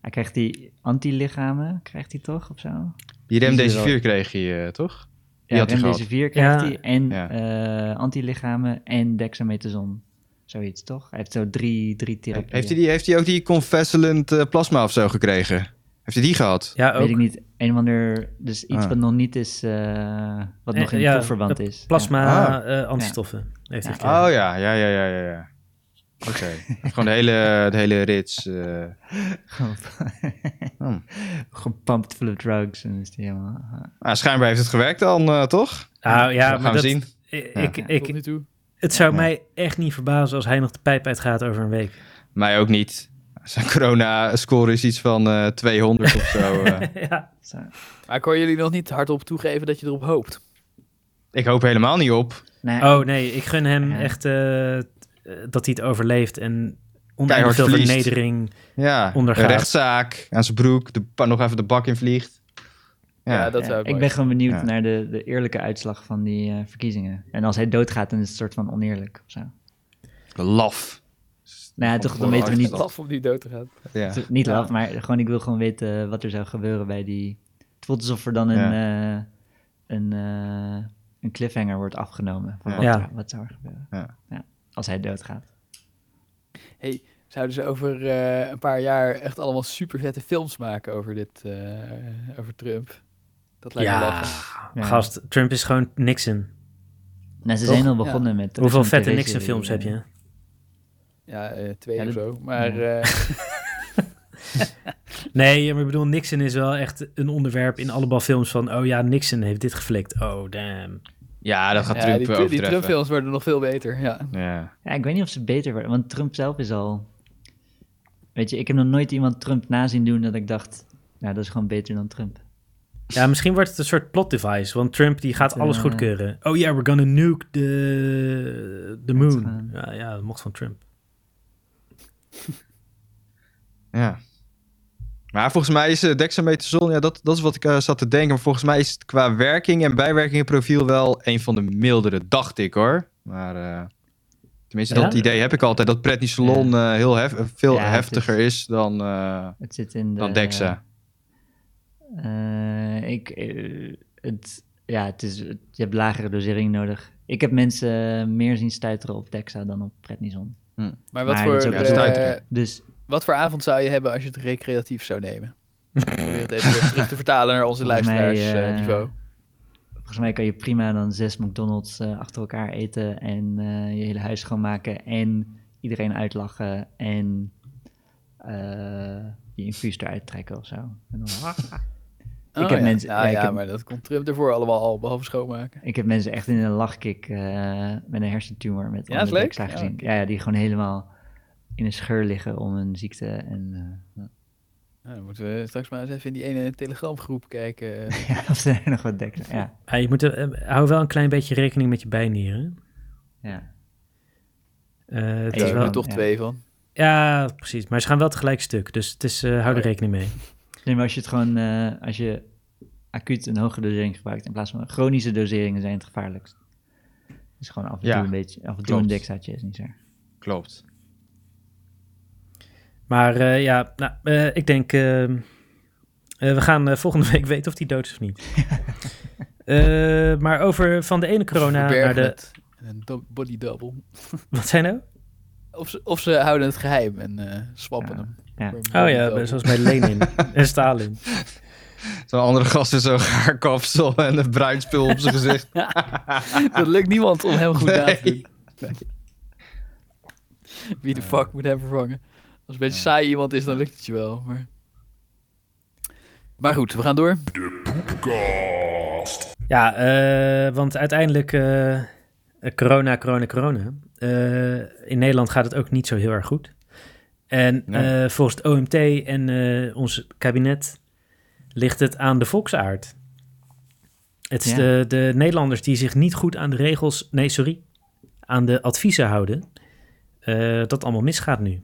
[SPEAKER 3] hij krijgt die antilichamen, krijgt hij toch of zo?
[SPEAKER 4] Die
[SPEAKER 3] Die is er
[SPEAKER 4] remdesivir kreeg je, eh, toch? Die had hij gehad.
[SPEAKER 3] deze vier krijgt
[SPEAKER 1] Ja.
[SPEAKER 3] hij en
[SPEAKER 4] Ja.
[SPEAKER 3] eh, antilichamen en dexamethason. Zoiets toch? Hij heeft zo drie, drie therapieën.
[SPEAKER 4] Heeft hij, die, heeft hij ook die convalescent eh, plasma of zo gekregen? Heeft hij die gehad?
[SPEAKER 1] Ja, ook.
[SPEAKER 3] Weet ik niet. Een of ander, dus iets
[SPEAKER 4] Ah.
[SPEAKER 3] wat nog niet is, eh, wat nog
[SPEAKER 1] Eh,
[SPEAKER 3] in
[SPEAKER 1] ja,
[SPEAKER 3] proefverband
[SPEAKER 1] eh,
[SPEAKER 3] is. Ah.
[SPEAKER 1] Plasma
[SPEAKER 4] Ja.
[SPEAKER 1] eh, antistoffen. Heeft hij
[SPEAKER 3] Ja.
[SPEAKER 1] gekregen.
[SPEAKER 4] Oh ja, ja, ja, ja, ja. ja. Oké. Gewoon de hele, de hele rits. eh.
[SPEAKER 3] Ja.
[SPEAKER 4] Hmm.
[SPEAKER 3] Gepumpt Oh. full of drugs en is die helemaal...
[SPEAKER 4] Ah, schijnbaar heeft het gewerkt dan, eh, toch?
[SPEAKER 1] Nou ja,
[SPEAKER 4] We
[SPEAKER 1] maar
[SPEAKER 4] gaan
[SPEAKER 1] dat,
[SPEAKER 4] zien.
[SPEAKER 1] Ik,
[SPEAKER 4] Ja.
[SPEAKER 1] ik,
[SPEAKER 2] Tot nu toe.
[SPEAKER 1] het zou
[SPEAKER 4] Ja.
[SPEAKER 1] mij echt niet verbazen als hij nog de pijp uitgaat over een week.
[SPEAKER 4] Mij ook niet. Zijn corona-score is iets van eh, 200 of zo. eh.
[SPEAKER 1] ja.
[SPEAKER 3] Zo.
[SPEAKER 2] Maar ik hoor jullie nog niet hardop toegeven dat je erop hoopt.
[SPEAKER 4] Ik hoop helemaal niet op.
[SPEAKER 3] Nou,
[SPEAKER 1] Oh nee, ik gun hem
[SPEAKER 3] Ja.
[SPEAKER 1] echt eh, eh, dat hij het overleeft en oneindig
[SPEAKER 4] Keihard
[SPEAKER 1] veel
[SPEAKER 4] verliest.
[SPEAKER 1] vernedering.
[SPEAKER 4] Ja,
[SPEAKER 1] Ondergaat.
[SPEAKER 4] een rechtszaak aan zijn broek, de, pa- nog even de bak in vliegt.
[SPEAKER 2] Ja,
[SPEAKER 4] Ja,
[SPEAKER 2] dat
[SPEAKER 3] ja,
[SPEAKER 2] zou
[SPEAKER 3] eh, ik ben gewoon benieuwd
[SPEAKER 4] Ja.
[SPEAKER 3] naar de, de eerlijke uitslag van die eh, verkiezingen. En als hij doodgaat, dan is het soort van oneerlijk of zo.
[SPEAKER 4] laf.
[SPEAKER 3] Nou ja,
[SPEAKER 4] Van
[SPEAKER 3] toch, dan
[SPEAKER 4] tevoren
[SPEAKER 3] weten we niet...
[SPEAKER 4] uitgezocht.
[SPEAKER 2] laf om die dood te gaan.
[SPEAKER 4] Ja.
[SPEAKER 3] Het is Niet laf, maar gewoon ik wil gewoon weten wat er zou gebeuren bij die... Het voelt alsof er dan een, eh, een, eh, een cliffhanger wordt afgenomen. Van
[SPEAKER 4] Ja.
[SPEAKER 3] Wat,
[SPEAKER 1] Ja.
[SPEAKER 3] er- wat zou er gebeuren
[SPEAKER 4] Ja.
[SPEAKER 3] als hij doodgaat.
[SPEAKER 2] Zouden ze over eh, een paar jaar echt allemaal super vette films maken over dit, eh, over Trump? Dat lijkt me
[SPEAKER 1] Ja,
[SPEAKER 2] lachen.
[SPEAKER 3] Ja.
[SPEAKER 1] gast, Trump is gewoon Nixon.
[SPEAKER 3] Nou, ze
[SPEAKER 2] Toch?
[SPEAKER 3] zijn al
[SPEAKER 2] Ja.
[SPEAKER 3] begonnen met...
[SPEAKER 1] Hoeveel
[SPEAKER 3] zo'n
[SPEAKER 1] vette
[SPEAKER 3] TV
[SPEAKER 1] Nixon-films heb
[SPEAKER 3] serie.
[SPEAKER 1] je?
[SPEAKER 2] Ja, eh, twee
[SPEAKER 3] Ja,
[SPEAKER 2] of
[SPEAKER 3] dat- Mm.
[SPEAKER 2] zo. Maar
[SPEAKER 3] ja.
[SPEAKER 2] eh,
[SPEAKER 1] Nee, maar ik bedoel, Nixon is wel echt een onderwerp in allemaal films van... oh ja, Nixon heeft dit geflikt. Oh, damn.
[SPEAKER 4] ja, dat gaat
[SPEAKER 2] ja,
[SPEAKER 4] Trump
[SPEAKER 2] die,
[SPEAKER 4] wel
[SPEAKER 2] Tru- die
[SPEAKER 4] overtreffen.
[SPEAKER 2] Trump-films worden nog veel beter. Ja.
[SPEAKER 4] ja.
[SPEAKER 3] Ja, ik weet niet of ze beter worden, want Trump zelf is al... Weet je, ik heb nog nooit iemand Trump nazien doen dat ik dacht... Nou, dat is gewoon beter dan Trump.
[SPEAKER 1] Ja, misschien wordt het een soort plot device, want Trump die gaat
[SPEAKER 3] Het,
[SPEAKER 1] alles
[SPEAKER 3] eh,
[SPEAKER 1] goedkeuren. Oh ja, we're gonna nuke the, the moon.
[SPEAKER 3] gaan.
[SPEAKER 1] Ja, ja, dat mocht van Trump.
[SPEAKER 4] ja. Maar volgens mij is eh, dexamethason, ja, dat, dat is wat ik eh, zat te denken. Maar volgens mij is het qua werking en bijwerkingenprofiel wel een van de mildere, dacht ik hoor. Maar eh, tenminste,
[SPEAKER 1] Ja?
[SPEAKER 4] dat idee heb ik altijd. Dat prednisolon eh, heel hef- eh, veel
[SPEAKER 3] Ja, het
[SPEAKER 4] heftiger is dan, eh
[SPEAKER 3] Het zit in de...
[SPEAKER 4] dan dexa.
[SPEAKER 3] Eh, ik, eh, het, ja, het is, het- je hebt lagere dosering nodig. Ik heb mensen meer zien stuiteren op Dexa dan op prednison.
[SPEAKER 2] Maar wat
[SPEAKER 3] Maar dat is
[SPEAKER 2] voor
[SPEAKER 3] ook
[SPEAKER 4] Ja, dat is
[SPEAKER 2] eh,
[SPEAKER 4] duidelijk.
[SPEAKER 3] Dus
[SPEAKER 2] wat voor avond zou je hebben als je het recreatief zou nemen? Ik probeer het even weer terug te vertalen naar onze
[SPEAKER 3] Volgens mij,
[SPEAKER 2] luisteraarsniveau. niveau.
[SPEAKER 3] eh, volgens mij kan je prima dan zes McDonald's eh, achter elkaar eten en eh, je hele huis schoonmaken en iedereen uitlachen en eh, je infuus eruit trekken of zo. En dan-
[SPEAKER 2] Oh,
[SPEAKER 3] heb
[SPEAKER 2] ja.
[SPEAKER 3] mensen-
[SPEAKER 2] Ja,
[SPEAKER 3] ja, ik
[SPEAKER 2] ja,
[SPEAKER 3] heb-
[SPEAKER 2] maar dat komt Trump ervoor allemaal al, behalve schoonmaken.
[SPEAKER 3] ik heb mensen echt in een lachkick eh, met een hersentumor met
[SPEAKER 2] Ja, is
[SPEAKER 3] onder
[SPEAKER 2] leuk.
[SPEAKER 3] Dexa
[SPEAKER 2] Ja,
[SPEAKER 3] gezien.
[SPEAKER 2] oké.
[SPEAKER 3] Ja, ja, die gewoon helemaal in een scheur liggen om een ziekte en... eh,
[SPEAKER 2] Nou, dan moeten we straks maar eens even in die ene telegramgroep kijken. eh,
[SPEAKER 3] Ja, of ze er nog wat dekken. Ja,
[SPEAKER 1] Ja, je moet, er- eh, hou wel een klein beetje rekening met je bijnieren.
[SPEAKER 3] ja.
[SPEAKER 1] Eh, het
[SPEAKER 3] Ja,
[SPEAKER 1] is
[SPEAKER 2] Er
[SPEAKER 3] wel-
[SPEAKER 2] zijn er toch
[SPEAKER 3] ja.
[SPEAKER 2] twee van.
[SPEAKER 1] ja, precies. Maar ze gaan wel tegelijk stuk, dus het is, eh, hou er rekening mee.
[SPEAKER 3] Nee, maar als je het gewoon, eh, als je acuut een hoge dosering gebruikt in plaats van chronische doseringen zijn het gevaarlijkst. Dus gewoon af en
[SPEAKER 4] Ja,
[SPEAKER 3] toe een beetje, af en toe
[SPEAKER 4] klopt.
[SPEAKER 3] een dexaatje is niet zo. erg.
[SPEAKER 4] Klopt.
[SPEAKER 1] Maar eh, ja, nou, eh, ik denk. eh, eh, we gaan eh, volgende week weten of die dood is of niet. Eh, maar over van de ene corona naar
[SPEAKER 2] Verbergen
[SPEAKER 1] de.
[SPEAKER 2] het. Een dub- body double.
[SPEAKER 1] Wat zijn nou?
[SPEAKER 2] Of ze, of ze houden het geheim en eh swappen
[SPEAKER 3] Ja.
[SPEAKER 2] hem.
[SPEAKER 3] Ja.
[SPEAKER 2] Voor een
[SPEAKER 1] Oh
[SPEAKER 2] body
[SPEAKER 1] ja,
[SPEAKER 2] double.
[SPEAKER 1] zoals bij Lenin en Stalin.
[SPEAKER 4] Zo'n andere gast met zo'n gaarkapsel en een bruin spul op zijn gezicht.
[SPEAKER 2] Dat lukt niemand om hem goed na te
[SPEAKER 4] Nee.
[SPEAKER 2] doen. Wie de fuck moet hem vervangen? Als een beetje saai iemand is, dan lukt het je wel. Maar, maar goed, we gaan door.
[SPEAKER 1] Ja, eh, want uiteindelijk eh, eh, corona, corona, corona. Eh, in Nederland gaat het ook niet zo heel erg goed. En
[SPEAKER 4] Nee.
[SPEAKER 1] eh, volgens het OMT en eh, ons kabinet ligt het aan de volksaard. Het is
[SPEAKER 3] Ja.
[SPEAKER 1] de, de Nederlanders die zich niet goed aan de regels, nee sorry, aan de adviezen houden, eh, dat allemaal misgaat nu.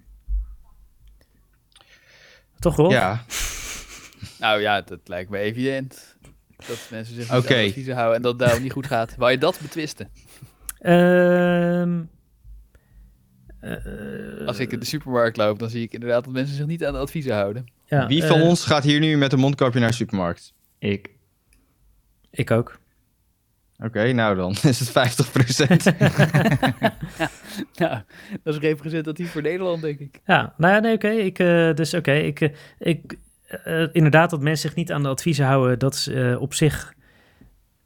[SPEAKER 1] Toch Rolf?
[SPEAKER 4] Ja,
[SPEAKER 2] Nou ja, dat lijkt me evident. Dat mensen zich niet
[SPEAKER 4] Oké.
[SPEAKER 2] aan adviezen houden en dat het daarom niet goed gaat. Wou je dat betwisten?
[SPEAKER 1] Ehm, eh,
[SPEAKER 2] Als ik in de supermarkt loop, dan zie ik inderdaad dat mensen zich niet aan de adviezen houden.
[SPEAKER 1] ja,
[SPEAKER 4] wie van
[SPEAKER 1] eh,
[SPEAKER 4] ons gaat hier nu met een mondkapje naar de supermarkt?
[SPEAKER 3] Ik.
[SPEAKER 1] Ik ook.
[SPEAKER 4] Oké, nou dan is het 50%.
[SPEAKER 2] Nou, dat is representatief voor Nederland, denk ik.
[SPEAKER 1] Ja, nou ja, nee, oké. Ik, eh, dus oké, ik, eh, ik, eh, inderdaad dat mensen zich niet aan de adviezen houden, dat is eh, op zich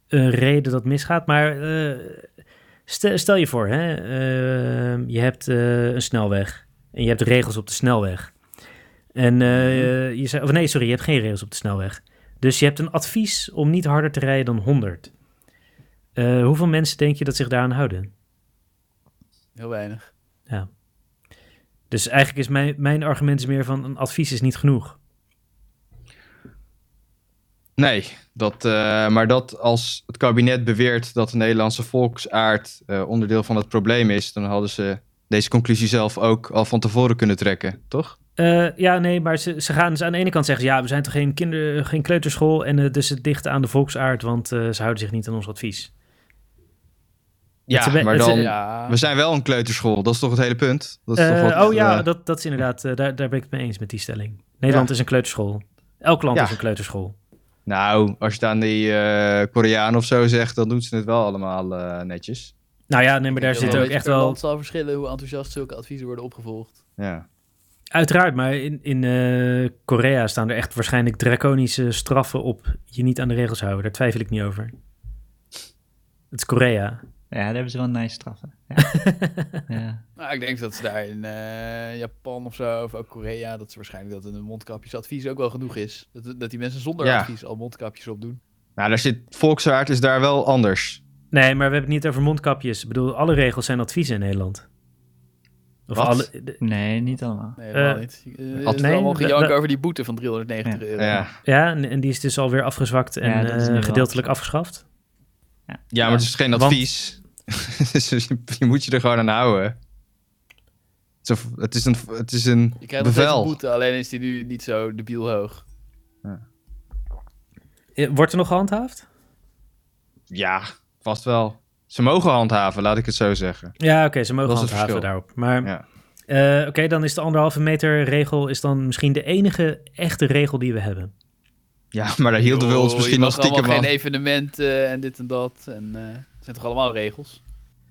[SPEAKER 1] een reden dat misgaat. Maar eh, stel, stel je voor, hè, eh, je hebt eh, een snelweg en je hebt regels op de snelweg. En eh, je zei, of nee, sorry, je hebt geen regels op de snelweg. Dus je hebt een advies om niet harder te rijden dan 100. Eh, hoeveel mensen denk je dat zich daaraan houden?
[SPEAKER 2] Heel weinig.
[SPEAKER 1] Dus eigenlijk is mijn, mijn argument is meer van een advies is niet genoeg.
[SPEAKER 4] Nee, dat, eh, maar dat als het kabinet beweert dat de Nederlandse volksaard eh, onderdeel van het probleem is, dan hadden ze deze conclusie zelf ook al van tevoren kunnen trekken, toch?
[SPEAKER 1] Eh, ja, nee, maar ze, ze gaan dus aan de ene kant zeggen... ja, we zijn toch geen, kinder, geen kleuterschool... en eh, dus het ligt aan de volksaard... want eh, ze houden zich niet aan ons advies. Het is
[SPEAKER 4] Ja,
[SPEAKER 1] een be-
[SPEAKER 4] maar
[SPEAKER 1] het is-
[SPEAKER 4] dan,
[SPEAKER 2] Ja.
[SPEAKER 4] we zijn wel een kleuterschool, dat is toch het hele punt? Dat is
[SPEAKER 1] Eh,
[SPEAKER 4] toch wat,
[SPEAKER 1] oh ja,
[SPEAKER 4] eh,
[SPEAKER 1] dat, dat is inderdaad... eh, daar, daar ben ik het mee eens met die stelling. Nederland is een kleuterschool. Elk land
[SPEAKER 4] Ja.
[SPEAKER 1] is een kleuterschool.
[SPEAKER 4] Nou, als je het aan die eh Koreanen of zo zegt, dan doen ze het wel allemaal eh, netjes.
[SPEAKER 1] Nou ja, nee, maar daar
[SPEAKER 2] Ik denk
[SPEAKER 1] zit ook
[SPEAKER 2] dat
[SPEAKER 1] echt
[SPEAKER 2] per
[SPEAKER 1] wel...
[SPEAKER 2] land zal verschillen hoe enthousiast zulke adviezen worden opgevolgd.
[SPEAKER 4] Ja.
[SPEAKER 1] Uiteraard, maar in, in eh, Korea staan er echt waarschijnlijk draconische straffen op... je niet aan de regels houden. Daar twijfel ik niet over. Het is Korea.
[SPEAKER 3] Ja, daar hebben ze wel een nice straffen. Ja. ja.
[SPEAKER 2] Nou, ik denk dat ze daar in eh, Japan of zo, of ook Korea, dat ze waarschijnlijk dat een mondkapjesadvies ook wel genoeg is. Dat, dat die mensen zonder
[SPEAKER 4] Ja.
[SPEAKER 2] advies al mondkapjes opdoen.
[SPEAKER 4] Nou, daar zit, volksaard is daar wel anders.
[SPEAKER 1] Nee, maar we hebben het niet over mondkapjes. Ik bedoel, alle regels zijn adviezen in Nederland. Of
[SPEAKER 4] Wat?
[SPEAKER 1] alle. de-
[SPEAKER 3] Nee, niet allemaal.
[SPEAKER 2] Nee, helemaal
[SPEAKER 1] Eh,
[SPEAKER 2] niet. Eh, het is
[SPEAKER 1] nee,
[SPEAKER 2] allemaal
[SPEAKER 1] we-
[SPEAKER 2] gejank
[SPEAKER 1] we-
[SPEAKER 2] over die boete van 390 euro.
[SPEAKER 4] Ja.
[SPEAKER 1] ja, en, en die is dus alweer afgezwakt en
[SPEAKER 3] Ja, dat is
[SPEAKER 1] eh,
[SPEAKER 3] inderdaad.
[SPEAKER 1] gedeeltelijk afgeschaft.
[SPEAKER 4] Ja, maar het is geen
[SPEAKER 1] Want-
[SPEAKER 4] advies. Dus je, je moet je er gewoon aan houden. Het is een- Het is een, het is een
[SPEAKER 2] Je krijgt nog steeds een
[SPEAKER 4] bevel.
[SPEAKER 2] boete, alleen is die nu niet zo debiel hoog.
[SPEAKER 1] Eh, Wordt er nog gehandhaafd?
[SPEAKER 4] Ja, vast wel. Ze mogen handhaven, laat ik het zo zeggen.
[SPEAKER 1] Ja, oké, ze mogen
[SPEAKER 4] Dat is het
[SPEAKER 1] handhaven
[SPEAKER 4] verschil.
[SPEAKER 1] daarop. Maar
[SPEAKER 4] Ja.
[SPEAKER 1] eh, oké, dan is de anderhalve meter regel is dan misschien de enige echte regel die we hebben.
[SPEAKER 4] Ja, maar daar hielden we
[SPEAKER 2] Joh,
[SPEAKER 4] ons
[SPEAKER 2] je
[SPEAKER 4] misschien
[SPEAKER 2] mag
[SPEAKER 4] al stiekem
[SPEAKER 2] allemaal
[SPEAKER 4] van.
[SPEAKER 2] geen evenementen en dit en dat. En, eh, het zijn toch allemaal regels?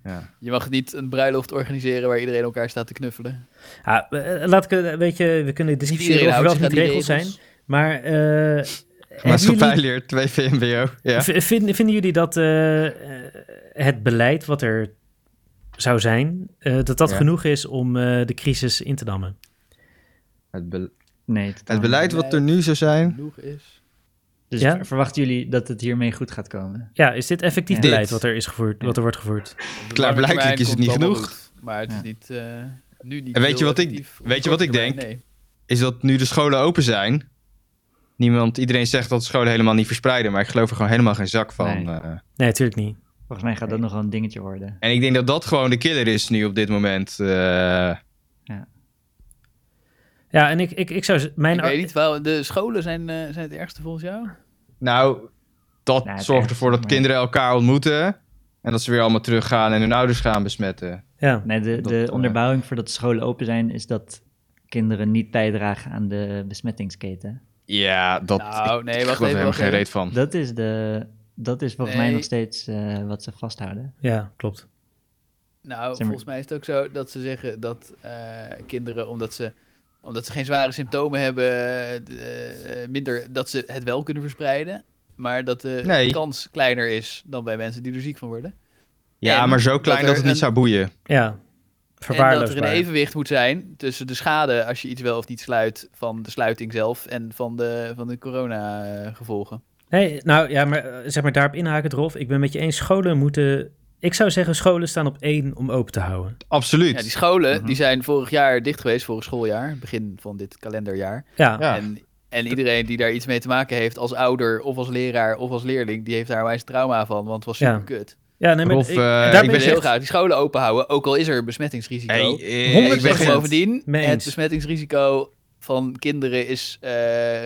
[SPEAKER 4] Ja.
[SPEAKER 2] Je mag niet een bruiloft organiseren waar iedereen elkaar staat te knuffelen.
[SPEAKER 1] Ja, eh, laat ik eh, weet je, we kunnen
[SPEAKER 2] Niet
[SPEAKER 1] discussiëren
[SPEAKER 2] iedereen
[SPEAKER 1] over
[SPEAKER 2] houdt
[SPEAKER 1] wel of
[SPEAKER 2] zich aan
[SPEAKER 1] niet
[SPEAKER 2] die
[SPEAKER 1] regels zijn, maar. eh, hebben jullie-
[SPEAKER 4] Maatschappijleer, 2 VMBO. Ja.
[SPEAKER 1] V- Vinden, vinden jullie dat eh, eh, het beleid wat er zou zijn, eh, dat dat
[SPEAKER 4] Ja.
[SPEAKER 1] genoeg is om eh, de crisis in te dammen?
[SPEAKER 4] Het, be-
[SPEAKER 3] Nee,
[SPEAKER 4] het beleid wat er nu zou zijn.
[SPEAKER 2] Genoeg is.
[SPEAKER 3] Dus
[SPEAKER 1] Ja?
[SPEAKER 3] ver- verwachten jullie dat het hiermee goed gaat komen?
[SPEAKER 1] Ja, is dit effectief
[SPEAKER 3] Ja.
[SPEAKER 1] beleid
[SPEAKER 4] Dit.
[SPEAKER 1] wat er, is gevoerd, wat er wordt gevoerd?
[SPEAKER 2] Op de
[SPEAKER 4] Klaarblijkelijk
[SPEAKER 2] lange termijn
[SPEAKER 4] is het
[SPEAKER 2] komt
[SPEAKER 4] niet
[SPEAKER 2] allemaal
[SPEAKER 4] genoeg.
[SPEAKER 2] goed, maar het is
[SPEAKER 3] Ja.
[SPEAKER 2] niet, eh, nu niet
[SPEAKER 4] En weet
[SPEAKER 2] heel
[SPEAKER 4] je wat ik-
[SPEAKER 2] effectief. Op
[SPEAKER 4] weet je
[SPEAKER 2] de
[SPEAKER 4] wat
[SPEAKER 2] korte
[SPEAKER 4] ik
[SPEAKER 2] termijn,
[SPEAKER 4] denk?
[SPEAKER 2] nee.
[SPEAKER 4] Is dat nu de scholen open zijn. Niemand, iedereen zegt dat de scholen helemaal niet verspreiden. Maar ik geloof er gewoon helemaal geen zak van.
[SPEAKER 3] Nee.
[SPEAKER 4] eh.
[SPEAKER 1] Nee, natuurlijk niet.
[SPEAKER 3] Volgens mij gaat dat nog wel een dingetje worden.
[SPEAKER 4] En ik denk dat dat gewoon de killer is nu op dit moment. eh.
[SPEAKER 1] Ja, en ik, ik, ik zou... z- Mijn
[SPEAKER 2] Ik weet niet, wel, de scholen zijn, eh, zijn het ergste volgens jou?
[SPEAKER 4] Nou, dat
[SPEAKER 3] Nou, het
[SPEAKER 4] zorgt
[SPEAKER 3] ergste,
[SPEAKER 4] ervoor dat
[SPEAKER 3] maar-
[SPEAKER 4] kinderen elkaar ontmoeten. En dat ze weer allemaal teruggaan en hun ouders gaan besmetten.
[SPEAKER 1] Ja,
[SPEAKER 3] Nee, de,
[SPEAKER 4] Dat,
[SPEAKER 3] de
[SPEAKER 4] eh,
[SPEAKER 3] onderbouwing voor dat scholen open zijn is dat kinderen niet bijdragen aan de besmettingsketen.
[SPEAKER 4] Ja, dat.
[SPEAKER 2] Nou, nee, wacht
[SPEAKER 4] ik geloof er
[SPEAKER 2] even,
[SPEAKER 4] helemaal
[SPEAKER 2] wacht
[SPEAKER 4] geen
[SPEAKER 2] even.
[SPEAKER 4] reet van.
[SPEAKER 3] Dat is, de, dat is volgens mij
[SPEAKER 2] Nee.
[SPEAKER 3] nog steeds eh, wat ze vasthouden.
[SPEAKER 1] ja, klopt.
[SPEAKER 2] Nou,
[SPEAKER 3] maar-
[SPEAKER 2] volgens mij is het ook zo dat ze zeggen dat eh, kinderen, omdat ze, omdat ze geen zware symptomen hebben, eh, eh, minder dat ze het wel kunnen verspreiden. Maar dat de
[SPEAKER 4] Nee.
[SPEAKER 2] kans kleiner is dan bij mensen die er ziek van worden.
[SPEAKER 4] Ja,
[SPEAKER 2] En
[SPEAKER 4] maar zo klein
[SPEAKER 2] dat
[SPEAKER 4] dat,
[SPEAKER 2] er
[SPEAKER 4] het niet
[SPEAKER 2] een-
[SPEAKER 4] zou boeien.
[SPEAKER 1] Ja,
[SPEAKER 2] En dat er een
[SPEAKER 1] verwaarloosbaar.
[SPEAKER 2] evenwicht moet zijn tussen de schade als je iets wel of niet sluit van de sluiting zelf en van de, van de corona-gevolgen.
[SPEAKER 1] Nee, nou ja, maar eh, zeg maar daarop inhakend, Rolf. Ik ben met je eens, scholen moeten... Ik zou zeggen, scholen staan op één om open te houden.
[SPEAKER 4] Absoluut.
[SPEAKER 2] Ja, die scholen
[SPEAKER 3] Mhm.
[SPEAKER 2] die zijn vorig jaar dicht geweest, vorig schooljaar, begin van dit kalenderjaar.
[SPEAKER 1] Ja,
[SPEAKER 4] Ja.
[SPEAKER 2] En, en iedereen die daar iets mee te maken heeft als ouder of als leraar of als leerling, die heeft daar wijs trauma van, want het was
[SPEAKER 1] Ja.
[SPEAKER 2] super kut.
[SPEAKER 1] ja nee, maar
[SPEAKER 4] Rolf,
[SPEAKER 1] ik,
[SPEAKER 4] eh,
[SPEAKER 1] daar
[SPEAKER 4] ik
[SPEAKER 1] ben
[SPEAKER 2] Ik
[SPEAKER 1] ik
[SPEAKER 2] ben
[SPEAKER 4] ben
[SPEAKER 1] het
[SPEAKER 2] heel
[SPEAKER 1] echt-
[SPEAKER 4] echt-
[SPEAKER 2] graag die scholen open houden, ook al is er besmettingsrisico.
[SPEAKER 4] Hey, eh, ik
[SPEAKER 2] Ik zeg
[SPEAKER 4] ben
[SPEAKER 1] procent.
[SPEAKER 4] geen-
[SPEAKER 2] bovendien,
[SPEAKER 1] Mee
[SPEAKER 2] het
[SPEAKER 1] eens.
[SPEAKER 2] besmettingsrisico van kinderen is eh,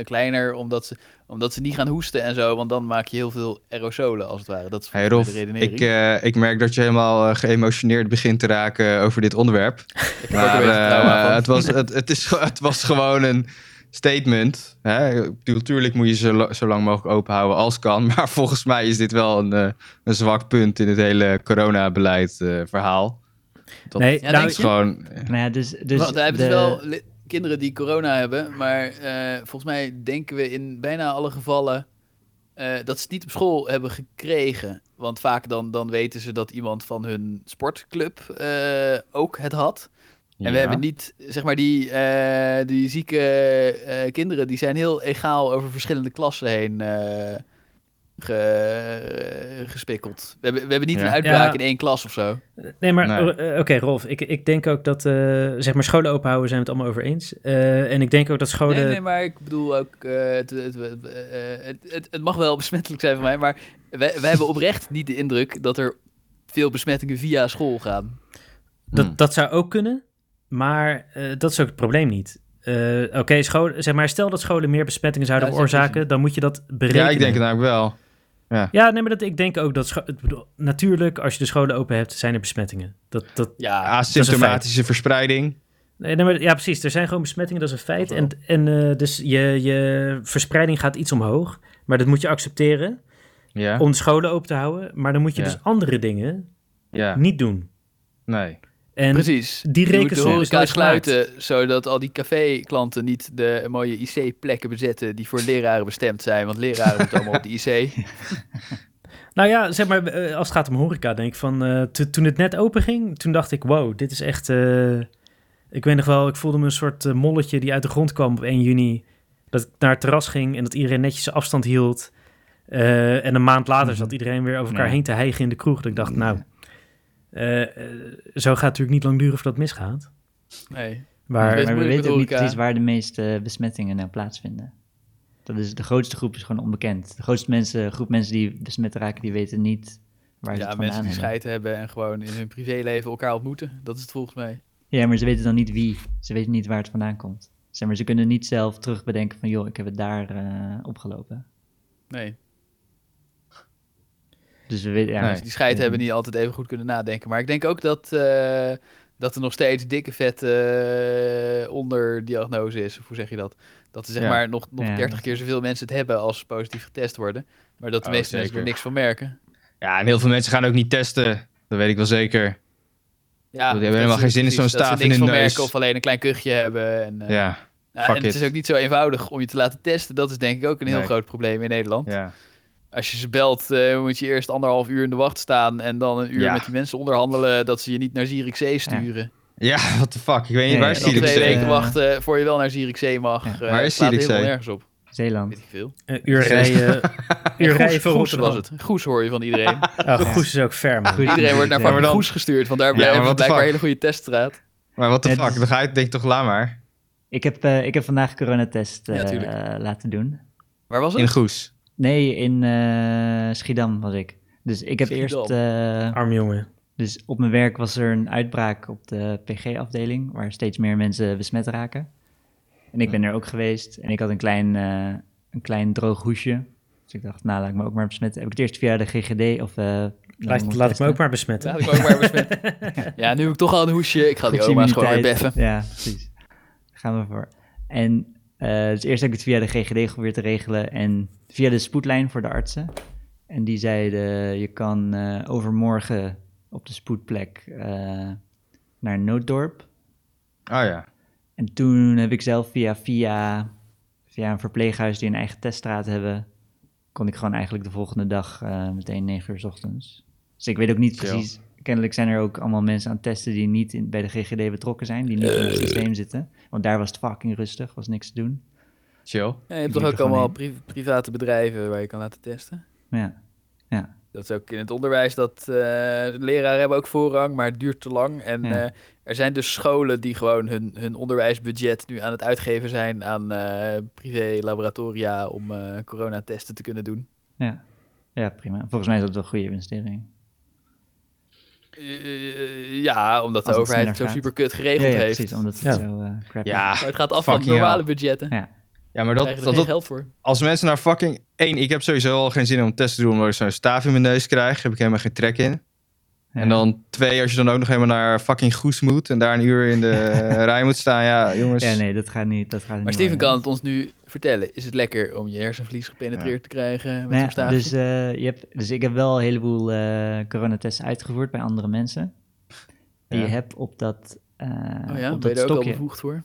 [SPEAKER 2] kleiner, omdat ze, omdat ze niet gaan hoesten en zo. Want dan maak je heel veel aerosolen, als het ware. Dat is
[SPEAKER 4] Hey
[SPEAKER 2] volgens
[SPEAKER 4] Rolf,
[SPEAKER 2] mij de redenering.
[SPEAKER 4] ik, eh, ik merk dat je helemaal eh, geëmotioneerd begint te raken over dit onderwerp.
[SPEAKER 2] Ik heb ook een
[SPEAKER 4] Maar
[SPEAKER 2] beetje trauma
[SPEAKER 4] eh,
[SPEAKER 2] van.
[SPEAKER 4] het, was, het, het, is, ge- het was gewoon een statement. Hè? Ik bedoel, Tuurlijk moet je zo, la- zo lang mogelijk open houden als kan. Maar volgens mij is dit wel een, eh, een zwak punt in het hele coronabeleid eh, verhaal. Dat
[SPEAKER 1] Nee,
[SPEAKER 2] Ja,
[SPEAKER 1] nou,
[SPEAKER 4] is gewoon...
[SPEAKER 3] Nou ja, dus, dus
[SPEAKER 2] Want we hebben
[SPEAKER 3] de-
[SPEAKER 2] dus wel li- kinderen die corona hebben, maar eh, volgens mij denken we in bijna alle gevallen eh, dat ze het niet op school hebben gekregen. Want vaak dan, dan weten ze dat iemand van hun sportclub eh, ook het had. En we hebben niet, zeg maar, die, eh, die zieke eh, kinderen, die zijn heel egaal over verschillende klassen heen eh, ge- gespikkeld. We hebben, we hebben niet
[SPEAKER 4] Ja.
[SPEAKER 2] een uitbraak
[SPEAKER 1] Ja.
[SPEAKER 2] in één klas of zo.
[SPEAKER 1] Nee, maar
[SPEAKER 4] Nee.
[SPEAKER 1] eh, eh, oké, Rolf. Ik, ik denk ook dat, eh, zeg maar, scholen open houden zijn we het allemaal over eens. Eh, en ik denk ook dat scholen...
[SPEAKER 2] Nee, nee, maar ik bedoel ook, eh, het, het, eh, het, het, het mag wel besmettelijk zijn voor mij, maar wij, wij hebben oprecht niet de indruk dat er veel besmettingen via school gaan.
[SPEAKER 1] Dat,
[SPEAKER 4] Hmm.
[SPEAKER 1] dat zou ook kunnen, maar eh, dat is ook het probleem niet. Eh, Oké, scholen- zeg maar, stel dat scholen meer besmettingen zouden
[SPEAKER 2] Ja, dat is
[SPEAKER 1] veroorzaken,
[SPEAKER 2] precies.
[SPEAKER 1] dan moet je dat berekenen.
[SPEAKER 4] Ja, ik denk het nou. namelijk wel.
[SPEAKER 1] Ja, nee, maar dat, ik denk ook dat... scho- ik bedoel, natuurlijk, als je de scholen open hebt, zijn er besmettingen. Dat, dat,
[SPEAKER 2] Ja,
[SPEAKER 4] Asymptomatische verspreiding.
[SPEAKER 1] nee, nee, maar, ja, precies. Er zijn gewoon besmettingen, dat is een feit.
[SPEAKER 2] Dat
[SPEAKER 1] En, en eh, dus je, je verspreiding gaat iets omhoog, maar dat moet je accepteren
[SPEAKER 4] Ja,
[SPEAKER 1] om de scholen open te houden. Maar dan moet je
[SPEAKER 4] Ja.
[SPEAKER 1] dus andere dingen
[SPEAKER 4] ja.
[SPEAKER 1] niet doen.
[SPEAKER 4] nee.
[SPEAKER 1] En
[SPEAKER 2] precies.
[SPEAKER 1] die
[SPEAKER 2] Je moet de
[SPEAKER 1] rekensom is
[SPEAKER 2] horeca
[SPEAKER 1] nooit
[SPEAKER 2] sluiten, zodat al die café-klanten niet de mooie IC-plekken bezetten die voor leraren bestemd zijn, want leraren moeten allemaal op de IC.
[SPEAKER 1] Nou ja, zeg maar, eh, als het gaat om horeca, denk ik van... eh, to- toen het net open ging, toen dacht ik, wow, dit is echt... eh, ik weet nog wel, ik voelde me een soort eh, molletje die uit de grond kwam op 1 juni. Dat ik naar het terras ging en dat iedereen netjes zijn afstand hield. Eh, en een maand later
[SPEAKER 3] Mhm.
[SPEAKER 1] zat iedereen weer over elkaar
[SPEAKER 3] Ja.
[SPEAKER 1] heen te hijgen in de kroeg. Dat ik dacht, nou, eh, eh, zo gaat het natuurlijk niet lang duren voordat het misgaat.
[SPEAKER 2] Nee.
[SPEAKER 1] Maar
[SPEAKER 2] Best
[SPEAKER 3] Maar we
[SPEAKER 2] moeilijk met
[SPEAKER 3] weten ook niet
[SPEAKER 2] horeca.
[SPEAKER 3] precies waar de meeste besmettingen nou plaatsvinden. Dat is, de grootste groep is gewoon onbekend. De grootste mensen, groep mensen die besmet raken, die weten niet waar ze
[SPEAKER 2] Ja, mensen
[SPEAKER 3] het vandaan
[SPEAKER 2] die
[SPEAKER 3] hebben.
[SPEAKER 2] scheid hebben en gewoon in hun privéleven elkaar ontmoeten, dat is het volgens mij.
[SPEAKER 3] Ja, maar ze weten dan niet wie. Ze weten niet waar het vandaan komt. Zeg maar, ze kunnen niet zelf terug bedenken van, joh, ik heb het daar eh, opgelopen.
[SPEAKER 2] Nee.
[SPEAKER 3] Dus we weten, ja,
[SPEAKER 4] Nee.
[SPEAKER 2] Dus die scheid hebben niet altijd even goed kunnen nadenken. Maar ik denk ook dat, eh, dat er nog steeds dikke vet eh, onderdiagnose is. Of hoe zeg je dat? Dat er zeg
[SPEAKER 4] Ja.
[SPEAKER 2] maar nog, nog
[SPEAKER 3] Ja.
[SPEAKER 2] 30 keer zoveel mensen het hebben als ze positief getest worden. Maar dat de
[SPEAKER 4] Oh,
[SPEAKER 2] meeste mensen er
[SPEAKER 4] zeker.
[SPEAKER 2] niks van merken.
[SPEAKER 4] Ja, en heel veel mensen gaan ook niet testen. Dat weet ik wel zeker.
[SPEAKER 2] Ja,
[SPEAKER 4] Die hebben helemaal
[SPEAKER 2] dat is
[SPEAKER 4] geen zin in
[SPEAKER 2] precies,
[SPEAKER 4] zo'n
[SPEAKER 2] dat ze
[SPEAKER 4] staaf
[SPEAKER 2] niks
[SPEAKER 4] in hun
[SPEAKER 2] van
[SPEAKER 4] neus.
[SPEAKER 2] merken of alleen een klein kuchje hebben. En, eh,
[SPEAKER 4] Ja,
[SPEAKER 2] nou,
[SPEAKER 4] fuck
[SPEAKER 2] en het
[SPEAKER 4] it.
[SPEAKER 2] is ook niet zo eenvoudig om je te laten testen. Dat is denk ik ook een heel
[SPEAKER 4] Nee.
[SPEAKER 2] groot probleem in Nederland.
[SPEAKER 4] ja.
[SPEAKER 2] Als je ze belt, eh, moet je eerst anderhalf uur in de wacht staan. En dan een uur
[SPEAKER 4] Ja.
[SPEAKER 2] met die mensen onderhandelen dat ze je niet naar Zierikzee sturen.
[SPEAKER 4] Ja, what the fuck. Ik weet niet
[SPEAKER 3] Nee,
[SPEAKER 4] waar
[SPEAKER 3] en
[SPEAKER 2] En dan
[SPEAKER 3] Zierikzee.
[SPEAKER 2] twee
[SPEAKER 4] Sirikzee...
[SPEAKER 2] weken wachten voor je wel naar Zierikzee mag.
[SPEAKER 3] Ja.
[SPEAKER 2] Eh,
[SPEAKER 4] Waar is
[SPEAKER 2] slaat helemaal
[SPEAKER 4] Zierikzee?
[SPEAKER 2] nergens op.
[SPEAKER 3] Zeeland.
[SPEAKER 2] Weet ik veel.
[SPEAKER 1] een eh, uur rijden, uur rijden voor
[SPEAKER 2] Goes
[SPEAKER 1] Rotterdam.
[SPEAKER 2] was het. Goes hoor je van iedereen.
[SPEAKER 1] Oh, Goes is ook ver, man.
[SPEAKER 3] Goed.
[SPEAKER 2] iedereen wordt naar
[SPEAKER 3] Ja, maar
[SPEAKER 2] fucking
[SPEAKER 4] dan-
[SPEAKER 2] Goes gestuurd, want daar
[SPEAKER 4] Ja, maar
[SPEAKER 2] blijven
[SPEAKER 4] what the
[SPEAKER 2] blijkbaar een
[SPEAKER 4] fuck?
[SPEAKER 2] hele goede teststraat.
[SPEAKER 4] Maar wat de
[SPEAKER 3] Het
[SPEAKER 4] fuck,
[SPEAKER 3] is-
[SPEAKER 4] dan ga ik denk ik toch laat maar.
[SPEAKER 3] Ik heb, eh, ik heb vandaag een coronatest eh,
[SPEAKER 2] Ja, tuurlijk.
[SPEAKER 3] laten doen.
[SPEAKER 2] Waar was
[SPEAKER 4] In
[SPEAKER 2] het?
[SPEAKER 4] Goes.
[SPEAKER 3] Nee, in eh, Schiedam was ik. Dus ik heb
[SPEAKER 2] Schiedam.
[SPEAKER 3] eerst... eh,
[SPEAKER 1] Arme jongen.
[SPEAKER 3] Dus op mijn werk was er een uitbraak op de PG-afdeling, waar steeds meer mensen besmet raken. En ik ben er ook geweest en ik had een klein, eh, een klein droog hoesje. Dus ik dacht, nou laat ik me ook maar besmetten. Heb ik het eerst via de GGD of... eh,
[SPEAKER 1] Laat,
[SPEAKER 3] laat
[SPEAKER 1] laat ik me ook maar besmetten.
[SPEAKER 2] Laat ik ook maar besmet. Ja, nu heb ik toch al een hoesje. Ik ga die oma's gewoon weer
[SPEAKER 3] Groepsimmuniteit.
[SPEAKER 2] beffen.
[SPEAKER 3] Ja, precies. Daar gaan we voor. En eh, dus eerst heb ik het via de GGD geprobeerd te regelen en via de spoedlijn voor de artsen. En die zeiden, je kan eh, overmorgen op de spoedplek eh, naar Nooddorp.
[SPEAKER 4] Oh ja.
[SPEAKER 3] En toen heb ik zelf via, via, via een verpleeghuis die een eigen teststraat hebben, kon ik gewoon eigenlijk de volgende dag eh, meteen 9 uur 's ochtends. Dus ik weet ook niet
[SPEAKER 4] Chill.
[SPEAKER 3] precies kennelijk zijn er ook allemaal mensen aan het testen die niet in, bij de GGD betrokken zijn, die niet in
[SPEAKER 2] Eh.
[SPEAKER 3] het systeem zitten. Want daar was het fucking rustig, was niks te doen.
[SPEAKER 4] Chill.
[SPEAKER 2] Ja, je hebt
[SPEAKER 3] Ik
[SPEAKER 2] toch
[SPEAKER 3] denk
[SPEAKER 2] ook
[SPEAKER 3] er gewoon
[SPEAKER 2] allemaal
[SPEAKER 3] in.
[SPEAKER 2] pri- private bedrijven waar je kan laten testen?
[SPEAKER 3] Maar ja,
[SPEAKER 2] Dat is ook in het onderwijs dat eh leraren hebben ook voorrang, maar het duurt te lang. En
[SPEAKER 3] Ja.
[SPEAKER 2] eh, er zijn dus scholen die gewoon hun, hun onderwijsbudget nu aan het uitgeven zijn aan eh privé-laboratoria om eh coronatesten te kunnen doen.
[SPEAKER 3] ja. ja, prima. Volgens mij is dat wel een goede investering.
[SPEAKER 2] Eh, ja, omdat de
[SPEAKER 3] Als het
[SPEAKER 2] overheid het zo
[SPEAKER 3] sneller
[SPEAKER 2] super
[SPEAKER 3] gaat.
[SPEAKER 2] kut
[SPEAKER 3] Ja,
[SPEAKER 2] geregeld
[SPEAKER 3] ja,
[SPEAKER 2] heeft.
[SPEAKER 3] precies, omdat het
[SPEAKER 1] Ja.
[SPEAKER 3] zo eh crappy
[SPEAKER 4] Ja,
[SPEAKER 2] Maar het gaat af van
[SPEAKER 4] Fucking
[SPEAKER 2] normale
[SPEAKER 4] hell.
[SPEAKER 2] budgetten.
[SPEAKER 3] Ja.
[SPEAKER 4] ja maar dat,
[SPEAKER 2] Krijgen er
[SPEAKER 4] dat,
[SPEAKER 2] geen
[SPEAKER 4] dat-
[SPEAKER 2] geld voor.
[SPEAKER 4] als mensen naar fucking... één, ik heb sowieso al geen zin om testen te doen omdat ik zo'n staaf in mijn neus krijg. Heb ik helemaal geen trek in.
[SPEAKER 3] Ja.
[SPEAKER 4] En dan twee, als je dan ook nog helemaal naar fucking Goes moet en daar een uur in de rij moet staan. Ja, jongens.
[SPEAKER 3] Ja, nee, dat gaat niet. Dat gaat
[SPEAKER 2] Maar Steven kan het ons nu vertellen. Is het lekker om je hersenvlies gepenetreerd te krijgen met zo'n staafje?
[SPEAKER 3] dus, eh, je hebt, dus ik heb wel een heleboel eh, coronatests uitgevoerd bij andere mensen. Die
[SPEAKER 4] Ja.
[SPEAKER 3] je hebt op dat, eh,
[SPEAKER 2] oh ja,
[SPEAKER 3] op
[SPEAKER 2] ben je
[SPEAKER 3] dat
[SPEAKER 2] daar ook al
[SPEAKER 3] stokje.
[SPEAKER 2] bevoegd voor?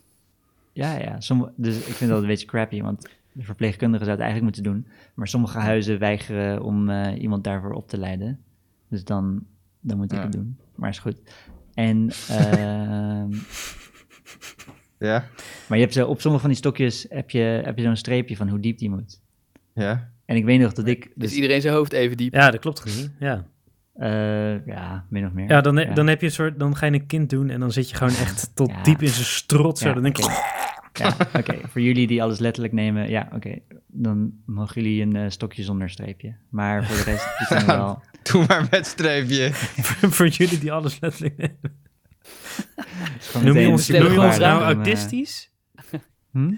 [SPEAKER 3] Ja, ja. Somm- dus ik vind dat een beetje crappy, want de verpleegkundige zou het eigenlijk moeten doen. Maar sommige huizen weigeren om eh, iemand daarvoor op te leiden. Dus dan, dan moet ik
[SPEAKER 4] Ja.
[SPEAKER 3] het doen. Maar is goed. En, ehm,
[SPEAKER 4] Ja,
[SPEAKER 3] maar je hebt zo, op sommige van die stokjes heb je, heb je zo'n streepje van hoe diep die moet.
[SPEAKER 4] ja.
[SPEAKER 3] En ik weet nog dat ik...
[SPEAKER 2] Dus
[SPEAKER 3] Dus,
[SPEAKER 2] iedereen zijn hoofd even diep.
[SPEAKER 1] Ja, dat klopt gezien. Ja,
[SPEAKER 3] eh, ja, min of meer.
[SPEAKER 1] ja, dan, he- dan heb je een soort, dan ga je een kind doen en dan zit je gewoon echt tot
[SPEAKER 3] Ja.
[SPEAKER 1] diep in zijn strot. Zo,
[SPEAKER 3] Ja,
[SPEAKER 1] dan denk ik,
[SPEAKER 3] oké. Ja, oké. Voor jullie die alles letterlijk nemen, ja, oké. Dan mogen jullie een eh, stokje zonder streepje. Maar voor de rest, die kunnen wel...
[SPEAKER 4] Doe maar met streepje.
[SPEAKER 1] voor, voor jullie die alles letterlijk nemen.
[SPEAKER 3] het is gewoon
[SPEAKER 1] Noem je
[SPEAKER 3] meteen
[SPEAKER 1] ons,
[SPEAKER 3] een
[SPEAKER 1] noem je ons nou
[SPEAKER 3] superwaarde om, eh,
[SPEAKER 1] autistisch?
[SPEAKER 3] hm?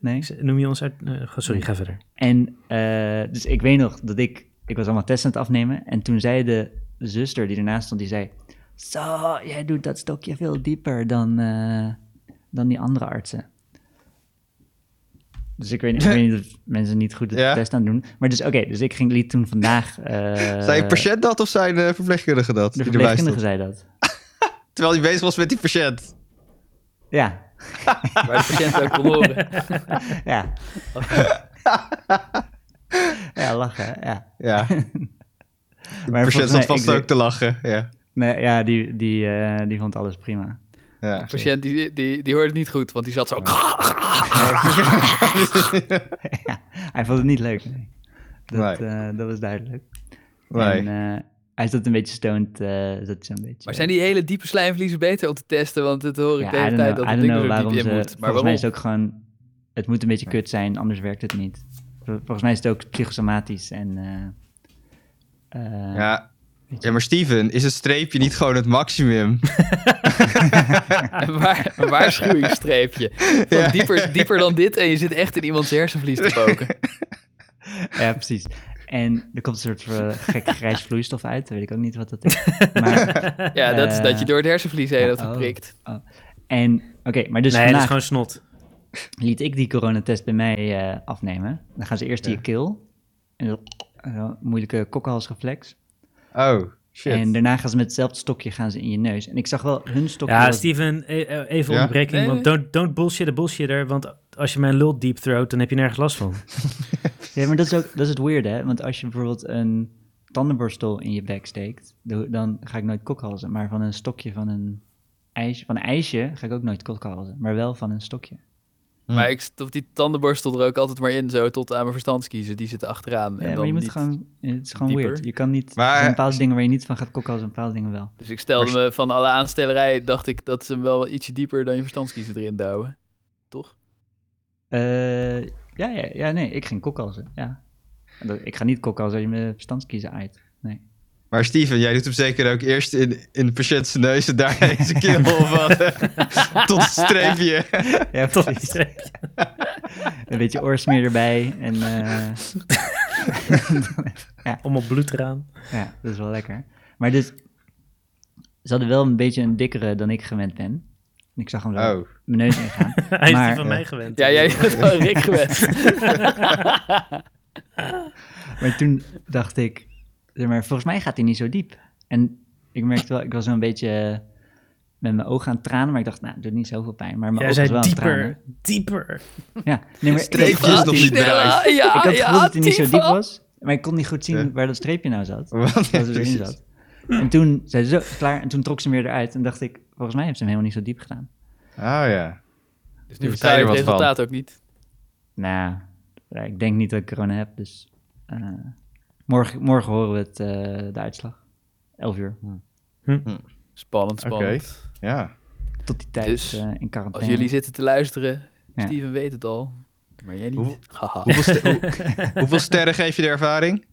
[SPEAKER 3] Nee.
[SPEAKER 1] Noem je ons uit... eh, sorry, ga verder.
[SPEAKER 3] En eh, dus ik weet nog dat ik, ik was allemaal testen aan het afnemen. En toen zei de zuster die ernaast stond, die zei... Zo, jij doet dat stokje veel dieper dan, eh, dan die andere artsen. Dus ik weet, niet- ik weet niet of mensen niet goed de
[SPEAKER 4] Ja.
[SPEAKER 3] test aan het doen. Maar dus oké, dus ik ging, liet toen vandaag... eh,
[SPEAKER 4] Zijn patiënt dat of zijn eh, verpleegkundige dat?
[SPEAKER 3] De
[SPEAKER 4] die erbij
[SPEAKER 3] verpleegkundige
[SPEAKER 4] stond?
[SPEAKER 3] zei dat.
[SPEAKER 4] Terwijl hij bezig was met die patiënt.
[SPEAKER 3] Ja,
[SPEAKER 2] Waar de patiënt ook kon horen.
[SPEAKER 3] ja. ja, lachen, ja.
[SPEAKER 4] Ja, de
[SPEAKER 3] Maar
[SPEAKER 4] patiënt
[SPEAKER 3] volgens
[SPEAKER 4] zat
[SPEAKER 3] mij-
[SPEAKER 4] vast
[SPEAKER 3] ik-
[SPEAKER 4] ook te lachen. Ja,
[SPEAKER 3] Nee, ja, die, die, eh, die vond alles prima.
[SPEAKER 4] ja.
[SPEAKER 2] De patiënt die, die, die hoorde het niet goed, want die zat zo...
[SPEAKER 3] ja, hij vond het niet leuk. Nee. Dat,
[SPEAKER 4] Nee.
[SPEAKER 3] eh, dat was duidelijk.
[SPEAKER 4] Nee.
[SPEAKER 3] En, eh, hij zat een beetje stoned. eh zat zo'n beetje,
[SPEAKER 2] Maar zijn die hele diepe slijmvliezen beter om te testen? Want het hoor ik
[SPEAKER 3] ja,
[SPEAKER 2] de
[SPEAKER 3] I
[SPEAKER 2] hele
[SPEAKER 3] don't
[SPEAKER 2] tijd
[SPEAKER 3] know,
[SPEAKER 2] dat het
[SPEAKER 3] I
[SPEAKER 2] ding
[SPEAKER 3] don't know
[SPEAKER 2] er zo
[SPEAKER 3] waarom
[SPEAKER 2] diep
[SPEAKER 3] ze,
[SPEAKER 2] in moet. Maar
[SPEAKER 3] volgens mij
[SPEAKER 2] waarom?
[SPEAKER 3] is het ook gewoon... Het moet een beetje kut zijn, anders werkt het niet. Vol- Volgens mij is het ook psychosomatisch en... eh, eh,
[SPEAKER 4] ja. ja, maar Steven, is het streepje niet gewoon het maximum?
[SPEAKER 2] Een, waar, een waarschuwingsstreepje. Want
[SPEAKER 4] Ja.
[SPEAKER 2] dieper, dieper dan dit en je zit echt in iemands hersenvlies te poken.
[SPEAKER 3] Ja, precies. En er komt een soort eh, gek grijs vloeistof uit. Weet ik ook niet wat dat is. Maar,
[SPEAKER 2] Ja, dat is dat je
[SPEAKER 3] Eh,
[SPEAKER 2] door het hersenvlies heen
[SPEAKER 3] ja,
[SPEAKER 2] hebt
[SPEAKER 3] oh.
[SPEAKER 2] geprikt.
[SPEAKER 3] en oké, maar
[SPEAKER 1] nee, dat
[SPEAKER 3] dus
[SPEAKER 1] is
[SPEAKER 3] vandaag
[SPEAKER 1] gewoon snot.
[SPEAKER 3] liet ik die coronatest bij mij eh, afnemen. Dan gaan ze eerst die keel. En dat zo'n moeilijke kokhalsreflex.
[SPEAKER 4] Oh, shit.
[SPEAKER 3] En daarna gaan ze met hetzelfde stokje gaan ze in je neus. En ik zag wel hun stokje.
[SPEAKER 1] Ja,
[SPEAKER 3] was-
[SPEAKER 1] Steven, e- e- even
[SPEAKER 4] Ja?
[SPEAKER 1] onderbreking,
[SPEAKER 2] Nee,
[SPEAKER 1] want don't, don't bullshit de bullshitter, want als je mijn lul deep throat, dan heb je nergens last van.
[SPEAKER 3] Ja, maar dat is ook dat is het weird, hè? Want als je bijvoorbeeld een tandenborstel in je bek steekt, do- dan ga ik nooit kokhalzen. Maar van een stokje van een ijsje, van een ijsje ga ik ook nooit kokhalzen. Maar wel van een stokje. Mm.
[SPEAKER 2] Maar ik stop die tandenborstel er ook altijd maar in, zo tot aan mijn verstandskiezen. Die zitten achteraan. en
[SPEAKER 3] Ja,
[SPEAKER 2] dan
[SPEAKER 3] maar je moet
[SPEAKER 2] niet.
[SPEAKER 3] gewoon, het is gewoon
[SPEAKER 2] dieper.
[SPEAKER 3] weird. Je kan niet,
[SPEAKER 4] Maar-
[SPEAKER 3] er zijn bepaalde dingen waar je niet van gaat kokhalzen en bepaalde dingen wel.
[SPEAKER 2] Dus ik stelde me van alle aanstellerij, dacht ik dat ze hem wel ietsje dieper dan je verstandskiezen erin douwen. Toch?
[SPEAKER 3] Eh, ja, ja, ja, nee, ik ging kokhalzen, ja. Dat- Ik ga niet kokhalzen als je me verstandskiezen uit.
[SPEAKER 4] Maar Steven, jij doet hem zeker ook eerst in, in de patiënt zijn neus en daarna in zijn keel of Oh, wat? Tot het streepje.
[SPEAKER 3] Ja,
[SPEAKER 1] Tot
[SPEAKER 3] precies. Een beetje oorsmeer erbij en... eh,
[SPEAKER 1] Allemaal bloed eraan.
[SPEAKER 3] Ja, dat is wel lekker. Maar dus, ze hadden wel een beetje een dikkere dan ik gewend ben. En Ik zag hem zo
[SPEAKER 4] Oh.
[SPEAKER 3] mijn neus ingaan.
[SPEAKER 1] Hij is
[SPEAKER 3] Maar- eh,
[SPEAKER 1] die van mij gewend.
[SPEAKER 2] Ja, jij bent wel Rick geweest.
[SPEAKER 3] Maar toen dacht ik, zeg maar volgens mij gaat hij niet zo diep. En ik merkte wel, ik was wel een beetje eh, met mijn ogen aan het tranen, maar ik dacht, nou, het doet niet zoveel pijn. Maar mijn
[SPEAKER 1] Jij
[SPEAKER 3] ogen was
[SPEAKER 1] zei
[SPEAKER 3] wel aan het
[SPEAKER 1] dieper, dieper.
[SPEAKER 3] tranen. Ja, nee, maar ik-
[SPEAKER 4] Streepjes
[SPEAKER 3] ik, had-
[SPEAKER 4] nog niet
[SPEAKER 2] Ja,
[SPEAKER 4] bereikt.
[SPEAKER 2] ja,
[SPEAKER 3] ik
[SPEAKER 4] Ah,
[SPEAKER 3] had het gevoel
[SPEAKER 2] ja,
[SPEAKER 3] dat hij niet zo diep
[SPEAKER 2] Tifa.
[SPEAKER 3] was, maar ik kon niet goed zien
[SPEAKER 4] Ja.
[SPEAKER 3] waar dat streepje nou zat.
[SPEAKER 4] Wat?
[SPEAKER 3] Dat het erin
[SPEAKER 4] Precies.
[SPEAKER 3] zat. En toen zei ze zo, klaar. En toen trok ze hem weer eruit. En dacht ik, volgens mij heeft ze hem helemaal niet zo diep gedaan.
[SPEAKER 4] Oh ja.
[SPEAKER 2] Dus
[SPEAKER 4] Nu
[SPEAKER 2] nu
[SPEAKER 4] vertel je
[SPEAKER 2] vertaal je
[SPEAKER 4] er
[SPEAKER 2] het
[SPEAKER 4] wat van.
[SPEAKER 2] resultaat ook niet.
[SPEAKER 3] Nou, ja, ik denk niet dat ik corona heb. Dus eh, morgen, morgen horen we het, eh, de uitslag. 11 uur.
[SPEAKER 2] Spannend,
[SPEAKER 4] Oké.
[SPEAKER 2] spannend.
[SPEAKER 4] Ja.
[SPEAKER 3] Tot die tijd
[SPEAKER 2] Dus,
[SPEAKER 3] eh, in
[SPEAKER 2] Als
[SPEAKER 3] quarantaine.
[SPEAKER 2] jullie zitten te luisteren,
[SPEAKER 3] Ja.
[SPEAKER 2] Steven weet het al. Maar jij
[SPEAKER 4] Hoe-
[SPEAKER 2] niet. Haha.
[SPEAKER 4] Hoeveel, ste- hoe- hoeveel sterren geef je de ervaring?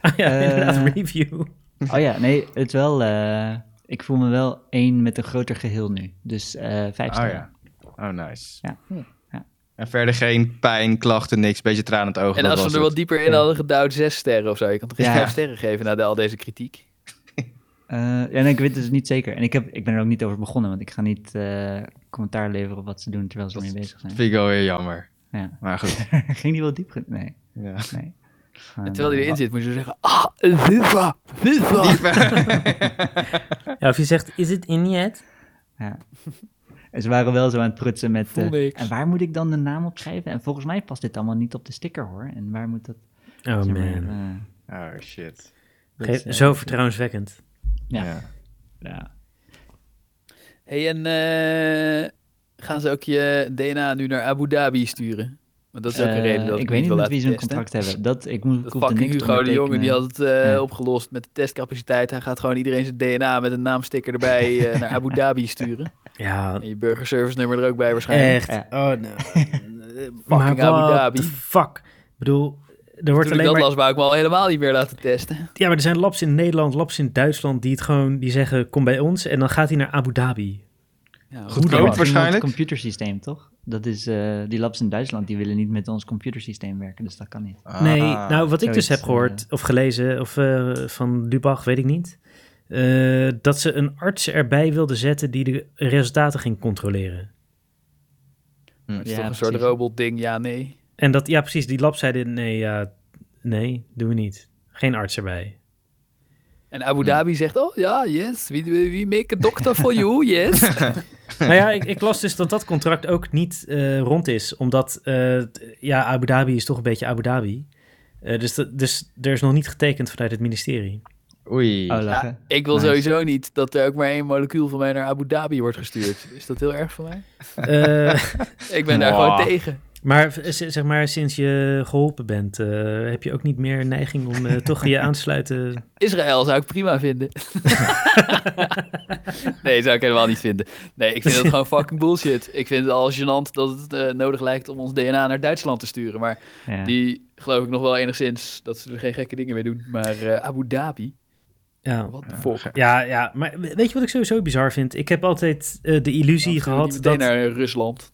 [SPEAKER 1] Ah ja,
[SPEAKER 3] Eh.
[SPEAKER 1] inderdaad, review.
[SPEAKER 3] Oh ja, nee, het is wel. eh, ik voel me wel één met een groter geheel nu. Dus eh vijf
[SPEAKER 4] Oh
[SPEAKER 3] sterren.
[SPEAKER 4] ja. Oh nice.
[SPEAKER 3] Ja. Ja.
[SPEAKER 4] En verder geen pijn, klachten, niks. Beetje traan in het oog.
[SPEAKER 2] En
[SPEAKER 4] dat
[SPEAKER 2] als
[SPEAKER 4] was
[SPEAKER 2] we er
[SPEAKER 4] het.
[SPEAKER 2] wat dieper in
[SPEAKER 3] Ja.
[SPEAKER 2] hadden geduwd, zes sterren of zo. Je kan toch geen
[SPEAKER 3] Ja.
[SPEAKER 2] vijf sterren geven na de- al deze kritiek?
[SPEAKER 3] Eh, ja, nee, ik weet het dus niet zeker. En ik, heb, ik ben er ook niet over begonnen, want ik ga niet eh, commentaar leveren op wat ze doen terwijl ze
[SPEAKER 4] Dat
[SPEAKER 3] ermee bezig zijn.
[SPEAKER 4] Vind ik wel weer jammer.
[SPEAKER 3] Ja.
[SPEAKER 4] Maar goed.
[SPEAKER 3] Ging die wel diep? ge- Nee,
[SPEAKER 4] Ja.
[SPEAKER 3] nee.
[SPEAKER 2] En terwijl hij erin zit, moet je zo zeggen, ah, FIFA, FIFA.
[SPEAKER 1] Ja, of je zegt, is het in yet?
[SPEAKER 3] En Eh, ze waren wel zo aan het prutsen met. eh,
[SPEAKER 2] Voel niks.
[SPEAKER 3] en waar moet ik dan de naam op schrijven? En volgens mij past dit allemaal niet op de sticker hoor. En waar moet dat.
[SPEAKER 1] Oh
[SPEAKER 3] zeg maar,
[SPEAKER 1] man.
[SPEAKER 3] eh,
[SPEAKER 4] Oh shit.
[SPEAKER 3] dat
[SPEAKER 1] Ge-
[SPEAKER 3] is, eh,
[SPEAKER 1] zo vertrouwenswekkend.
[SPEAKER 3] Ja.
[SPEAKER 4] Ja.
[SPEAKER 3] ja.
[SPEAKER 2] Hey, en eh, gaan ze ook je DNA nu naar Abu Dhabi sturen? Want dat is ook een
[SPEAKER 3] Eh,
[SPEAKER 2] reden dat ik,
[SPEAKER 3] ik weet niet
[SPEAKER 2] wil
[SPEAKER 3] met
[SPEAKER 2] laten
[SPEAKER 3] wie ze een
[SPEAKER 2] testen.
[SPEAKER 3] contract hebben. Dat, ik moet, ik
[SPEAKER 2] Dat
[SPEAKER 3] hoefde
[SPEAKER 2] fucking
[SPEAKER 3] niks te
[SPEAKER 2] Hugo de Jonge,
[SPEAKER 3] ondertekenen.
[SPEAKER 2] die had het eh,
[SPEAKER 3] Ja.
[SPEAKER 2] opgelost met de testcapaciteit. Hij gaat gewoon iedereen zijn DNA met een naamsticker erbij eh, naar Abu Dhabi sturen.
[SPEAKER 1] Ja,
[SPEAKER 2] En je burgerservice nummer er ook bij waarschijnlijk.
[SPEAKER 1] echt.
[SPEAKER 3] Ja.
[SPEAKER 1] Oh, no. maar
[SPEAKER 2] Fucking Abu
[SPEAKER 1] what
[SPEAKER 2] Dhabi.
[SPEAKER 1] the fuck? Ik bedoel, er wordt
[SPEAKER 2] Toen ik
[SPEAKER 1] alleen
[SPEAKER 2] dat
[SPEAKER 1] maar...
[SPEAKER 2] las, wou ik me al helemaal niet meer laten testen.
[SPEAKER 1] Ja, maar er zijn labs in Nederland, labs in Duitsland... die het gewoon, die zeggen, kom bij ons. En dan gaat hij naar Abu Dhabi.
[SPEAKER 2] Ja,
[SPEAKER 3] Ja,
[SPEAKER 4] Goed Ook
[SPEAKER 3] maar het is iemand
[SPEAKER 4] waarschijnlijk.
[SPEAKER 3] computersysteem, toch? Dat is, eh, die labs in Duitsland, die willen niet met ons computersysteem werken, dus dat kan niet.
[SPEAKER 4] Ah,
[SPEAKER 1] nee, nou, wat ik dus
[SPEAKER 3] zoiets,
[SPEAKER 1] heb gehoord
[SPEAKER 3] eh.
[SPEAKER 1] of gelezen... of eh, van Lubach, weet ik niet... eh, dat ze een arts erbij wilden zetten... die de resultaten ging controleren.
[SPEAKER 2] Het is
[SPEAKER 3] Ja,
[SPEAKER 2] toch een soort
[SPEAKER 3] precies.
[SPEAKER 2] robotding, ja, nee.
[SPEAKER 1] En dat, ja, precies, die lab zeiden: nee, ja, nee, doen we niet. Geen arts erbij.
[SPEAKER 2] En Abu Dhabi zegt, oh ja, yes, we, we we make a doctor for you, yes.
[SPEAKER 1] nou ja, ik, ik las dus dat dat contract ook niet eh, rond is, omdat, eh, t- ja, Abu Dhabi is toch een beetje Abu Dhabi. Eh, dus, dat- dus er is nog niet getekend vanuit het ministerie.
[SPEAKER 4] Oei.
[SPEAKER 3] Oh, lachen.
[SPEAKER 2] Ik wil
[SPEAKER 3] Nice.
[SPEAKER 2] sowieso niet dat er ook maar één molecuul van mij naar Abu Dhabi wordt gestuurd. Is dat heel erg voor mij?
[SPEAKER 1] Eh,
[SPEAKER 2] Ik ben daar
[SPEAKER 4] Mwah.
[SPEAKER 2] gewoon tegen.
[SPEAKER 1] maar v- z- zeg maar, sinds je geholpen bent, eh, heb je ook niet meer neiging om eh, toch je aansluiten.
[SPEAKER 2] Israël zou ik prima vinden. nee, zou ik helemaal niet vinden. Nee, ik vind het gewoon fucking bullshit. Ik vind het al gênant dat het eh, nodig lijkt om ons DNA naar Duitsland te sturen. Maar
[SPEAKER 3] Ja.
[SPEAKER 2] die geloof ik nog wel enigszins dat ze er geen gekke dingen mee doen. Maar eh, Abu Dhabi,
[SPEAKER 1] Ja.
[SPEAKER 2] wat de fuck.
[SPEAKER 1] Ja, ja, maar we- weet je wat ik sowieso bizar vind? Ik heb altijd eh, de illusie
[SPEAKER 2] Dan gaan we
[SPEAKER 1] gehad
[SPEAKER 2] niet
[SPEAKER 1] dat...
[SPEAKER 2] meteen naar eh, Rusland.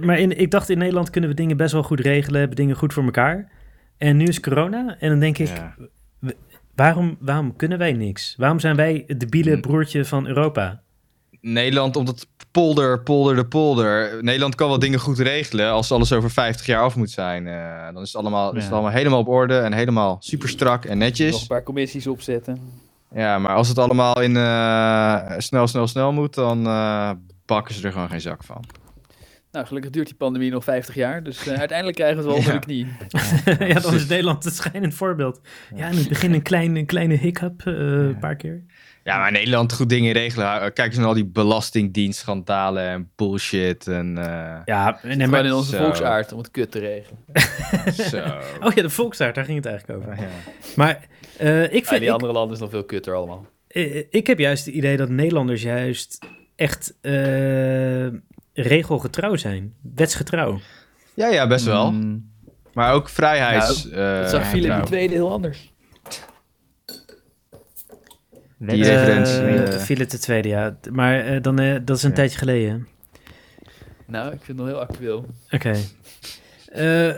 [SPEAKER 1] Maar in, ik dacht, in Nederland kunnen we dingen best wel goed regelen, hebben dingen goed voor elkaar. En nu is corona en dan denk ik,
[SPEAKER 4] Ja.
[SPEAKER 1] waarom, waarom kunnen wij niks? Waarom zijn wij het debiele
[SPEAKER 4] Hm.
[SPEAKER 1] broertje van Europa?
[SPEAKER 4] Nederland, omdat polder, polder de polder. Nederland kan wel dingen goed regelen als alles over 50 jaar af moet zijn. Eh, dan is het, allemaal, is het
[SPEAKER 3] Ja.
[SPEAKER 4] allemaal helemaal op orde en helemaal super strak en
[SPEAKER 2] Nog een
[SPEAKER 4] netjes.
[SPEAKER 2] paar commissies opzetten.
[SPEAKER 4] Ja, maar als het allemaal in eh, snel, snel, snel moet, dan eh, bakken ze er gewoon geen zak van.
[SPEAKER 2] Nou, gelukkig duurt die pandemie nog 50 jaar. Dus eh, uiteindelijk krijgen we het wel onder
[SPEAKER 4] Ja.
[SPEAKER 2] de knie.
[SPEAKER 1] ja, dan is Nederland het schijnend voorbeeld. Ja, in het begin een, klein, een kleine hiccup, eh, een paar keer.
[SPEAKER 4] Ja, maar Nederland goed dingen regelen. Kijk eens naar al die belastingdienstschandalen en bullshit en eh,
[SPEAKER 1] Ja, nee,
[SPEAKER 2] maar
[SPEAKER 1] maar...
[SPEAKER 2] in onze
[SPEAKER 4] Zo.
[SPEAKER 2] volksaard om het kut te regelen.
[SPEAKER 4] zo.
[SPEAKER 1] Oh ja, de Volksaard, daar ging het eigenlijk over.
[SPEAKER 4] Ja.
[SPEAKER 1] Maar eh, ik,
[SPEAKER 2] Ja,
[SPEAKER 1] vind,
[SPEAKER 2] die
[SPEAKER 1] ik,
[SPEAKER 2] andere landen is nog veel kutter allemaal.
[SPEAKER 1] eh, ik heb juist het idee dat Nederlanders juist echt eh, regelgetrouw zijn. Wetsgetrouw.
[SPEAKER 4] ja, ja, best wel.
[SPEAKER 3] Mm,
[SPEAKER 4] Maar ook vrijheids...
[SPEAKER 2] Dat
[SPEAKER 4] eh,
[SPEAKER 2] zag Philip
[SPEAKER 4] trouw.
[SPEAKER 2] II tweede heel anders.
[SPEAKER 3] wet-
[SPEAKER 4] Die
[SPEAKER 1] Eh,
[SPEAKER 4] referentie, eh.
[SPEAKER 1] Philip de Tweede, ja. Maar eh, dan, eh, dat is een
[SPEAKER 4] Ja.
[SPEAKER 1] tijdje geleden.
[SPEAKER 2] Nou, ik vind het nog heel actueel.
[SPEAKER 1] Oké. Eh,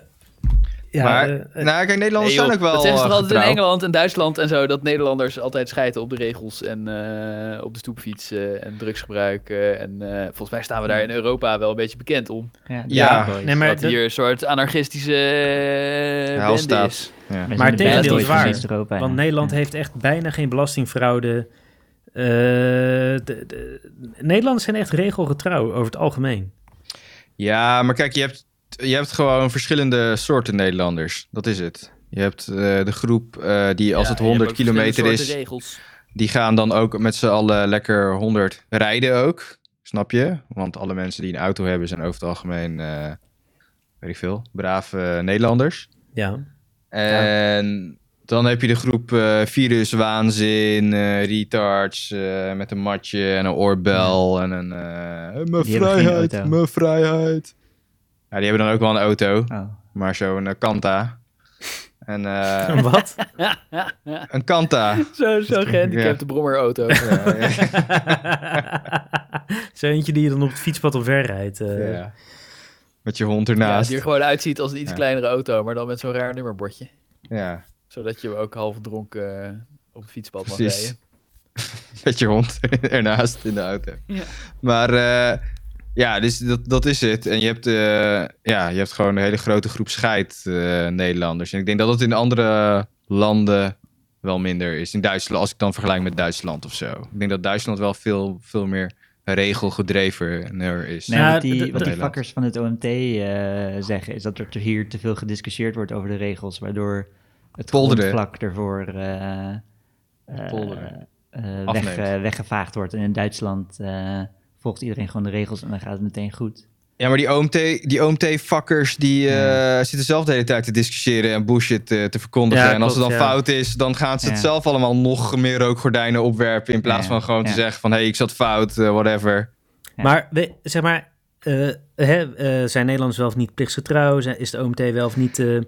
[SPEAKER 1] ja,
[SPEAKER 4] Maar,
[SPEAKER 1] eh, eh,
[SPEAKER 4] Nou, kijk, Nederlanders
[SPEAKER 2] Nee, joh,
[SPEAKER 4] zijn ook wel
[SPEAKER 2] dat zeggen ze
[SPEAKER 4] eh,
[SPEAKER 2] toch altijd
[SPEAKER 4] getrouw.
[SPEAKER 2] in Engeland en Duitsland en zo, dat Nederlanders altijd schijten op de regels en eh, op de stoepfiets eh, en drugsgebruik. eh, en eh, volgens mij staan we daar in Europa wel een beetje bekend om.
[SPEAKER 3] ja, de
[SPEAKER 4] Ja.
[SPEAKER 3] Bad Boys.
[SPEAKER 1] nee, maar,
[SPEAKER 2] dat
[SPEAKER 1] dat-
[SPEAKER 2] hier een soort anarchische eh, bende
[SPEAKER 4] Heilstaat.
[SPEAKER 2] is.
[SPEAKER 4] Ja.
[SPEAKER 3] Wij
[SPEAKER 1] maar
[SPEAKER 3] zijn de
[SPEAKER 1] het
[SPEAKER 3] Bad
[SPEAKER 2] tegendeel
[SPEAKER 3] Boys
[SPEAKER 2] is
[SPEAKER 3] van
[SPEAKER 2] waar.
[SPEAKER 3] West-Europa, ja.
[SPEAKER 1] want Nederland
[SPEAKER 3] Ja.
[SPEAKER 1] heeft echt bijna geen belastingfraude. Eh, de, de- Nederlanders zijn echt regelgetrouw over het algemeen.
[SPEAKER 4] Ja, maar kijk, je hebt, je hebt gewoon verschillende soorten Nederlanders. Dat is het. Je hebt eh, de groep eh, die als
[SPEAKER 2] Ja,
[SPEAKER 4] het
[SPEAKER 2] en je hebt
[SPEAKER 4] 100
[SPEAKER 2] ook verschillende
[SPEAKER 4] kilometer is,
[SPEAKER 2] soorten regels.
[SPEAKER 4] Die gaan dan ook met z'n allen lekker 100 rijden ook. Snap je? Want alle mensen die een auto hebben zijn over het algemeen, eh, weet ik veel, brave Nederlanders.
[SPEAKER 1] Ja.
[SPEAKER 4] En dan heb je de groep eh viruswaanzin, eh, retards eh, met een matje en een oorbel en een... eh, mijn
[SPEAKER 3] Die hebben geen
[SPEAKER 4] vrijheid,
[SPEAKER 3] auto.
[SPEAKER 4] mijn vrijheid. Ja, die hebben dan ook wel een auto,
[SPEAKER 3] Oh.
[SPEAKER 4] maar zo'n eh, Kanta. En eh,
[SPEAKER 1] Wat?
[SPEAKER 4] een Kanta.
[SPEAKER 2] Zo'n zo gehandicapte brommerauto.
[SPEAKER 4] Ja, ja.
[SPEAKER 1] Zo eentje die je dan op het fietspad op ver rijdt. eh.
[SPEAKER 4] Ja. Met je hond
[SPEAKER 2] Ja,
[SPEAKER 4] ernaast.
[SPEAKER 2] die er gewoon uitziet als een iets
[SPEAKER 4] Ja.
[SPEAKER 2] kleinere auto, maar dan met zo'n raar nummerbordje.
[SPEAKER 4] Ja,
[SPEAKER 2] Zodat je ook half dronken eh, op het fietspad mag
[SPEAKER 4] precies.
[SPEAKER 2] rijden.
[SPEAKER 4] Met je hond ernaast in de auto.
[SPEAKER 2] Ja.
[SPEAKER 4] Maar eh, ja, dus dat, dat is het. En je hebt, eh, ja, je hebt gewoon een hele grote groep scheid eh, Nederlanders. En ik denk dat dat in andere landen wel minder is. In Duitsland, als ik dan vergelijk met Duitsland of zo. Ik denk dat Duitsland wel veel, veel meer regelgedrevener is.
[SPEAKER 3] Nee,
[SPEAKER 1] Ja,
[SPEAKER 3] wat die,
[SPEAKER 1] dat-
[SPEAKER 3] wat die
[SPEAKER 4] Nederland.
[SPEAKER 3] vakkers van het OMT eh, zeggen is dat er te- hier te veel gediscussieerd wordt over de regels, waardoor het
[SPEAKER 4] Polderen.
[SPEAKER 3] grondvlak ervoor eh, eh,
[SPEAKER 4] Polderen.
[SPEAKER 3] eh, weg,
[SPEAKER 4] Afneemt.
[SPEAKER 3] eh, weggevaagd wordt. En in Duitsland eh, volgt iedereen gewoon de regels en dan gaat het meteen goed.
[SPEAKER 4] Ja, maar die OMT, die OMT-fuckers die eh, zitten zelf de hele tijd te discussiëren en bullshit eh, te verkondigen.
[SPEAKER 1] Ja,
[SPEAKER 4] en als
[SPEAKER 1] klopt,
[SPEAKER 4] het dan
[SPEAKER 1] ja.
[SPEAKER 4] fout is, dan gaan ze het
[SPEAKER 3] Ja.
[SPEAKER 4] zelf allemaal nog meer rookgordijnen opwerpen. In plaats
[SPEAKER 3] Ja,
[SPEAKER 4] van gewoon te
[SPEAKER 3] ja.
[SPEAKER 4] zeggen van, hé, hey, ik zat fout, eh, whatever.
[SPEAKER 3] Ja.
[SPEAKER 1] Maar we- zeg maar, eh, hè, eh, zijn Nederlands wel of niet plichtsgetrouw? Zijn- Is de OMT wel of niet eh,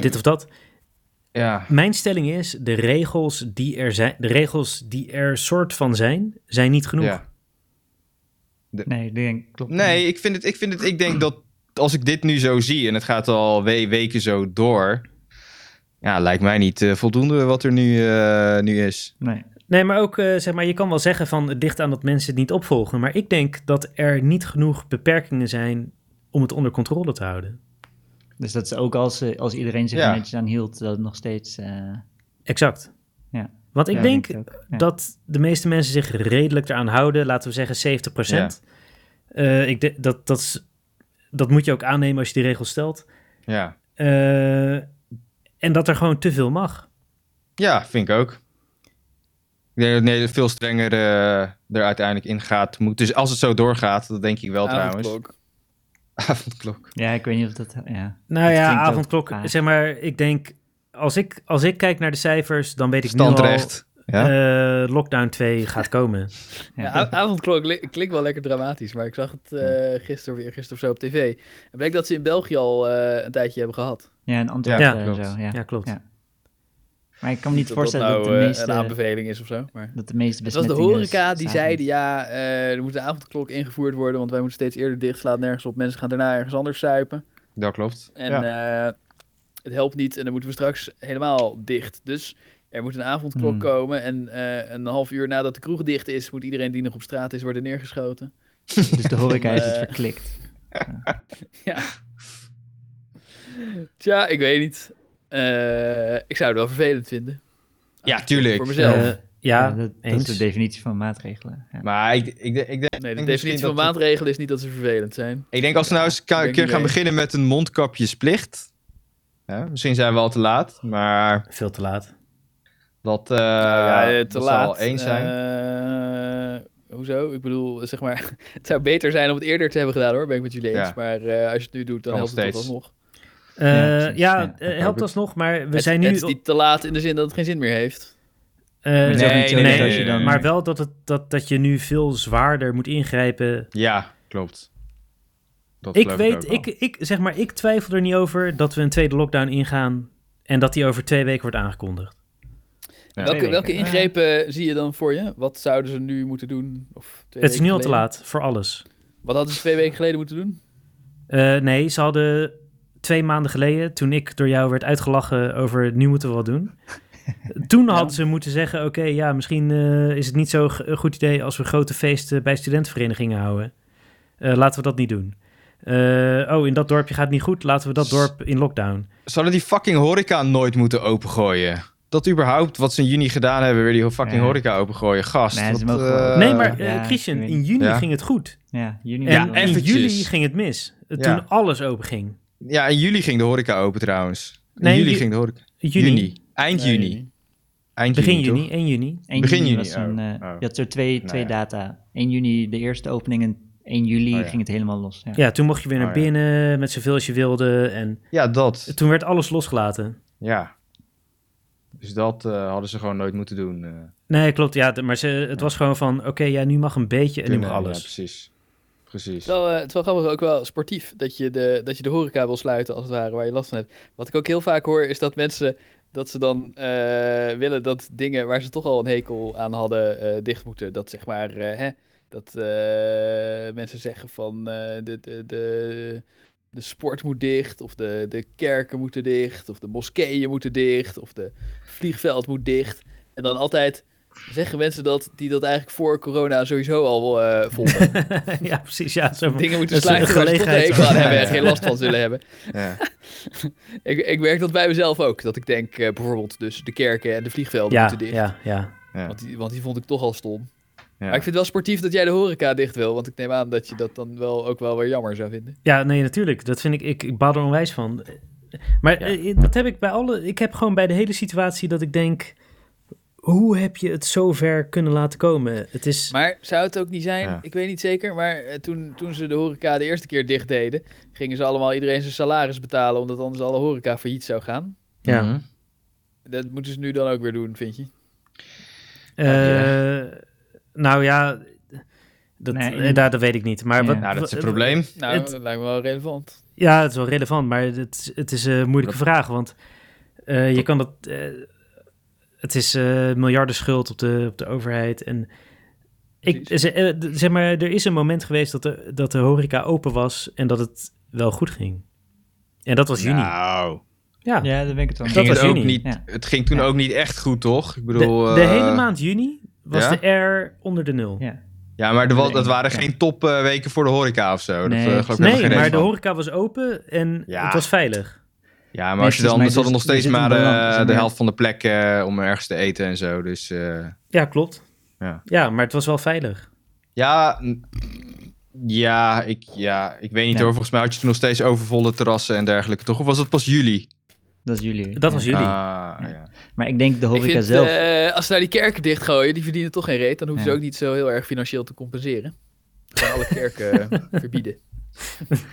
[SPEAKER 1] dit of dat?
[SPEAKER 4] Ja.
[SPEAKER 1] Mijn stelling is, de regels die er zijn, de regels die er soort van zijn, zijn niet genoeg.
[SPEAKER 4] ja.
[SPEAKER 3] Nee, ik denk, klopt.
[SPEAKER 4] Nee, ik vind, het, ik vind het, ik denk dat als ik dit nu zo zie en het gaat al we- weken zo door. Ja, lijkt mij niet eh, voldoende wat er nu, eh, nu is.
[SPEAKER 3] Nee.
[SPEAKER 1] Nee, maar ook, eh, zeg maar, je kan wel zeggen van het ligt aan dat mensen het niet opvolgen. Maar ik denk dat er niet genoeg beperkingen zijn om het onder controle te houden.
[SPEAKER 3] Dus dat is ook als, eh, als iedereen zich
[SPEAKER 4] Ja.
[SPEAKER 3] er netjes aan hield, dat het nog steeds... eh,
[SPEAKER 1] Exact.
[SPEAKER 3] Ja.
[SPEAKER 1] Want ik
[SPEAKER 3] ja,
[SPEAKER 1] denk
[SPEAKER 3] ook. Ja.
[SPEAKER 1] dat de meeste mensen zich redelijk eraan houden. Laten we zeggen 70%. Eh, ik de- dat, dat, is- dat moet je ook aannemen als je die regel stelt.
[SPEAKER 4] Ja.
[SPEAKER 1] Eh, en dat er gewoon te veel mag.
[SPEAKER 4] Ja, vind ik ook. Ik denk dat Nederland veel strenger eh, er uiteindelijk in gaat moeten. Dus als het zo doorgaat, dat denk ik wel trouwens.
[SPEAKER 2] Avondklok.
[SPEAKER 4] Avondklok.
[SPEAKER 3] Ja, ik weet niet of dat... Ja.
[SPEAKER 1] Nou
[SPEAKER 3] Dat
[SPEAKER 1] ja,
[SPEAKER 3] klinkt ook
[SPEAKER 1] avondklok.
[SPEAKER 3] vaag.
[SPEAKER 1] Zeg maar, ik denk, als ik, als ik kijk naar de cijfers, dan weet ik
[SPEAKER 4] Standrecht.
[SPEAKER 1] nu al...
[SPEAKER 4] Ja?
[SPEAKER 1] eh, lockdown 2 gaat komen.
[SPEAKER 3] Ja.
[SPEAKER 2] Ja, ah. a- avondklok li- klinkt wel lekker dramatisch, maar ik zag het eh gisteren, weer, gisteren of zo op tv. En bleek dat ze in België al eh, een tijdje hebben gehad.
[SPEAKER 3] ja, een antwoord
[SPEAKER 4] Ja,
[SPEAKER 3] eh,
[SPEAKER 4] klopt.
[SPEAKER 3] zo. Ja.
[SPEAKER 1] Ja, klopt.
[SPEAKER 3] Ja. Maar ik kan me niet
[SPEAKER 2] dat
[SPEAKER 3] voorstellen
[SPEAKER 2] dat
[SPEAKER 3] dat,
[SPEAKER 2] nou
[SPEAKER 3] de
[SPEAKER 2] eh,
[SPEAKER 3] meeste...
[SPEAKER 2] een aanbeveling is of zo. Maar...
[SPEAKER 3] dat de meeste
[SPEAKER 2] Het was de
[SPEAKER 3] besmettingen
[SPEAKER 2] horeca die
[SPEAKER 3] s'avonds-
[SPEAKER 2] zeiden, ja, eh, er moet een avondklok ingevoerd worden, want wij moeten steeds eerder dicht, slaat nergens op. Mensen gaan daarna ergens anders suipen.
[SPEAKER 4] Dat klopt.
[SPEAKER 2] En
[SPEAKER 4] ja.
[SPEAKER 2] eh, het helpt niet en dan moeten we straks helemaal dicht. Dus er moet een avondklok
[SPEAKER 3] Hmm.
[SPEAKER 2] komen en eh, een half uur nadat de kroeg dicht is, moet iedereen die nog op straat is worden neergeschoten.
[SPEAKER 3] Dus de horeca is het
[SPEAKER 2] Eh.
[SPEAKER 3] verklikt.
[SPEAKER 2] Tja, ik weet niet. Eh, ik zou het wel vervelend vinden. Ah,
[SPEAKER 4] Ja, tuurlijk.
[SPEAKER 2] Voor mezelf.
[SPEAKER 1] Eh, ja,
[SPEAKER 3] Ja, dat, dat
[SPEAKER 1] eens.
[SPEAKER 3] is de definitie van maatregelen. Ja.
[SPEAKER 4] Maar ik, ik, ik, denk-
[SPEAKER 2] nee, de
[SPEAKER 4] misschien
[SPEAKER 2] definitie van
[SPEAKER 4] dat het-
[SPEAKER 2] maatregelen is niet dat ze vervelend zijn.
[SPEAKER 4] ik denk als we nou eens ka-
[SPEAKER 2] ik
[SPEAKER 4] een
[SPEAKER 2] denk
[SPEAKER 4] keer
[SPEAKER 2] niet
[SPEAKER 4] gaan
[SPEAKER 2] mee.
[SPEAKER 4] beginnen met een mondkapjesplicht. Ja, misschien zijn we al te laat, maar
[SPEAKER 1] Veel te laat.
[SPEAKER 4] dat, eh
[SPEAKER 2] ja, eh,
[SPEAKER 4] dat
[SPEAKER 2] te
[SPEAKER 4] zal
[SPEAKER 2] laat.
[SPEAKER 4] één zijn.
[SPEAKER 2] Eh, hoezo? Ik bedoel, zeg maar, het zou beter zijn om het eerder te hebben gedaan hoor, ben ik met jullie eens.
[SPEAKER 4] Ja.
[SPEAKER 2] Maar eh, als je het nu doet, dan
[SPEAKER 4] Kan
[SPEAKER 2] helpt het toch
[SPEAKER 4] steeds.
[SPEAKER 2] alsnog.
[SPEAKER 1] Eh,
[SPEAKER 3] precies.
[SPEAKER 1] ja,
[SPEAKER 3] Ja,
[SPEAKER 1] eh,
[SPEAKER 4] ik hoop
[SPEAKER 1] helpt
[SPEAKER 4] het.
[SPEAKER 1] alsnog, maar we
[SPEAKER 2] het,
[SPEAKER 1] zijn nu...
[SPEAKER 2] het is niet te laat in de zin dat het geen zin meer heeft.
[SPEAKER 1] eh,
[SPEAKER 3] Het is ook
[SPEAKER 4] Nee,
[SPEAKER 3] niet zo
[SPEAKER 4] nee,
[SPEAKER 3] dat
[SPEAKER 1] nee,
[SPEAKER 3] als je dan-
[SPEAKER 1] maar wel dat, het, dat, dat je nu veel zwaarder moet ingrijpen.
[SPEAKER 4] Ja, klopt. Dat
[SPEAKER 1] Ik
[SPEAKER 4] geloof
[SPEAKER 1] weet,
[SPEAKER 4] ook wel.
[SPEAKER 1] ik, ik, zeg maar, ik twijfel er niet over dat we een tweede lockdown ingaan en dat die over twee weken wordt aangekondigd.
[SPEAKER 4] Ja.
[SPEAKER 2] welke,
[SPEAKER 3] Twee
[SPEAKER 2] welke
[SPEAKER 3] weken.
[SPEAKER 2] ingrepen zie je dan voor je? Wat zouden ze nu moeten doen? Of twee
[SPEAKER 1] het is
[SPEAKER 2] weken
[SPEAKER 1] nu al te
[SPEAKER 2] geleden?
[SPEAKER 1] laat voor alles.
[SPEAKER 2] Wat hadden ze twee weken geleden moeten doen?
[SPEAKER 1] Eh, nee, ze hadden twee maanden geleden, toen ik door jou werd uitgelachen over nu moeten we wat doen. Toen hadden ze moeten zeggen, oké, ja, misschien eh, is het niet zo'n g- een goed idee als we grote feesten bij studentenverenigingen houden. Eh, laten we dat niet doen. Eh, oh, in dat dorpje gaat het niet goed, laten we dat dorp in lockdown.
[SPEAKER 4] Zouden die fucking horeca nooit moeten opengooien? Dat überhaupt wat ze in juni gedaan hebben, weer die fucking
[SPEAKER 3] Ja.
[SPEAKER 4] horeca opengooien. Gast.
[SPEAKER 3] Nee, ze
[SPEAKER 4] wat,
[SPEAKER 3] mogen wel-
[SPEAKER 4] eh,
[SPEAKER 1] nee, maar eh,
[SPEAKER 3] ja,
[SPEAKER 1] Christian,
[SPEAKER 3] ik weet
[SPEAKER 1] in juni
[SPEAKER 4] Ja.
[SPEAKER 1] ging het goed.
[SPEAKER 3] Ja, juni.
[SPEAKER 1] En
[SPEAKER 4] Ja,
[SPEAKER 1] in
[SPEAKER 4] eventjes.
[SPEAKER 1] juli ging het mis, eh,
[SPEAKER 4] Ja.
[SPEAKER 1] toen alles open ging.
[SPEAKER 4] Ja, in juli ging de horeca open trouwens. In
[SPEAKER 1] Nee,
[SPEAKER 4] juli
[SPEAKER 1] ju-
[SPEAKER 4] ging de horeca.
[SPEAKER 1] Juni.
[SPEAKER 4] Eind
[SPEAKER 2] Nee,
[SPEAKER 4] juni. Eind
[SPEAKER 1] Begin
[SPEAKER 4] juni,
[SPEAKER 1] juni, 1 juni.
[SPEAKER 3] 1
[SPEAKER 4] Begin
[SPEAKER 3] juni
[SPEAKER 4] juni,
[SPEAKER 3] was
[SPEAKER 4] oh,
[SPEAKER 3] een, eh,
[SPEAKER 4] oh.
[SPEAKER 3] Je had er twee,
[SPEAKER 4] Nou
[SPEAKER 3] twee
[SPEAKER 4] ja.
[SPEAKER 3] data. 1 juni de eerste opening en 1 juli
[SPEAKER 4] Oh ja.
[SPEAKER 3] ging het helemaal los. Ja.
[SPEAKER 1] Ja, toen mocht je weer naar
[SPEAKER 4] Oh, ja.
[SPEAKER 1] binnen met zoveel als je wilde. En
[SPEAKER 4] toch? Ja, dat.
[SPEAKER 1] toen werd alles losgelaten.
[SPEAKER 4] Ja. Dus dat eh, hadden ze gewoon nooit moeten doen. eh,
[SPEAKER 1] Nee, klopt. Ja, d- maar ze, het was gewoon van, oké, ja, nu mag een beetje en nu
[SPEAKER 4] kunnen.
[SPEAKER 1] mag
[SPEAKER 4] Ja,
[SPEAKER 1] alles.
[SPEAKER 4] precies. Precies.
[SPEAKER 2] Wel, eh, het is wel grappig, ook wel sportief, dat je, de, dat je de horeca wil sluiten, als het ware, waar je last van hebt. Wat ik ook heel vaak hoor, is dat mensen, dat ze dan eh, willen dat dingen waar ze toch al een hekel aan hadden, eh, dicht moeten. Dat zeg maar, eh, hè, dat eh, mensen zeggen van, eh, de, de, de, de sport moet dicht, of de, de kerken moeten dicht, of de moskeeën moeten dicht, of de vliegveld moet dicht. En dan altijd zeggen mensen dat, die dat eigenlijk voor corona sowieso al eh vonden
[SPEAKER 1] ja, precies. Ja, zo van-
[SPEAKER 2] dingen moeten
[SPEAKER 1] Dat is een
[SPEAKER 2] sluiten waar ze toch een
[SPEAKER 1] gelegenheid.
[SPEAKER 2] hekel aan hebben en
[SPEAKER 4] Ja.
[SPEAKER 2] geen last van zullen hebben.
[SPEAKER 4] Ja.
[SPEAKER 2] Ik, ik merk dat bij mezelf ook. Dat ik denk eh, bijvoorbeeld dus de kerken en de vliegvelden
[SPEAKER 1] ja,
[SPEAKER 2] moeten dicht.
[SPEAKER 1] ja, ja.
[SPEAKER 4] ja,
[SPEAKER 2] Want, die, want die vond ik toch al stom.
[SPEAKER 4] ja.
[SPEAKER 2] Maar ik vind het wel sportief dat jij de horeca dicht wil. Want ik neem aan dat je dat dan wel ook wel weer jammer zou vinden.
[SPEAKER 1] Ja, nee, natuurlijk. Dat vind ik, ik, ik baal er onwijs van. Maar eh, dat heb ik bij alle, ik heb gewoon bij de hele situatie dat ik denk, hoe heb je het zo ver kunnen laten komen? Het is,
[SPEAKER 2] Maar zou het ook niet zijn,
[SPEAKER 4] Ja.
[SPEAKER 2] ik weet niet zeker. Maar eh, toen, toen ze de horeca de eerste keer dicht deden... gingen ze allemaal iedereen zijn salaris betalen... omdat anders alle horeca failliet zou gaan.
[SPEAKER 1] ja.
[SPEAKER 4] Mhm.
[SPEAKER 2] Dat moeten ze nu dan ook weer doen, vind je?
[SPEAKER 1] Eh, Nou ja, dat,
[SPEAKER 3] Nee,
[SPEAKER 1] eh, daar, dat weet ik niet. Maar
[SPEAKER 3] Ja.
[SPEAKER 1] wat,
[SPEAKER 4] Nou, dat is het
[SPEAKER 1] wat-
[SPEAKER 4] probleem.
[SPEAKER 2] Nou,
[SPEAKER 1] Het-
[SPEAKER 2] dat lijkt me wel relevant.
[SPEAKER 1] Ja, het is wel relevant, maar het, is- het is een moeilijke vraag. Want eh, je kan dat. eh, het is eh miljarden schuld op de, op de overheid. En ik,
[SPEAKER 2] Precies.
[SPEAKER 1] ze- eh, d- zeg maar, er is een moment geweest dat de, dat de horeca open was en dat het wel goed ging. En dat was juni. Ja,
[SPEAKER 4] Nou,
[SPEAKER 3] Ja, daar ben ik het wel mee
[SPEAKER 1] Dat
[SPEAKER 4] ging
[SPEAKER 1] was
[SPEAKER 4] het, ook
[SPEAKER 1] juni.
[SPEAKER 4] niet,
[SPEAKER 3] Ja.
[SPEAKER 4] het ging toen
[SPEAKER 3] Ja.
[SPEAKER 4] ook niet echt goed, toch? Ik
[SPEAKER 1] de,
[SPEAKER 4] bedoel,
[SPEAKER 1] de
[SPEAKER 4] eh,
[SPEAKER 1] hele maand juni was
[SPEAKER 4] ja?
[SPEAKER 1] de air onder de nul.
[SPEAKER 3] Ja.
[SPEAKER 4] Ja, maar er was, dat waren
[SPEAKER 3] Ja.
[SPEAKER 4] geen topweken weken voor de horeca of
[SPEAKER 3] Nee,
[SPEAKER 4] zo. dat, eh, geloof ik helemaal
[SPEAKER 1] Nee,
[SPEAKER 4] geen
[SPEAKER 1] maar
[SPEAKER 4] reden
[SPEAKER 1] de
[SPEAKER 4] van.
[SPEAKER 1] horeca was open en
[SPEAKER 4] Ja.
[SPEAKER 1] het was veilig.
[SPEAKER 4] Ja, maar
[SPEAKER 3] Nee,
[SPEAKER 4] als je
[SPEAKER 3] precies,
[SPEAKER 4] dan,
[SPEAKER 3] maar
[SPEAKER 4] ze hadden
[SPEAKER 3] dus-
[SPEAKER 4] nog steeds
[SPEAKER 3] er zit
[SPEAKER 4] maar
[SPEAKER 3] een balans,
[SPEAKER 4] eh,
[SPEAKER 3] er
[SPEAKER 4] de
[SPEAKER 3] zit-
[SPEAKER 4] helft van de plek eh, om ergens te eten en zo. Dus eh,
[SPEAKER 1] Ja, klopt.
[SPEAKER 4] Ja.
[SPEAKER 1] maar het was wel veilig.
[SPEAKER 4] ja, n- ja, ik, ja, ik weet niet
[SPEAKER 3] Ja.
[SPEAKER 4] hoor. Volgens mij had je toen nog steeds overvolle terrassen en dergelijke, toch? Of was dat pas juli?
[SPEAKER 3] Dat is jullie.
[SPEAKER 1] Dat was
[SPEAKER 3] Ja.
[SPEAKER 1] Juli.
[SPEAKER 4] Ah, ja.
[SPEAKER 3] Maar ik denk de
[SPEAKER 2] Ik
[SPEAKER 3] horeca
[SPEAKER 2] vind,
[SPEAKER 3] zelf.
[SPEAKER 2] eh, als ze nou die kerken dichtgooien, die verdienen toch geen reet. Dan hoeven
[SPEAKER 3] Ja.
[SPEAKER 2] ze ook niet zo heel erg financieel te compenseren. Gewoon alle kerken eh, verbieden.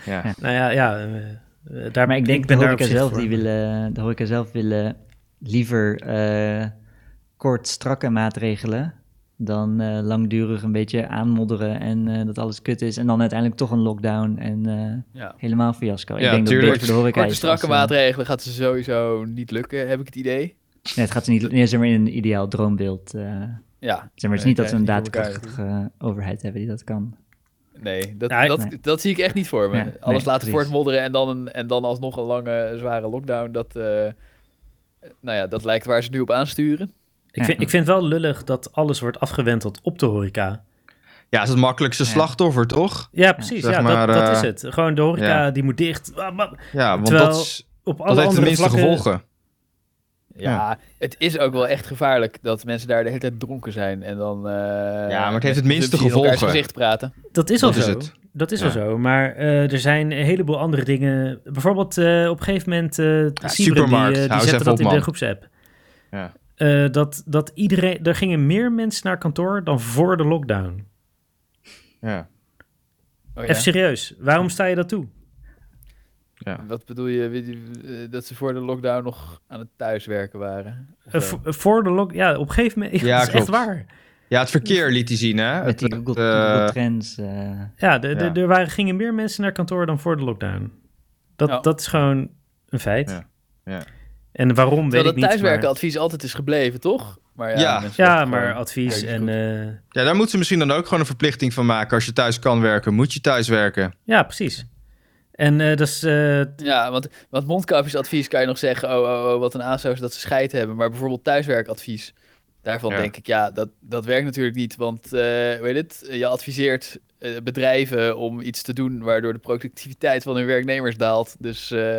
[SPEAKER 4] Ja.
[SPEAKER 3] Ja.
[SPEAKER 1] Nou ja, ja eh, eh, daar,
[SPEAKER 3] maar ik denk
[SPEAKER 1] ben
[SPEAKER 3] de
[SPEAKER 1] daar
[SPEAKER 3] horeca
[SPEAKER 1] op zich
[SPEAKER 3] zelf
[SPEAKER 1] voor.
[SPEAKER 3] die willen, de horeca zelf willen liever eh, kort strakke maatregelen dan eh, langdurig een beetje aanmodderen en eh, dat alles kut is en dan uiteindelijk toch een lockdown en eh,
[SPEAKER 2] Ja.
[SPEAKER 3] helemaal fiasco.
[SPEAKER 4] Ja,
[SPEAKER 3] ik denk
[SPEAKER 4] tuurlijk.
[SPEAKER 3] dat het beter voor de horeca
[SPEAKER 2] Korte,
[SPEAKER 3] is
[SPEAKER 2] strakke
[SPEAKER 3] als, eh,
[SPEAKER 2] maatregelen gaat ze sowieso niet lukken, heb ik het idee.
[SPEAKER 3] Nee, het gaat ze niet, nee, zeg maar in een ideaal droombeeld. eh,
[SPEAKER 2] Ja,
[SPEAKER 3] zeg maar, het is
[SPEAKER 2] Nee,
[SPEAKER 3] niet dat we een
[SPEAKER 2] krijg je niet voor
[SPEAKER 3] daadkrachtige overheid hebben die dat kan.
[SPEAKER 2] nee, dat,
[SPEAKER 1] Nee,
[SPEAKER 2] dat,
[SPEAKER 3] nee.
[SPEAKER 2] dat zie ik echt niet voor me.
[SPEAKER 3] Ja,
[SPEAKER 2] Alles
[SPEAKER 3] nee,
[SPEAKER 2] laten
[SPEAKER 3] precies.
[SPEAKER 2] voortmodderen en dan, een, en dan alsnog een lange, zware lockdown. Dat, eh, nou ja, dat lijkt waar ze nu op aansturen.
[SPEAKER 1] Ik vind, ik vind wel lullig dat alles wordt afgewenteld op de horeca.
[SPEAKER 4] ja, is het makkelijkste
[SPEAKER 3] Ja.
[SPEAKER 4] slachtoffer, toch?
[SPEAKER 1] Ja, precies.
[SPEAKER 4] Zeg
[SPEAKER 1] ja,
[SPEAKER 4] maar,
[SPEAKER 1] dat, dat
[SPEAKER 4] eh,
[SPEAKER 1] is het. Gewoon de horeca
[SPEAKER 4] ja.
[SPEAKER 1] die moet dicht. Ah, maar
[SPEAKER 4] Ja, want
[SPEAKER 1] Terwijl
[SPEAKER 4] dat, is,
[SPEAKER 1] Op alle
[SPEAKER 4] dat heeft de
[SPEAKER 1] andere
[SPEAKER 4] minste
[SPEAKER 1] vlakken.
[SPEAKER 4] gevolgen.
[SPEAKER 2] Ja, het is ook wel echt gevaarlijk dat mensen daar de hele tijd dronken zijn. En dan. eh,
[SPEAKER 4] het heeft
[SPEAKER 2] met
[SPEAKER 4] het minste
[SPEAKER 2] consumptie in elkaars
[SPEAKER 4] gevolgen.
[SPEAKER 2] gezicht praten.
[SPEAKER 1] Dat is al
[SPEAKER 4] Dat is
[SPEAKER 1] zo.
[SPEAKER 4] het.
[SPEAKER 1] Dat is
[SPEAKER 4] Ja.
[SPEAKER 1] al zo. Maar eh, er zijn een heleboel andere dingen. Bijvoorbeeld eh, op een gegeven moment. eh Siebren,
[SPEAKER 4] supermarkt.
[SPEAKER 1] Die, eh, die
[SPEAKER 4] Hou eens
[SPEAKER 1] zette
[SPEAKER 4] even
[SPEAKER 1] dat
[SPEAKER 4] op,
[SPEAKER 1] in de
[SPEAKER 4] man.
[SPEAKER 1] groepsapp.
[SPEAKER 4] Ja.
[SPEAKER 1] Eh, dat, dat iedereen. Er gingen meer mensen naar kantoor dan voor de
[SPEAKER 4] Oh
[SPEAKER 1] lockdown.
[SPEAKER 4] Ja.
[SPEAKER 2] Oh, ja.
[SPEAKER 1] Even serieus. Waarom sta je dat toe?
[SPEAKER 2] Wat bedoel je, wie die- eh, dat ze voor de lockdown nog aan het thuiswerken waren? Of
[SPEAKER 1] Eh,
[SPEAKER 2] zo?
[SPEAKER 1] vo- voor de lock. Ja, op een gegeven moment. Ja,
[SPEAKER 4] Ja,
[SPEAKER 1] dat is echt
[SPEAKER 4] klopt.
[SPEAKER 1] waar.
[SPEAKER 4] ja, het verkeer liet hij zien, hè?
[SPEAKER 3] Met die
[SPEAKER 4] Het,
[SPEAKER 3] Google,
[SPEAKER 4] eh,
[SPEAKER 3] Google Trends. eh,
[SPEAKER 1] Ja, de, de-
[SPEAKER 4] Ja.
[SPEAKER 1] er waren, gingen meer mensen naar kantoor dan voor de lockdown. Dat,
[SPEAKER 2] Ja.
[SPEAKER 1] dat is gewoon een feit.
[SPEAKER 4] Ja. Ja.
[SPEAKER 1] En waarom weet
[SPEAKER 2] Terwijl
[SPEAKER 1] ik
[SPEAKER 2] dat
[SPEAKER 1] niet. maar-
[SPEAKER 2] thuiswerkenadvies altijd is gebleven, toch? Maar ja,
[SPEAKER 4] Ja.
[SPEAKER 2] mensen
[SPEAKER 1] Ja,
[SPEAKER 2] dat
[SPEAKER 1] maar
[SPEAKER 2] gewoon-
[SPEAKER 1] advies
[SPEAKER 2] Ja,
[SPEAKER 1] en...
[SPEAKER 2] goed.
[SPEAKER 1] eh,
[SPEAKER 4] Ja, daar moeten ze misschien dan ook gewoon een verplichting van maken. Als je thuis kan werken, moet je thuis werken.
[SPEAKER 1] ja, precies. En eh, dat is... eh,
[SPEAKER 2] Ja, want, want mondkapjesadvies kan je nog zeggen, oh, oh, oh wat een aanstoot dat ze scheid hebben. Maar bijvoorbeeld thuiswerkadvies, daarvan
[SPEAKER 4] Ja.
[SPEAKER 2] denk ik, ja, dat, dat werkt natuurlijk niet. Want, eh, weet het, je adviseert eh, bedrijven om iets te doen waardoor de productiviteit van hun werknemers daalt. Dus eh,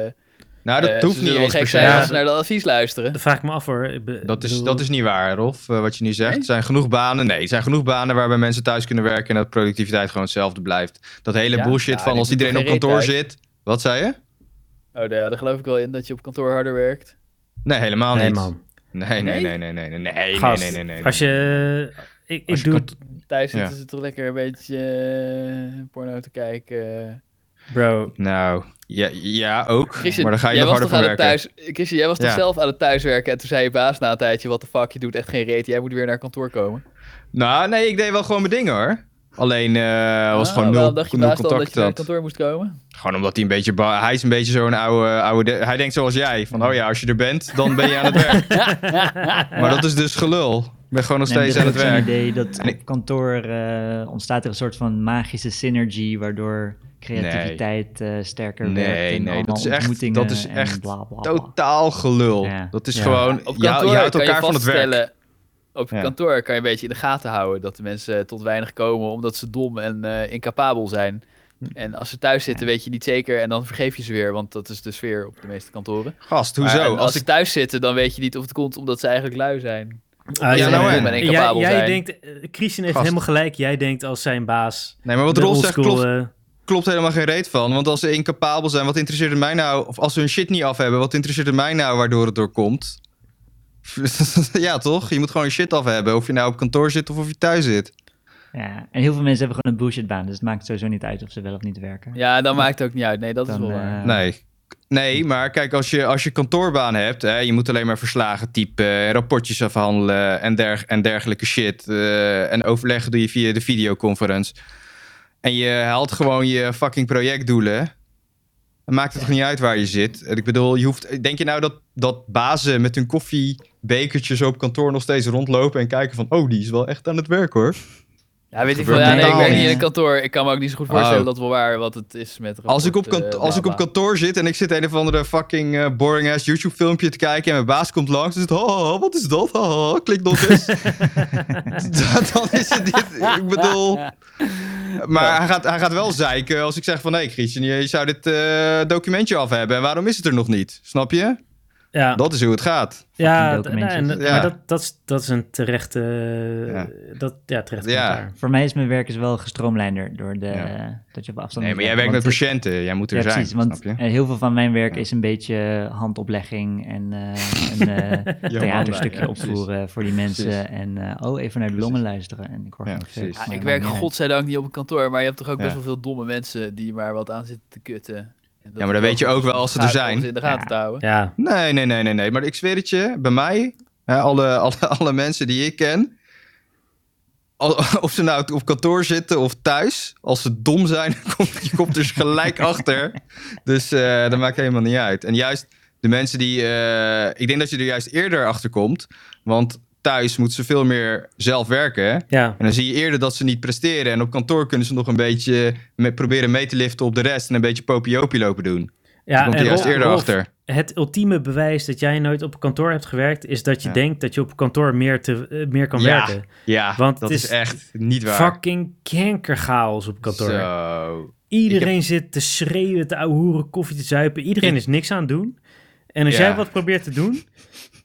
[SPEAKER 4] Nou, dat
[SPEAKER 2] eh,
[SPEAKER 4] hoeft
[SPEAKER 2] ze
[SPEAKER 4] niet
[SPEAKER 2] zullen wel
[SPEAKER 4] eens per
[SPEAKER 2] gek
[SPEAKER 4] se.
[SPEAKER 2] zijn
[SPEAKER 1] Ja,
[SPEAKER 2] als ze naar dat advies luisteren.
[SPEAKER 1] dat vraag ik me af hoor. Ik be-
[SPEAKER 4] Dat is,
[SPEAKER 1] bedoel-
[SPEAKER 4] dat is niet waar, Rolf, eh, wat je nu zegt.
[SPEAKER 2] Nee?
[SPEAKER 4] Er zijn genoeg banen. Nee, er zijn genoeg banen waarbij mensen thuis kunnen werken en dat productiviteit gewoon hetzelfde blijft. Dat hele
[SPEAKER 2] Ja.
[SPEAKER 4] bullshit
[SPEAKER 2] Ja,
[SPEAKER 4] van
[SPEAKER 2] dit
[SPEAKER 4] als
[SPEAKER 2] doet
[SPEAKER 4] iedereen
[SPEAKER 2] toch
[SPEAKER 4] op
[SPEAKER 2] geen
[SPEAKER 4] kantoor
[SPEAKER 2] reet
[SPEAKER 4] zit. Wat zei je?
[SPEAKER 2] Oh, daar, daar geloof ik wel in, dat je op kantoor harder werkt.
[SPEAKER 4] Nee, helemaal
[SPEAKER 1] Nee
[SPEAKER 4] niet.
[SPEAKER 1] man.
[SPEAKER 4] Nee, nee,
[SPEAKER 2] Nee?
[SPEAKER 4] nee, nee, nee, nee, nee,
[SPEAKER 1] Gast,
[SPEAKER 4] nee, nee, nee, nee.
[SPEAKER 1] Als je... Ik, ik
[SPEAKER 4] Als je
[SPEAKER 1] doe
[SPEAKER 4] kan-
[SPEAKER 1] het...
[SPEAKER 2] Thuis zitten
[SPEAKER 4] Ja.
[SPEAKER 2] ze toch lekker een beetje eh, porno te kijken.
[SPEAKER 1] Bro, eh,
[SPEAKER 4] Nou, ja, ja ook.
[SPEAKER 2] Christian,
[SPEAKER 4] maar dan ga je
[SPEAKER 2] jij
[SPEAKER 4] nog
[SPEAKER 2] was
[SPEAKER 4] harder
[SPEAKER 2] toch
[SPEAKER 4] voor
[SPEAKER 2] aan het
[SPEAKER 4] werken.
[SPEAKER 2] thuis... Christian, jij was toch
[SPEAKER 4] Ja.
[SPEAKER 2] zelf aan het thuiswerken en toen zei je baas na een tijdje, wat de fuck, je doet echt geen reet, jij moet weer naar kantoor komen.
[SPEAKER 4] Nou, nee, ik deed wel gewoon mijn dingen hoor. Alleen eh was
[SPEAKER 2] Ah,
[SPEAKER 4] gewoon nul,
[SPEAKER 2] waarom dacht je
[SPEAKER 4] nul
[SPEAKER 2] baas dan dat
[SPEAKER 4] contact.
[SPEAKER 2] je naar
[SPEAKER 4] had.
[SPEAKER 2] kantoor moest komen?
[SPEAKER 4] Gewoon omdat hij een beetje. ba- Hij is een beetje zo'n oude. oude de- hij denkt zoals jij. Van oh ja, als je er bent, dan ben je aan het werk. maar dat is dus gelul. Ik ben gewoon nog
[SPEAKER 3] Nee, maar
[SPEAKER 4] steeds
[SPEAKER 3] dat
[SPEAKER 4] aan het
[SPEAKER 3] is ook zo'n
[SPEAKER 4] werk.
[SPEAKER 3] idee dat
[SPEAKER 4] En ik-
[SPEAKER 3] op kantoor eh, ontstaat er een soort van magische synergy, waardoor creativiteit eh, sterker
[SPEAKER 4] Nee,
[SPEAKER 3] werkt en
[SPEAKER 4] nee, dat
[SPEAKER 3] allemaal
[SPEAKER 4] is echt-
[SPEAKER 3] ontmoetingen
[SPEAKER 4] dat is
[SPEAKER 3] en
[SPEAKER 4] echt
[SPEAKER 3] bla, bla, bla.
[SPEAKER 4] Totaal gelul.
[SPEAKER 3] Ja.
[SPEAKER 4] Dat is
[SPEAKER 3] Ja.
[SPEAKER 4] gewoon.
[SPEAKER 2] Op
[SPEAKER 4] je, hou-
[SPEAKER 2] kantoor
[SPEAKER 4] je houdt
[SPEAKER 2] kan
[SPEAKER 4] elkaar
[SPEAKER 2] je
[SPEAKER 4] van het werk.
[SPEAKER 2] vaststellen- Op
[SPEAKER 4] Ja.
[SPEAKER 2] kantoor kan je een beetje in de gaten houden dat de mensen tot weinig komen omdat ze dom en eh, incapabel zijn.
[SPEAKER 4] Hm.
[SPEAKER 2] En als ze thuis zitten, weet je niet zeker en dan vergeef je ze weer, want dat is de sfeer op de meeste kantoren.
[SPEAKER 4] Gast,
[SPEAKER 2] Maar- en
[SPEAKER 4] hoezo?
[SPEAKER 2] als,
[SPEAKER 4] Als
[SPEAKER 2] ze
[SPEAKER 4] ik,
[SPEAKER 2] thuis zitten, dan weet je niet of het komt omdat ze eigenlijk lui zijn.
[SPEAKER 1] Ah,
[SPEAKER 4] Ja,
[SPEAKER 1] ze-
[SPEAKER 4] nou,
[SPEAKER 1] eh,
[SPEAKER 4] en- en
[SPEAKER 1] jij,
[SPEAKER 2] incapabel
[SPEAKER 1] jij
[SPEAKER 2] zijn.
[SPEAKER 1] denkt, eh, Christian heeft
[SPEAKER 4] Gast.
[SPEAKER 1] helemaal gelijk. Jij denkt als zijn baas.
[SPEAKER 4] nee, maar wat
[SPEAKER 1] de
[SPEAKER 4] Rolf zegt
[SPEAKER 1] oldschool,
[SPEAKER 4] klopt,
[SPEAKER 1] eh,
[SPEAKER 4] klopt helemaal geen reet van. Want als ze incapabel zijn, wat interesseert het mij nou? Of als ze hun shit niet af hebben, wat interesseert het mij nou waardoor het doorkomt? ja, toch? Je moet gewoon je shit af hebben. Of je nou op kantoor zit of of je thuis zit.
[SPEAKER 3] Ja, en heel veel mensen hebben gewoon een bullshitbaan, dus het maakt sowieso niet uit of ze wel of niet werken.
[SPEAKER 2] Ja, dan maakt het ook niet uit. Nee, dat is
[SPEAKER 3] Dan,
[SPEAKER 2] wel waar.
[SPEAKER 3] eh,
[SPEAKER 4] Nee. Nee, maar kijk, als je, als je kantoorbaan hebt, hè, je moet alleen maar verslagen typen, eh, rapportjes afhandelen en, derg- en dergelijke shit. eh, en overleggen doe je via de videoconference. En je haalt gewoon je fucking projectdoelen. Dan maakt het toch niet uit waar je zit. En Ik bedoel, je hoeft, denk je nou dat, dat bazen met hun koffiebekertjes op kantoor nog steeds rondlopen en kijken van, oh, die is wel echt aan het werk hoor.
[SPEAKER 2] Ja, weet ik veel.
[SPEAKER 4] gebeurt
[SPEAKER 2] Ja, nee, ik
[SPEAKER 4] totaal
[SPEAKER 2] werk niet
[SPEAKER 3] niet.
[SPEAKER 2] in een kantoor. Ik kan me ook niet zo goed voorstellen
[SPEAKER 4] Oh.
[SPEAKER 2] dat wel waar wat het is met
[SPEAKER 4] Als ik, op
[SPEAKER 2] rapport,
[SPEAKER 4] kantoor,
[SPEAKER 2] eh,
[SPEAKER 4] als ik
[SPEAKER 2] bla,
[SPEAKER 4] op
[SPEAKER 2] bla.
[SPEAKER 4] kantoor zit en ik zit een of andere fucking eh, boring ass YouTube filmpje te kijken en mijn baas komt langs en zegt, oh, wat is dat? Oh, klik nog eens. Dan- Dan is het dit. Ik bedoel... Maar hij, gaat, hij gaat wel zeiken als ik zeg van, hé hey, Christian, je, je zou dit eh, documentje af hebben en waarom is het er nog niet? Snap je?
[SPEAKER 1] ja,
[SPEAKER 4] Dat is hoe het gaat.
[SPEAKER 1] ja, d-
[SPEAKER 3] documentjes.
[SPEAKER 1] en, dat-
[SPEAKER 4] Ja.
[SPEAKER 1] maar dat, dat, is, dat is een terechte. Dat, ja, terecht
[SPEAKER 4] Ja.
[SPEAKER 1] commentaar.
[SPEAKER 3] Voor mij is mijn werk is wel gestroomlijnder door de,
[SPEAKER 4] Ja.
[SPEAKER 3] dat je op afstand
[SPEAKER 4] Nee,
[SPEAKER 3] moet
[SPEAKER 4] maar jij
[SPEAKER 3] werken,
[SPEAKER 4] werkt met
[SPEAKER 3] want het-
[SPEAKER 4] patiënten. Jij moet er
[SPEAKER 3] ja,
[SPEAKER 4] zijn,
[SPEAKER 3] precies, want
[SPEAKER 4] snap je?
[SPEAKER 3] eh, heel veel van mijn werk
[SPEAKER 4] Ja.
[SPEAKER 3] is een beetje eh, handoplegging en eh, een eh,
[SPEAKER 4] Ja,
[SPEAKER 3] theaterstukje
[SPEAKER 4] man, ja,
[SPEAKER 3] opvoeren voor die mensen. En eh, oh, even naar de longen luisteren. En ik hoor
[SPEAKER 4] Ja,
[SPEAKER 3] gewoon niks.
[SPEAKER 4] precies.
[SPEAKER 2] Ja,
[SPEAKER 3] Maar
[SPEAKER 2] ik
[SPEAKER 3] dat
[SPEAKER 2] werk
[SPEAKER 3] maakt niet
[SPEAKER 2] godzijdank niet op een kantoor, maar je hebt toch ook
[SPEAKER 4] Ja.
[SPEAKER 2] best wel veel domme mensen die maar wat aan zitten te kutten. En dat
[SPEAKER 4] maar
[SPEAKER 2] is
[SPEAKER 4] dan weet je
[SPEAKER 2] goed
[SPEAKER 4] ook wel
[SPEAKER 2] om
[SPEAKER 4] als ze
[SPEAKER 2] de
[SPEAKER 4] er
[SPEAKER 2] gaten-
[SPEAKER 4] zijn.
[SPEAKER 2] om ze in de gaten
[SPEAKER 3] Ja.
[SPEAKER 2] te houden.
[SPEAKER 1] Ja.
[SPEAKER 4] Nee, nee, nee, nee, nee. Maar ik zweer het je, bij mij, hè, alle, alle, alle mensen die ik ken, al- of ze nou op kantoor zitten of thuis, als ze dom zijn, komt je komt dus gelijk achter. Dus eh, dat maakt helemaal niet uit. En juist de mensen die, eh, ik denk dat je er juist eerder achter komt, want thuis moeten ze veel meer zelf werken. hè.
[SPEAKER 1] ja.
[SPEAKER 4] En dan zie je eerder dat ze niet presteren. En op kantoor kunnen ze nog een beetje me- proberen mee te liften op de rest en een beetje popiopie lopen doen.
[SPEAKER 1] Ja,
[SPEAKER 4] dan komt je
[SPEAKER 1] en
[SPEAKER 4] juist
[SPEAKER 1] Rolf-
[SPEAKER 4] eerder
[SPEAKER 1] Rolf,
[SPEAKER 4] achter.
[SPEAKER 1] Het ultieme bewijs dat jij nooit op kantoor hebt gewerkt, is dat je
[SPEAKER 4] Ja.
[SPEAKER 1] denkt dat je op kantoor meer, te, eh, meer kan
[SPEAKER 4] Ja.
[SPEAKER 1] werken.
[SPEAKER 4] Ja,
[SPEAKER 1] Want
[SPEAKER 4] dat
[SPEAKER 1] het
[SPEAKER 4] is
[SPEAKER 1] is
[SPEAKER 4] echt niet waar.
[SPEAKER 1] Fucking kankerchaos op kantoor.
[SPEAKER 4] Zo.
[SPEAKER 1] Iedereen zit te schreeuwen, te ouwehoeren, koffie te zuipen. Iedereen
[SPEAKER 4] Ik-
[SPEAKER 1] is niks aan het doen. En als
[SPEAKER 4] Ja.
[SPEAKER 1] jij wat probeert te doen,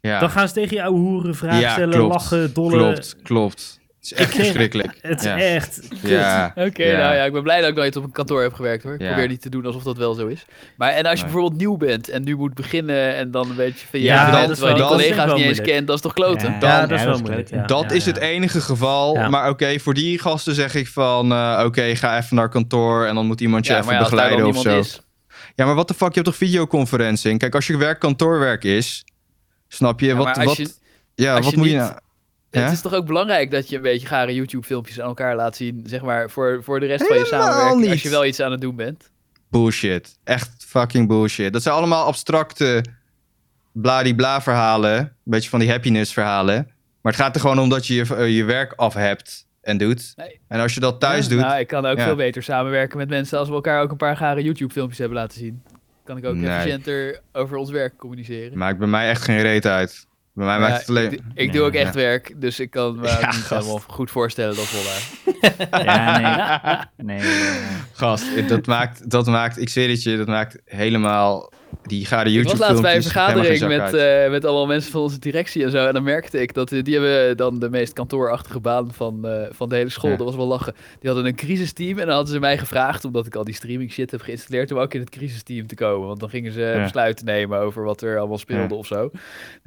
[SPEAKER 4] Ja,
[SPEAKER 1] dan gaan ze tegen je ouwehoeren vragen
[SPEAKER 4] Ja,
[SPEAKER 1] stellen,
[SPEAKER 4] klopt.
[SPEAKER 1] lachen, dollen.
[SPEAKER 4] klopt, klopt. Het is echt
[SPEAKER 1] kreeg-
[SPEAKER 4] verschrikkelijk.
[SPEAKER 1] Het is
[SPEAKER 4] Ja.
[SPEAKER 1] echt kut.
[SPEAKER 4] Ja,
[SPEAKER 2] Oké,
[SPEAKER 4] Ja.
[SPEAKER 2] nou ja, ik ben blij dat ik nooit op een kantoor heb gewerkt hoor. Ik
[SPEAKER 4] Ja.
[SPEAKER 2] probeer niet te doen alsof dat wel zo is. Maar en als je
[SPEAKER 4] Nee.
[SPEAKER 2] bijvoorbeeld nieuw bent en nu moet beginnen en dan een beetje van
[SPEAKER 4] Ja,
[SPEAKER 2] ja,
[SPEAKER 4] dat
[SPEAKER 2] ja
[SPEAKER 4] is
[SPEAKER 2] terwijl je
[SPEAKER 4] wel-
[SPEAKER 2] die
[SPEAKER 4] dat
[SPEAKER 1] ook
[SPEAKER 4] is
[SPEAKER 2] collega's
[SPEAKER 1] wel
[SPEAKER 2] niet eens
[SPEAKER 1] moeilijk.
[SPEAKER 2] kent, dat is toch
[SPEAKER 3] uit.
[SPEAKER 2] kloten?
[SPEAKER 3] Ja,
[SPEAKER 4] Dan-
[SPEAKER 1] Ja, dat is wel
[SPEAKER 3] kloten.
[SPEAKER 1] moeilijk. Ja.
[SPEAKER 4] dat
[SPEAKER 1] Ja,
[SPEAKER 4] is
[SPEAKER 1] ja.
[SPEAKER 4] het enige geval.
[SPEAKER 1] Ja.
[SPEAKER 4] Maar oké, voor die gasten zeg ik van... eh, oké, ga even naar kantoor en dan moet iemand je
[SPEAKER 2] Ja,
[SPEAKER 4] even
[SPEAKER 2] maar ja, als daar
[SPEAKER 4] begeleiden
[SPEAKER 2] dan
[SPEAKER 4] of zo.
[SPEAKER 2] niemand is.
[SPEAKER 4] Ja, maar wat de fuck, je hebt toch videoconferencing? Kijk, als je werk kantoorwerk is, snap je?
[SPEAKER 2] Ja,
[SPEAKER 4] wat
[SPEAKER 2] maar als
[SPEAKER 4] wat,
[SPEAKER 2] je-
[SPEAKER 4] ja,
[SPEAKER 2] als
[SPEAKER 4] wat
[SPEAKER 2] je
[SPEAKER 4] moet je
[SPEAKER 2] niet-
[SPEAKER 4] nou...
[SPEAKER 2] Het
[SPEAKER 4] Ja?
[SPEAKER 2] is toch ook belangrijk dat je een beetje gare YouTube-filmpjes aan elkaar laat zien, zeg maar, voor, voor de rest van je
[SPEAKER 4] Helemaal
[SPEAKER 2] samenwerking,
[SPEAKER 4] niet.
[SPEAKER 2] als je wel iets aan het doen bent.
[SPEAKER 4] Bullshit. Echt fucking bullshit. Dat zijn allemaal abstracte bladibla verhalen. Een beetje van die happiness verhalen. Maar het gaat er gewoon om dat je je, eh, je werk af hebt en doet.
[SPEAKER 2] Nee.
[SPEAKER 4] En als je dat thuis doet...
[SPEAKER 2] Nou, ik kan ook
[SPEAKER 4] Ja.
[SPEAKER 2] veel beter samenwerken met mensen als we elkaar ook een paar gare YouTube-filmpjes hebben laten zien. Kan ik ook
[SPEAKER 4] Nee.
[SPEAKER 2] efficiënter over ons werk communiceren.
[SPEAKER 4] Maakt bij mij echt geen reet uit. Bij mij maakt
[SPEAKER 2] Ja,
[SPEAKER 4] het alleen...
[SPEAKER 2] ik, doe- ik doe ook
[SPEAKER 4] Ja.
[SPEAKER 2] echt werk, dus ik kan me
[SPEAKER 4] Ja,
[SPEAKER 2] ook niet
[SPEAKER 4] gast.
[SPEAKER 2] helemaal goed voorstellen dat wel waar.
[SPEAKER 3] Ja, nee. eh, nee eh,
[SPEAKER 4] Gast, dat maakt, dat maakt, ik zweer het je, dat maakt helemaal die gare
[SPEAKER 2] Ik
[SPEAKER 4] YouTube
[SPEAKER 2] was
[SPEAKER 4] filmpjes.
[SPEAKER 2] laatst bij een vergadering
[SPEAKER 4] helemaal geen zak
[SPEAKER 2] met,
[SPEAKER 4] uit.
[SPEAKER 2] eh, met allemaal mensen van onze directie en zo. En dan merkte ik dat eh, die hebben dan de meest kantoorachtige baan van, eh, van de hele school.
[SPEAKER 4] Ja.
[SPEAKER 2] Dat was wel lachen. Die hadden een crisisteam en dan hadden ze mij gevraagd, omdat ik al die streaming shit heb geïnstalleerd, om ook in het crisisteam te komen. Want dan gingen ze
[SPEAKER 4] Ja.
[SPEAKER 2] besluiten nemen over wat er allemaal speelde
[SPEAKER 4] Ja.
[SPEAKER 2] of zo. Dus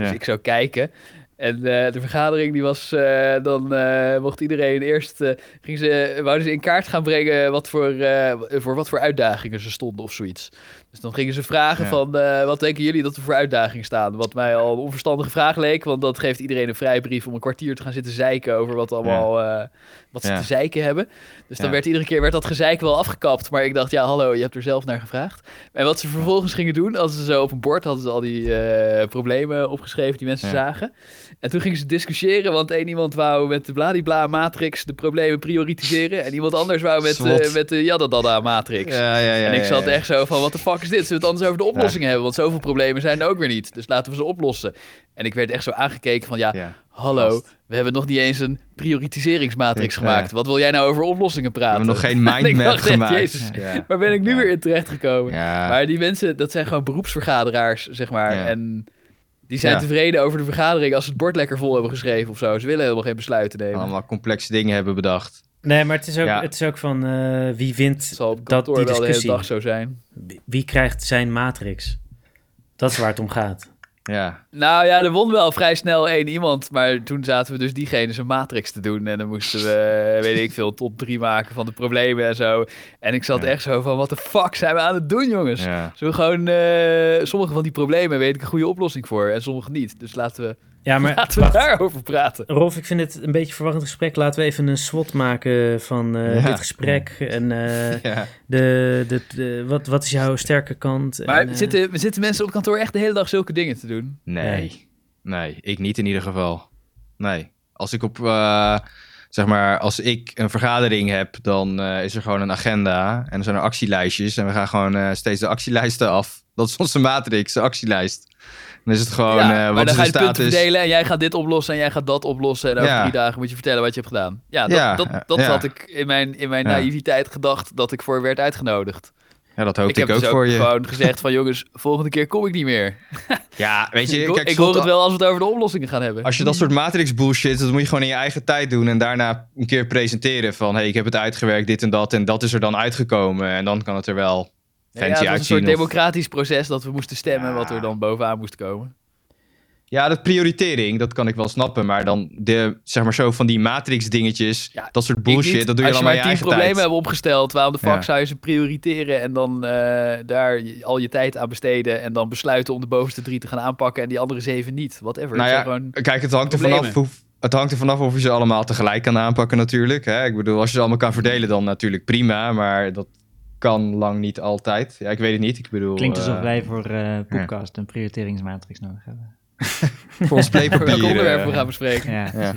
[SPEAKER 4] Ja.
[SPEAKER 2] ik zou kijken. En eh, de vergadering die was, eh, dan eh, mocht iedereen eerst, eh, gingen ze, wouden ze in kaart gaan brengen wat voor, eh, voor wat voor uitdagingen ze stonden of zoiets. Dus dan gingen ze vragen
[SPEAKER 4] Ja.
[SPEAKER 2] van, eh, wat denken jullie dat er voor uitdagingen staan? Wat mij al een onverstandige vraag leek, want dat geeft iedereen een vrijbrief om een kwartier te gaan zitten zeiken over wat, allemaal, eh, wat ze
[SPEAKER 4] Ja.
[SPEAKER 2] te zeiken hebben. Dus dan
[SPEAKER 4] Ja.
[SPEAKER 2] werd iedere keer werd dat gezeik wel afgekapt, maar ik dacht, ja hallo, je hebt er zelf naar gevraagd. En wat ze vervolgens gingen doen, als ze zo op een bord hadden ze al die eh, problemen opgeschreven die mensen
[SPEAKER 4] Ja.
[SPEAKER 2] zagen. En toen gingen ze discussiëren, want één iemand wou met de bladibla matrix de problemen prioritiseren en iemand anders wou met,
[SPEAKER 4] Zwot.
[SPEAKER 2] eh, met de jadadada matrix.
[SPEAKER 4] Ja, ja, ja,
[SPEAKER 2] eh, En ik
[SPEAKER 4] ja,
[SPEAKER 2] zat
[SPEAKER 4] ja.
[SPEAKER 2] echt zo van, wat de fuck is dit? Zullen we het anders over de oplossing hebben? Want zoveel problemen zijn er ook weer niet. Dus laten we ze oplossen. En ik werd echt zo aangekeken van, ja,
[SPEAKER 4] Ja.
[SPEAKER 2] hallo,
[SPEAKER 4] gast.
[SPEAKER 2] we hebben nog niet eens een prioritiseringsmatrix
[SPEAKER 4] Ja.
[SPEAKER 2] gemaakt. Wat wil jij nou over oplossingen
[SPEAKER 4] We
[SPEAKER 2] praten?
[SPEAKER 4] hebben nog geen
[SPEAKER 2] Ik
[SPEAKER 4] mindmap
[SPEAKER 2] dacht echt,
[SPEAKER 4] gemaakt.
[SPEAKER 2] Jezus.
[SPEAKER 4] Ja.
[SPEAKER 2] Waar ben ik nu
[SPEAKER 4] Ja.
[SPEAKER 2] weer in terecht gekomen?
[SPEAKER 4] Ja.
[SPEAKER 2] Maar die mensen, dat zijn gewoon beroepsvergaderaars, zeg maar.
[SPEAKER 4] Ja.
[SPEAKER 2] En die zijn
[SPEAKER 4] Ja.
[SPEAKER 2] tevreden over de vergadering als ze het bord lekker vol hebben geschreven of zo. Ze willen helemaal geen besluiten nemen.
[SPEAKER 4] allemaal complexe dingen hebben bedacht.
[SPEAKER 1] Nee, maar het is ook,
[SPEAKER 4] Ja.
[SPEAKER 1] het is ook van eh, wie wint,
[SPEAKER 2] het zal op
[SPEAKER 1] dat,
[SPEAKER 2] kantoor
[SPEAKER 1] die
[SPEAKER 2] wel de hele
[SPEAKER 1] discussie.
[SPEAKER 2] dag zo zijn.
[SPEAKER 1] wie- wie krijgt zijn matrix. Dat is waar het om gaat.
[SPEAKER 4] Ja.
[SPEAKER 2] Nou ja, er won wel vrij snel één iemand. Maar toen zaten we dus diegene zijn matrix te doen. En dan moesten we, weet ik veel, top drie maken van de problemen en zo. En ik zat
[SPEAKER 4] Ja.
[SPEAKER 2] echt zo van, wat de fuck zijn we aan het doen, jongens?
[SPEAKER 4] ja.
[SPEAKER 2] Zullen we gewoon... eh, sommige van die problemen weet ik een goede oplossing voor. En sommige niet. Dus laten we,
[SPEAKER 1] Ja, maar
[SPEAKER 2] laten we
[SPEAKER 1] wacht.
[SPEAKER 2] daarover praten.
[SPEAKER 1] Rolf, ik vind het een beetje een verwarrend gesprek. Laten we even een SWOT maken van eh,
[SPEAKER 4] Ja.
[SPEAKER 1] dit gesprek. En eh,
[SPEAKER 4] ja.
[SPEAKER 1] de, de, de- wat, wat is jouw sterke kant?
[SPEAKER 2] Maar
[SPEAKER 1] en, eh,
[SPEAKER 2] zitten, zitten mensen op kantoor echt de hele dag zulke dingen te doen?
[SPEAKER 4] Nee. Nee, ik niet in ieder geval. Nee. Als ik op, eh, zeg maar, als ik een vergadering heb, dan eh, is er gewoon een agenda en er zijn er actielijstjes en we gaan gewoon eh, steeds de actielijsten af. Dat is onze matrix, de actielijst. Dan is het gewoon
[SPEAKER 2] ja,
[SPEAKER 4] eh,
[SPEAKER 2] maar
[SPEAKER 4] wat
[SPEAKER 2] dan
[SPEAKER 4] is
[SPEAKER 2] ga
[SPEAKER 4] de
[SPEAKER 2] je de punten
[SPEAKER 4] status.
[SPEAKER 2] verdelen en jij gaat dit oplossen en jij gaat dat oplossen. En over
[SPEAKER 4] Ja.
[SPEAKER 2] drie dagen moet je vertellen wat je hebt gedaan. Ja, dat,
[SPEAKER 4] Ja,
[SPEAKER 2] dat, dat
[SPEAKER 4] ja.
[SPEAKER 2] had ik in mijn, in mijn
[SPEAKER 4] Ja.
[SPEAKER 2] naïviteit gedacht dat ik voor werd uitgenodigd.
[SPEAKER 4] Ja, dat hoop
[SPEAKER 2] ik
[SPEAKER 4] ik,
[SPEAKER 2] heb
[SPEAKER 4] ook
[SPEAKER 2] dus ook
[SPEAKER 4] voor je.
[SPEAKER 2] gewoon gezegd van jongens, volgende keer kom ik niet meer.
[SPEAKER 4] Ja, weet je,
[SPEAKER 2] ik ho-
[SPEAKER 4] kijk,
[SPEAKER 2] ik
[SPEAKER 4] slot-
[SPEAKER 2] hoor het wel als we het over de oplossingen gaan hebben.
[SPEAKER 4] Als je dat soort matrix bullshit, dat moet je gewoon in je eigen tijd doen en daarna een keer presenteren van, hey, ik heb het uitgewerkt, dit en dat en dat is er dan uitgekomen en dan kan het er
[SPEAKER 2] Ja,
[SPEAKER 4] wel
[SPEAKER 2] ja,
[SPEAKER 4] fancy
[SPEAKER 2] het was een
[SPEAKER 4] uitzien.
[SPEAKER 2] soort
[SPEAKER 4] of-
[SPEAKER 2] democratisch proces dat we moesten stemmen
[SPEAKER 4] Ja.
[SPEAKER 2] wat er dan bovenaan moest komen.
[SPEAKER 4] Ja, dat prioritering, dat kan ik wel snappen. Maar dan de, zeg maar zo van die matrix dingetjes,
[SPEAKER 2] Ja,
[SPEAKER 4] dat soort
[SPEAKER 2] Ik
[SPEAKER 4] bullshit,
[SPEAKER 2] niet.
[SPEAKER 4] dat doe je
[SPEAKER 2] als
[SPEAKER 4] dan
[SPEAKER 2] je
[SPEAKER 4] maar
[SPEAKER 2] maar
[SPEAKER 4] in je
[SPEAKER 2] tien
[SPEAKER 4] eigen
[SPEAKER 2] problemen
[SPEAKER 4] tijd.
[SPEAKER 2] hebt opgesteld, waarom de fuck
[SPEAKER 4] Ja.
[SPEAKER 2] zou je ze prioriteren en dan eh, daar je- al je tijd aan besteden en dan besluiten om de bovenste drie te gaan aanpakken en die andere zeven niet, whatever.
[SPEAKER 4] Nou
[SPEAKER 2] Het
[SPEAKER 4] ja,
[SPEAKER 2] zijn gewoon-
[SPEAKER 4] Kijk, het hangt, er
[SPEAKER 2] problemen.
[SPEAKER 4] vanaf hoe, het hangt er vanaf of je ze allemaal tegelijk kan aanpakken natuurlijk. Hè? Ik bedoel, als je ze allemaal kan verdelen, dan natuurlijk prima. Maar dat kan lang niet altijd. Ja, ik weet het niet. Ik bedoel,
[SPEAKER 3] Klinkt alsof
[SPEAKER 4] eh,
[SPEAKER 3] wij voor eh Poepcast een prioriteringsmatrix nodig hebben.
[SPEAKER 4] voor ons
[SPEAKER 2] voor welk
[SPEAKER 4] playpapier.
[SPEAKER 2] onderwerp we
[SPEAKER 4] eh,
[SPEAKER 2] gaan bespreken.
[SPEAKER 3] Ja.
[SPEAKER 4] ja.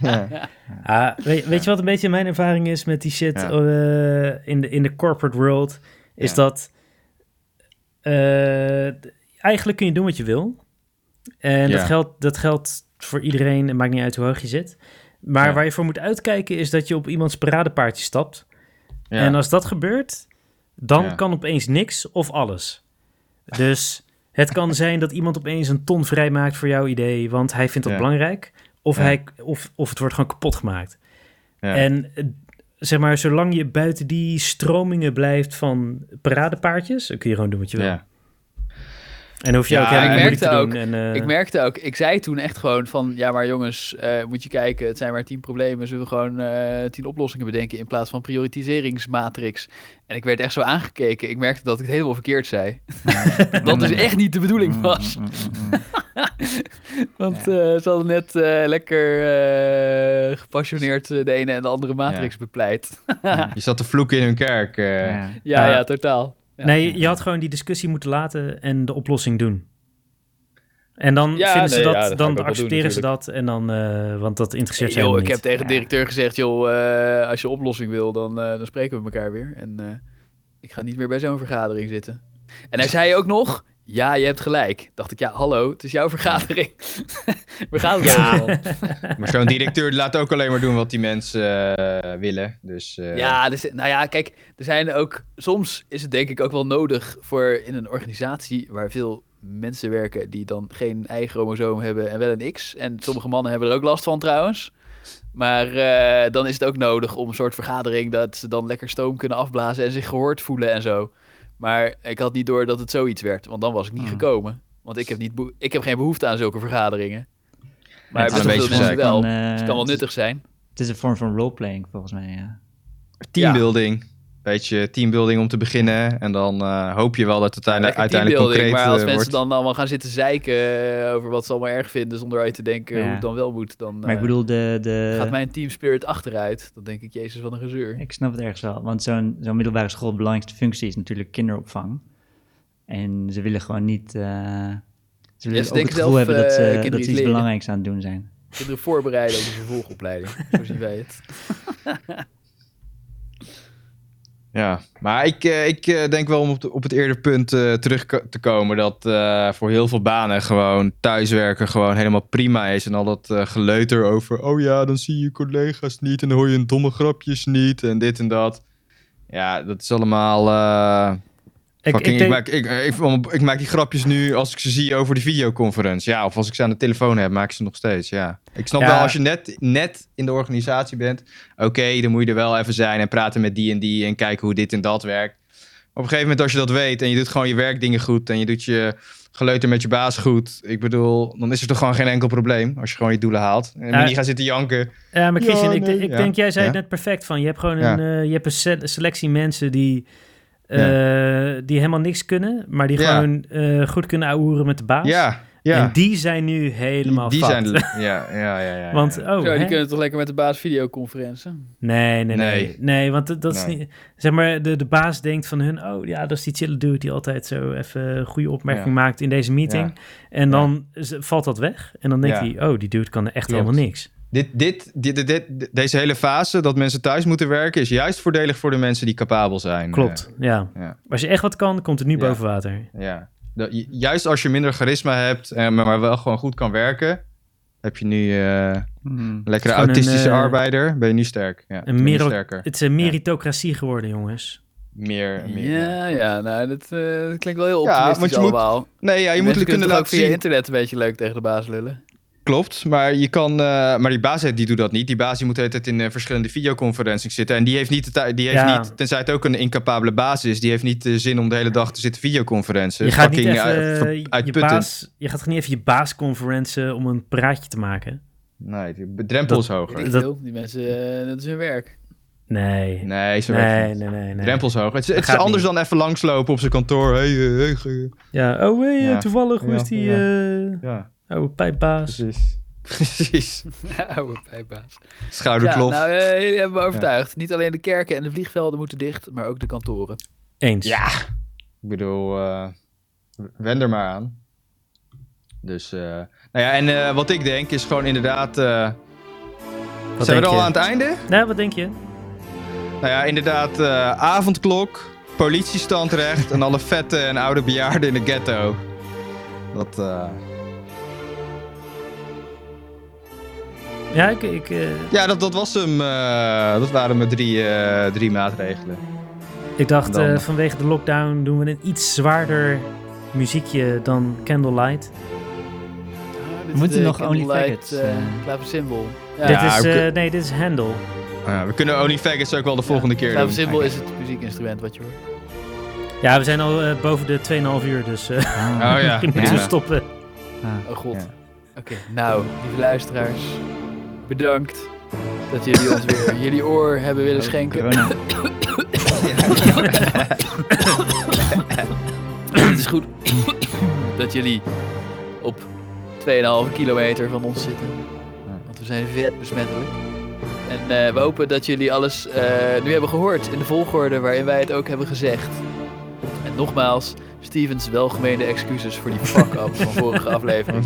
[SPEAKER 4] ja.
[SPEAKER 1] Ah, weet, weet je wat een beetje mijn ervaring is met die shit
[SPEAKER 4] Ja.
[SPEAKER 1] eh, in, de, in de corporate world? Is
[SPEAKER 4] Ja.
[SPEAKER 1] dat eh, d- eigenlijk kun je doen wat je wil. En
[SPEAKER 4] Ja.
[SPEAKER 1] dat, geldt, dat geldt voor iedereen. Het maakt niet uit hoe hoog je zit. Maar
[SPEAKER 4] Ja.
[SPEAKER 1] waar je voor moet uitkijken is dat je op iemands paradepaardje stapt.
[SPEAKER 4] Ja.
[SPEAKER 1] En als dat gebeurt, dan
[SPEAKER 4] Ja.
[SPEAKER 1] kan opeens niks of alles. Dus het kan zijn dat iemand opeens een ton vrijmaakt voor jouw idee, want hij vindt dat
[SPEAKER 4] Ja.
[SPEAKER 1] belangrijk. Of,
[SPEAKER 4] Ja.
[SPEAKER 1] hij, of, of het wordt gewoon kapot gemaakt.
[SPEAKER 4] Ja.
[SPEAKER 1] En eh, zeg maar, zolang je buiten die stromingen blijft van paradepaardjes, dan kun je gewoon doen wat je wil.
[SPEAKER 4] Ja.
[SPEAKER 1] En hoef je
[SPEAKER 4] Ja,
[SPEAKER 1] ook helemaal
[SPEAKER 4] ik
[SPEAKER 1] niet moeilijk te
[SPEAKER 2] merkte
[SPEAKER 1] doen. En, eh,
[SPEAKER 2] Ik merkte ook, ik zei toen echt gewoon van, ja maar jongens, eh, moet je kijken, het zijn maar tien problemen, zullen we gewoon eh, tien oplossingen bedenken in plaats van prioritiseringsmatrix. En ik werd echt zo aangekeken, ik merkte dat ik het helemaal verkeerd zei. dat dus echt niet de bedoeling was.
[SPEAKER 3] Mm, mm, mm, mm.
[SPEAKER 2] Want eh, ze hadden net eh, lekker eh, gepassioneerd eh, de ene en de andere matrix bepleit.
[SPEAKER 4] Je zat te vloeken in hun kerk. eh.
[SPEAKER 3] Ja.
[SPEAKER 2] Ja,
[SPEAKER 1] Ja.
[SPEAKER 2] ja, totaal. Ja.
[SPEAKER 1] Nee, je- je had gewoon die discussie moeten laten en de oplossing doen. En dan
[SPEAKER 2] Ja,
[SPEAKER 1] vinden ze
[SPEAKER 2] nee,
[SPEAKER 1] dat,
[SPEAKER 2] ja, dat ga ik ook wel
[SPEAKER 1] dan
[SPEAKER 2] doen,
[SPEAKER 1] accepteren ze dat. En dan, eh, want dat interesseert ze
[SPEAKER 2] Hey, joh,
[SPEAKER 1] helemaal
[SPEAKER 2] ik heb
[SPEAKER 1] niet.
[SPEAKER 2] tegen de directeur gezegd, joh, eh, als je oplossing wil, dan, eh, dan spreken we elkaar weer. En eh, ik ga niet meer bij zo'n vergadering zitten. En hij zei ook nog, ja, je hebt gelijk. Dacht ik, ja, hallo, het is jouw vergadering. We gaan het ja.
[SPEAKER 4] Maar zo'n directeur laat ook alleen maar doen wat die mensen eh, willen. Dus eh,
[SPEAKER 2] Ja, dus, nou ja, kijk, er zijn ook. Soms is het denk ik ook wel nodig voor in een organisatie waar veel mensen werken die dan geen Y-chromosoom hebben en wel een X. En sommige mannen hebben er ook last van trouwens. Maar eh, dan is het ook nodig om een soort vergadering dat ze dan lekker stoom kunnen afblazen en zich gehoord voelen en zo. Maar ik had niet door dat het zoiets werd, want dan was ik niet
[SPEAKER 4] Mm.
[SPEAKER 3] Hmm.
[SPEAKER 2] gekomen. Want ik heb, niet beho- ik heb geen behoefte aan zulke vergaderingen.
[SPEAKER 3] Maar
[SPEAKER 2] Maar
[SPEAKER 3] het
[SPEAKER 2] bij
[SPEAKER 4] is een
[SPEAKER 2] veel
[SPEAKER 4] beetje
[SPEAKER 2] mensen
[SPEAKER 4] gezeik.
[SPEAKER 2] wel. Dus
[SPEAKER 3] Van, eh,
[SPEAKER 2] het kan wel nuttig zijn.
[SPEAKER 3] Het is een vorm van roleplaying volgens mij, ja.
[SPEAKER 4] teambuilding. Beetje teambuilding om te beginnen. En dan eh, hoop je wel dat het uiteindelijk-
[SPEAKER 2] Lekker
[SPEAKER 4] uiteindelijk
[SPEAKER 2] teambuilding,
[SPEAKER 4] concreet
[SPEAKER 2] maar als
[SPEAKER 4] eh,
[SPEAKER 2] mensen
[SPEAKER 4] wordt.
[SPEAKER 2] dan allemaal gaan zitten zeiken eh, over wat ze allemaal erg vinden zonder uit te denken
[SPEAKER 3] Ja.
[SPEAKER 2] hoe het dan wel moet, dan
[SPEAKER 3] Maar ik
[SPEAKER 2] eh,
[SPEAKER 3] bedoel, de... de...
[SPEAKER 2] gaat mijn team spirit achteruit. Dan denk ik, jezus, wat een gezeur.
[SPEAKER 3] Ik snap het ergens wel. Want zo'n zo'n middelbare school, de belangrijkste functie is natuurlijk kinderopvang. En ze willen gewoon niet... eh, ze willen
[SPEAKER 2] ze
[SPEAKER 3] ook het
[SPEAKER 2] denken
[SPEAKER 3] gevoel
[SPEAKER 2] zelf,
[SPEAKER 3] hebben dat
[SPEAKER 2] eh,
[SPEAKER 3] ze,
[SPEAKER 2] kinderen
[SPEAKER 3] dat
[SPEAKER 2] iets
[SPEAKER 3] ze iets
[SPEAKER 2] leren.
[SPEAKER 3] belangrijks aan het doen zijn.
[SPEAKER 2] Kinderen voorbereiden op een vervolgopleiding, zo zien wij het.
[SPEAKER 4] Ja, maar ik, eh, ik eh, denk wel om op, de- op het eerder punt eh, terug ko- te komen dat eh, voor heel veel banen gewoon thuiswerken gewoon helemaal prima is. En al dat eh, geleuter over, oh ja, dan zie je collega's niet en dan hoor je hun domme grapjes niet en dit en dat. Ja, dat is allemaal... eh,
[SPEAKER 1] Ik, ik
[SPEAKER 4] fucking, ik,
[SPEAKER 1] denk-
[SPEAKER 4] maak, ik, ik, ik maak die grapjes nu als ik ze zie over de videoconferentie. Ja, of als ik ze aan de telefoon heb, maak ik ze nog steeds, ja. Ik snap
[SPEAKER 1] Ja.
[SPEAKER 4] wel, als je net, net in de organisatie bent, oké, dan moet je er wel even zijn en praten met die en die en kijken hoe dit en dat werkt. Op een gegeven moment, als je dat weet en je doet gewoon je werkdingen goed en je doet je geleuter met je baas goed, ik bedoel, dan is er toch gewoon geen enkel probleem als je gewoon je doelen haalt. En
[SPEAKER 1] Ja.
[SPEAKER 4] niet gaan zitten janken.
[SPEAKER 1] Ja, maar
[SPEAKER 4] Ja,
[SPEAKER 1] Christian, ik,
[SPEAKER 4] nee,
[SPEAKER 1] ik
[SPEAKER 4] ja.
[SPEAKER 1] denk, jij zei het
[SPEAKER 4] Ja.
[SPEAKER 1] net perfect van. Je hebt gewoon
[SPEAKER 4] Ja.
[SPEAKER 1] een, eh, je hebt een se- selectie mensen die, eh, die helemaal niks kunnen, maar die
[SPEAKER 4] Ja.
[SPEAKER 1] gewoon eh, goed kunnen ouwen met de baas.
[SPEAKER 4] Ja, ja.
[SPEAKER 1] En die zijn nu helemaal
[SPEAKER 4] die, die
[SPEAKER 1] fout.
[SPEAKER 4] zijn. Ja, ja, ja. ja, ja.
[SPEAKER 1] Want, oh,
[SPEAKER 2] zo,
[SPEAKER 1] hè?
[SPEAKER 2] die kunnen toch lekker met de baas videoconferentzen?
[SPEAKER 1] nee, nee, nee, nee.
[SPEAKER 4] Nee.
[SPEAKER 1] want dat, dat is
[SPEAKER 4] Nee.
[SPEAKER 1] niet... Zeg maar, de, de baas denkt van hun... Oh ja, dat is die chille dude die altijd zo even een goede opmerking
[SPEAKER 4] Ja.
[SPEAKER 1] maakt in deze meeting. En
[SPEAKER 4] Ja.
[SPEAKER 1] dan z- valt dat weg. En dan denkt
[SPEAKER 4] Ja.
[SPEAKER 1] hij, oh, die dude kan echt
[SPEAKER 4] Klopt.
[SPEAKER 1] helemaal niks.
[SPEAKER 4] Dit, dit, dit, dit- dit- deze hele fase dat mensen thuis moeten werken is juist voordelig voor de mensen die capabel zijn. Eh,
[SPEAKER 1] Klopt, ja.
[SPEAKER 4] Ja.
[SPEAKER 1] Als je echt wat kan, komt het nu
[SPEAKER 4] Ja.
[SPEAKER 1] boven water.
[SPEAKER 4] Eh, ja. Dat- ju- juist als je minder charisma hebt, eh, maar, maar wel gewoon goed kan werken, heb je nu eh, een lekkere
[SPEAKER 1] Gewoon een,
[SPEAKER 4] autistische
[SPEAKER 1] eh,
[SPEAKER 4] arbeider. Ben je nu sterk? Ja, ben je nu
[SPEAKER 1] mero-
[SPEAKER 4] sterker.
[SPEAKER 1] Het is een meritocratie geworden, jongens.
[SPEAKER 4] Meer, meer.
[SPEAKER 2] Ja, ja, nou, dat, eh, dat klinkt wel heel
[SPEAKER 4] Ja,
[SPEAKER 2] optimistisch
[SPEAKER 4] want je moet-
[SPEAKER 2] allemaal. Moet,
[SPEAKER 4] Nee, ja, je moet het kunnen
[SPEAKER 2] ook
[SPEAKER 4] laten
[SPEAKER 2] via
[SPEAKER 4] zien.
[SPEAKER 2] internet een beetje leuk tegen de baas lullen.
[SPEAKER 4] Klopt, maar je kan, eh, maar die baas die doet dat niet. Die baas die moet de hele tijd in eh, verschillende videoconferenties zitten en die heeft niet, de tij- die heeft
[SPEAKER 1] Ja.
[SPEAKER 4] niet, tenzij het ook een incapabele baas is, die heeft niet de zin om de hele dag te zitten videoconferenties.
[SPEAKER 1] Je gaat, niet
[SPEAKER 4] Fucking,
[SPEAKER 1] even,
[SPEAKER 4] eh, ver-
[SPEAKER 1] eh, je,
[SPEAKER 4] uitputtend.
[SPEAKER 1] baas, je gaat toch niet even je baas conferentie om een praatje te maken?
[SPEAKER 4] Nee, de drempel is hoger.
[SPEAKER 2] Weet ik
[SPEAKER 1] Dat-
[SPEAKER 2] veel, die mensen, eh, dat is hun werk.
[SPEAKER 1] Nee. Nee,
[SPEAKER 4] Nee, zo werkt het
[SPEAKER 1] nee,
[SPEAKER 4] niet.
[SPEAKER 1] nee. nee,
[SPEAKER 4] De drempel is hoger. Het, is-
[SPEAKER 1] Dat
[SPEAKER 4] het is
[SPEAKER 1] gaat
[SPEAKER 4] anders
[SPEAKER 1] niet.
[SPEAKER 4] dan even langslopen op zijn kantoor. Hey, eh, hey, ge-
[SPEAKER 1] Ja, oh hey, eh,
[SPEAKER 4] Ja.
[SPEAKER 1] toevallig, hoe
[SPEAKER 4] Ja,
[SPEAKER 1] is die
[SPEAKER 4] ja.
[SPEAKER 1] eh,
[SPEAKER 4] Ja,
[SPEAKER 1] oude pijpbaas?
[SPEAKER 4] precies. Precies.
[SPEAKER 2] Oude pijpbaas.
[SPEAKER 4] Schouderklop.
[SPEAKER 2] Ja, nou, eh, jullie hebben me overtuigd. Niet alleen de kerken en de vliegvelden moeten dicht, maar ook de kantoren.
[SPEAKER 1] Eens.
[SPEAKER 4] Ja. Ik bedoel, eh wend er maar aan. Dus, eh, nou ja, en eh, wat ik denk is gewoon inderdaad... eh,
[SPEAKER 1] Wat
[SPEAKER 4] zijn
[SPEAKER 1] denk
[SPEAKER 4] we er al
[SPEAKER 1] je?
[SPEAKER 4] aan het einde?
[SPEAKER 1] Nou, wat denk je?
[SPEAKER 4] Nou ja, inderdaad, eh, avondklok, politiestandrecht en alle vette en oude bejaarden in de ghetto. Dat, eh,
[SPEAKER 1] Ja, ik... ik eh,
[SPEAKER 4] ja, dat, dat was hem. eh, dat waren mijn drie, eh, drie maatregelen.
[SPEAKER 1] Ik dacht,
[SPEAKER 4] Dan-
[SPEAKER 1] eh, vanwege de lockdown doen we een iets zwaarder muziekje dan Candlelight.
[SPEAKER 2] We
[SPEAKER 3] moeten nog Only Faggots, eh.
[SPEAKER 2] Klaversymbol.
[SPEAKER 1] dit
[SPEAKER 4] Ja,
[SPEAKER 1] is,
[SPEAKER 4] ik-
[SPEAKER 1] eh, nee, dit is Handel.
[SPEAKER 4] Nou Ja, we kunnen Only Faggots ook wel de volgende keer doen.
[SPEAKER 2] Klaversymbol is het muziekinstrument wat je hoort.
[SPEAKER 1] Ja, we zijn al eh, boven de 2,5 uur, dus eh
[SPEAKER 3] Ah.
[SPEAKER 4] Oh ja.
[SPEAKER 1] misschien moeten we
[SPEAKER 4] ja.
[SPEAKER 1] stoppen.
[SPEAKER 3] Ah.
[SPEAKER 2] Oh god.
[SPEAKER 4] Ja.
[SPEAKER 2] Oké, nou, lieve luisteraars. Bedankt dat jullie ons weer jullie oor hebben willen schenken.
[SPEAKER 3] Corona.
[SPEAKER 2] Het is goed dat jullie op 2,5 kilometer van ons zitten. Want we zijn vet besmettelijk. En eh, we hopen dat jullie alles eh, nu hebben gehoord in de volgorde waarin wij het ook hebben gezegd. En nogmaals, Stevens welgemeende excuses voor die fuck-up van vorige aflevering.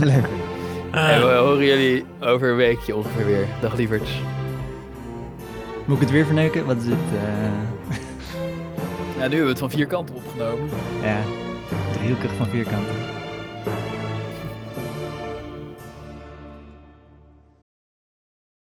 [SPEAKER 2] En we horen jullie over een weekje ongeveer weer. Dag lieverds.
[SPEAKER 3] Moet ik het weer verneuken? Wat is het? eh
[SPEAKER 2] Ja, nu hebben we het van vier kanten opgenomen.
[SPEAKER 3] ja. heel keurig van vierkanten.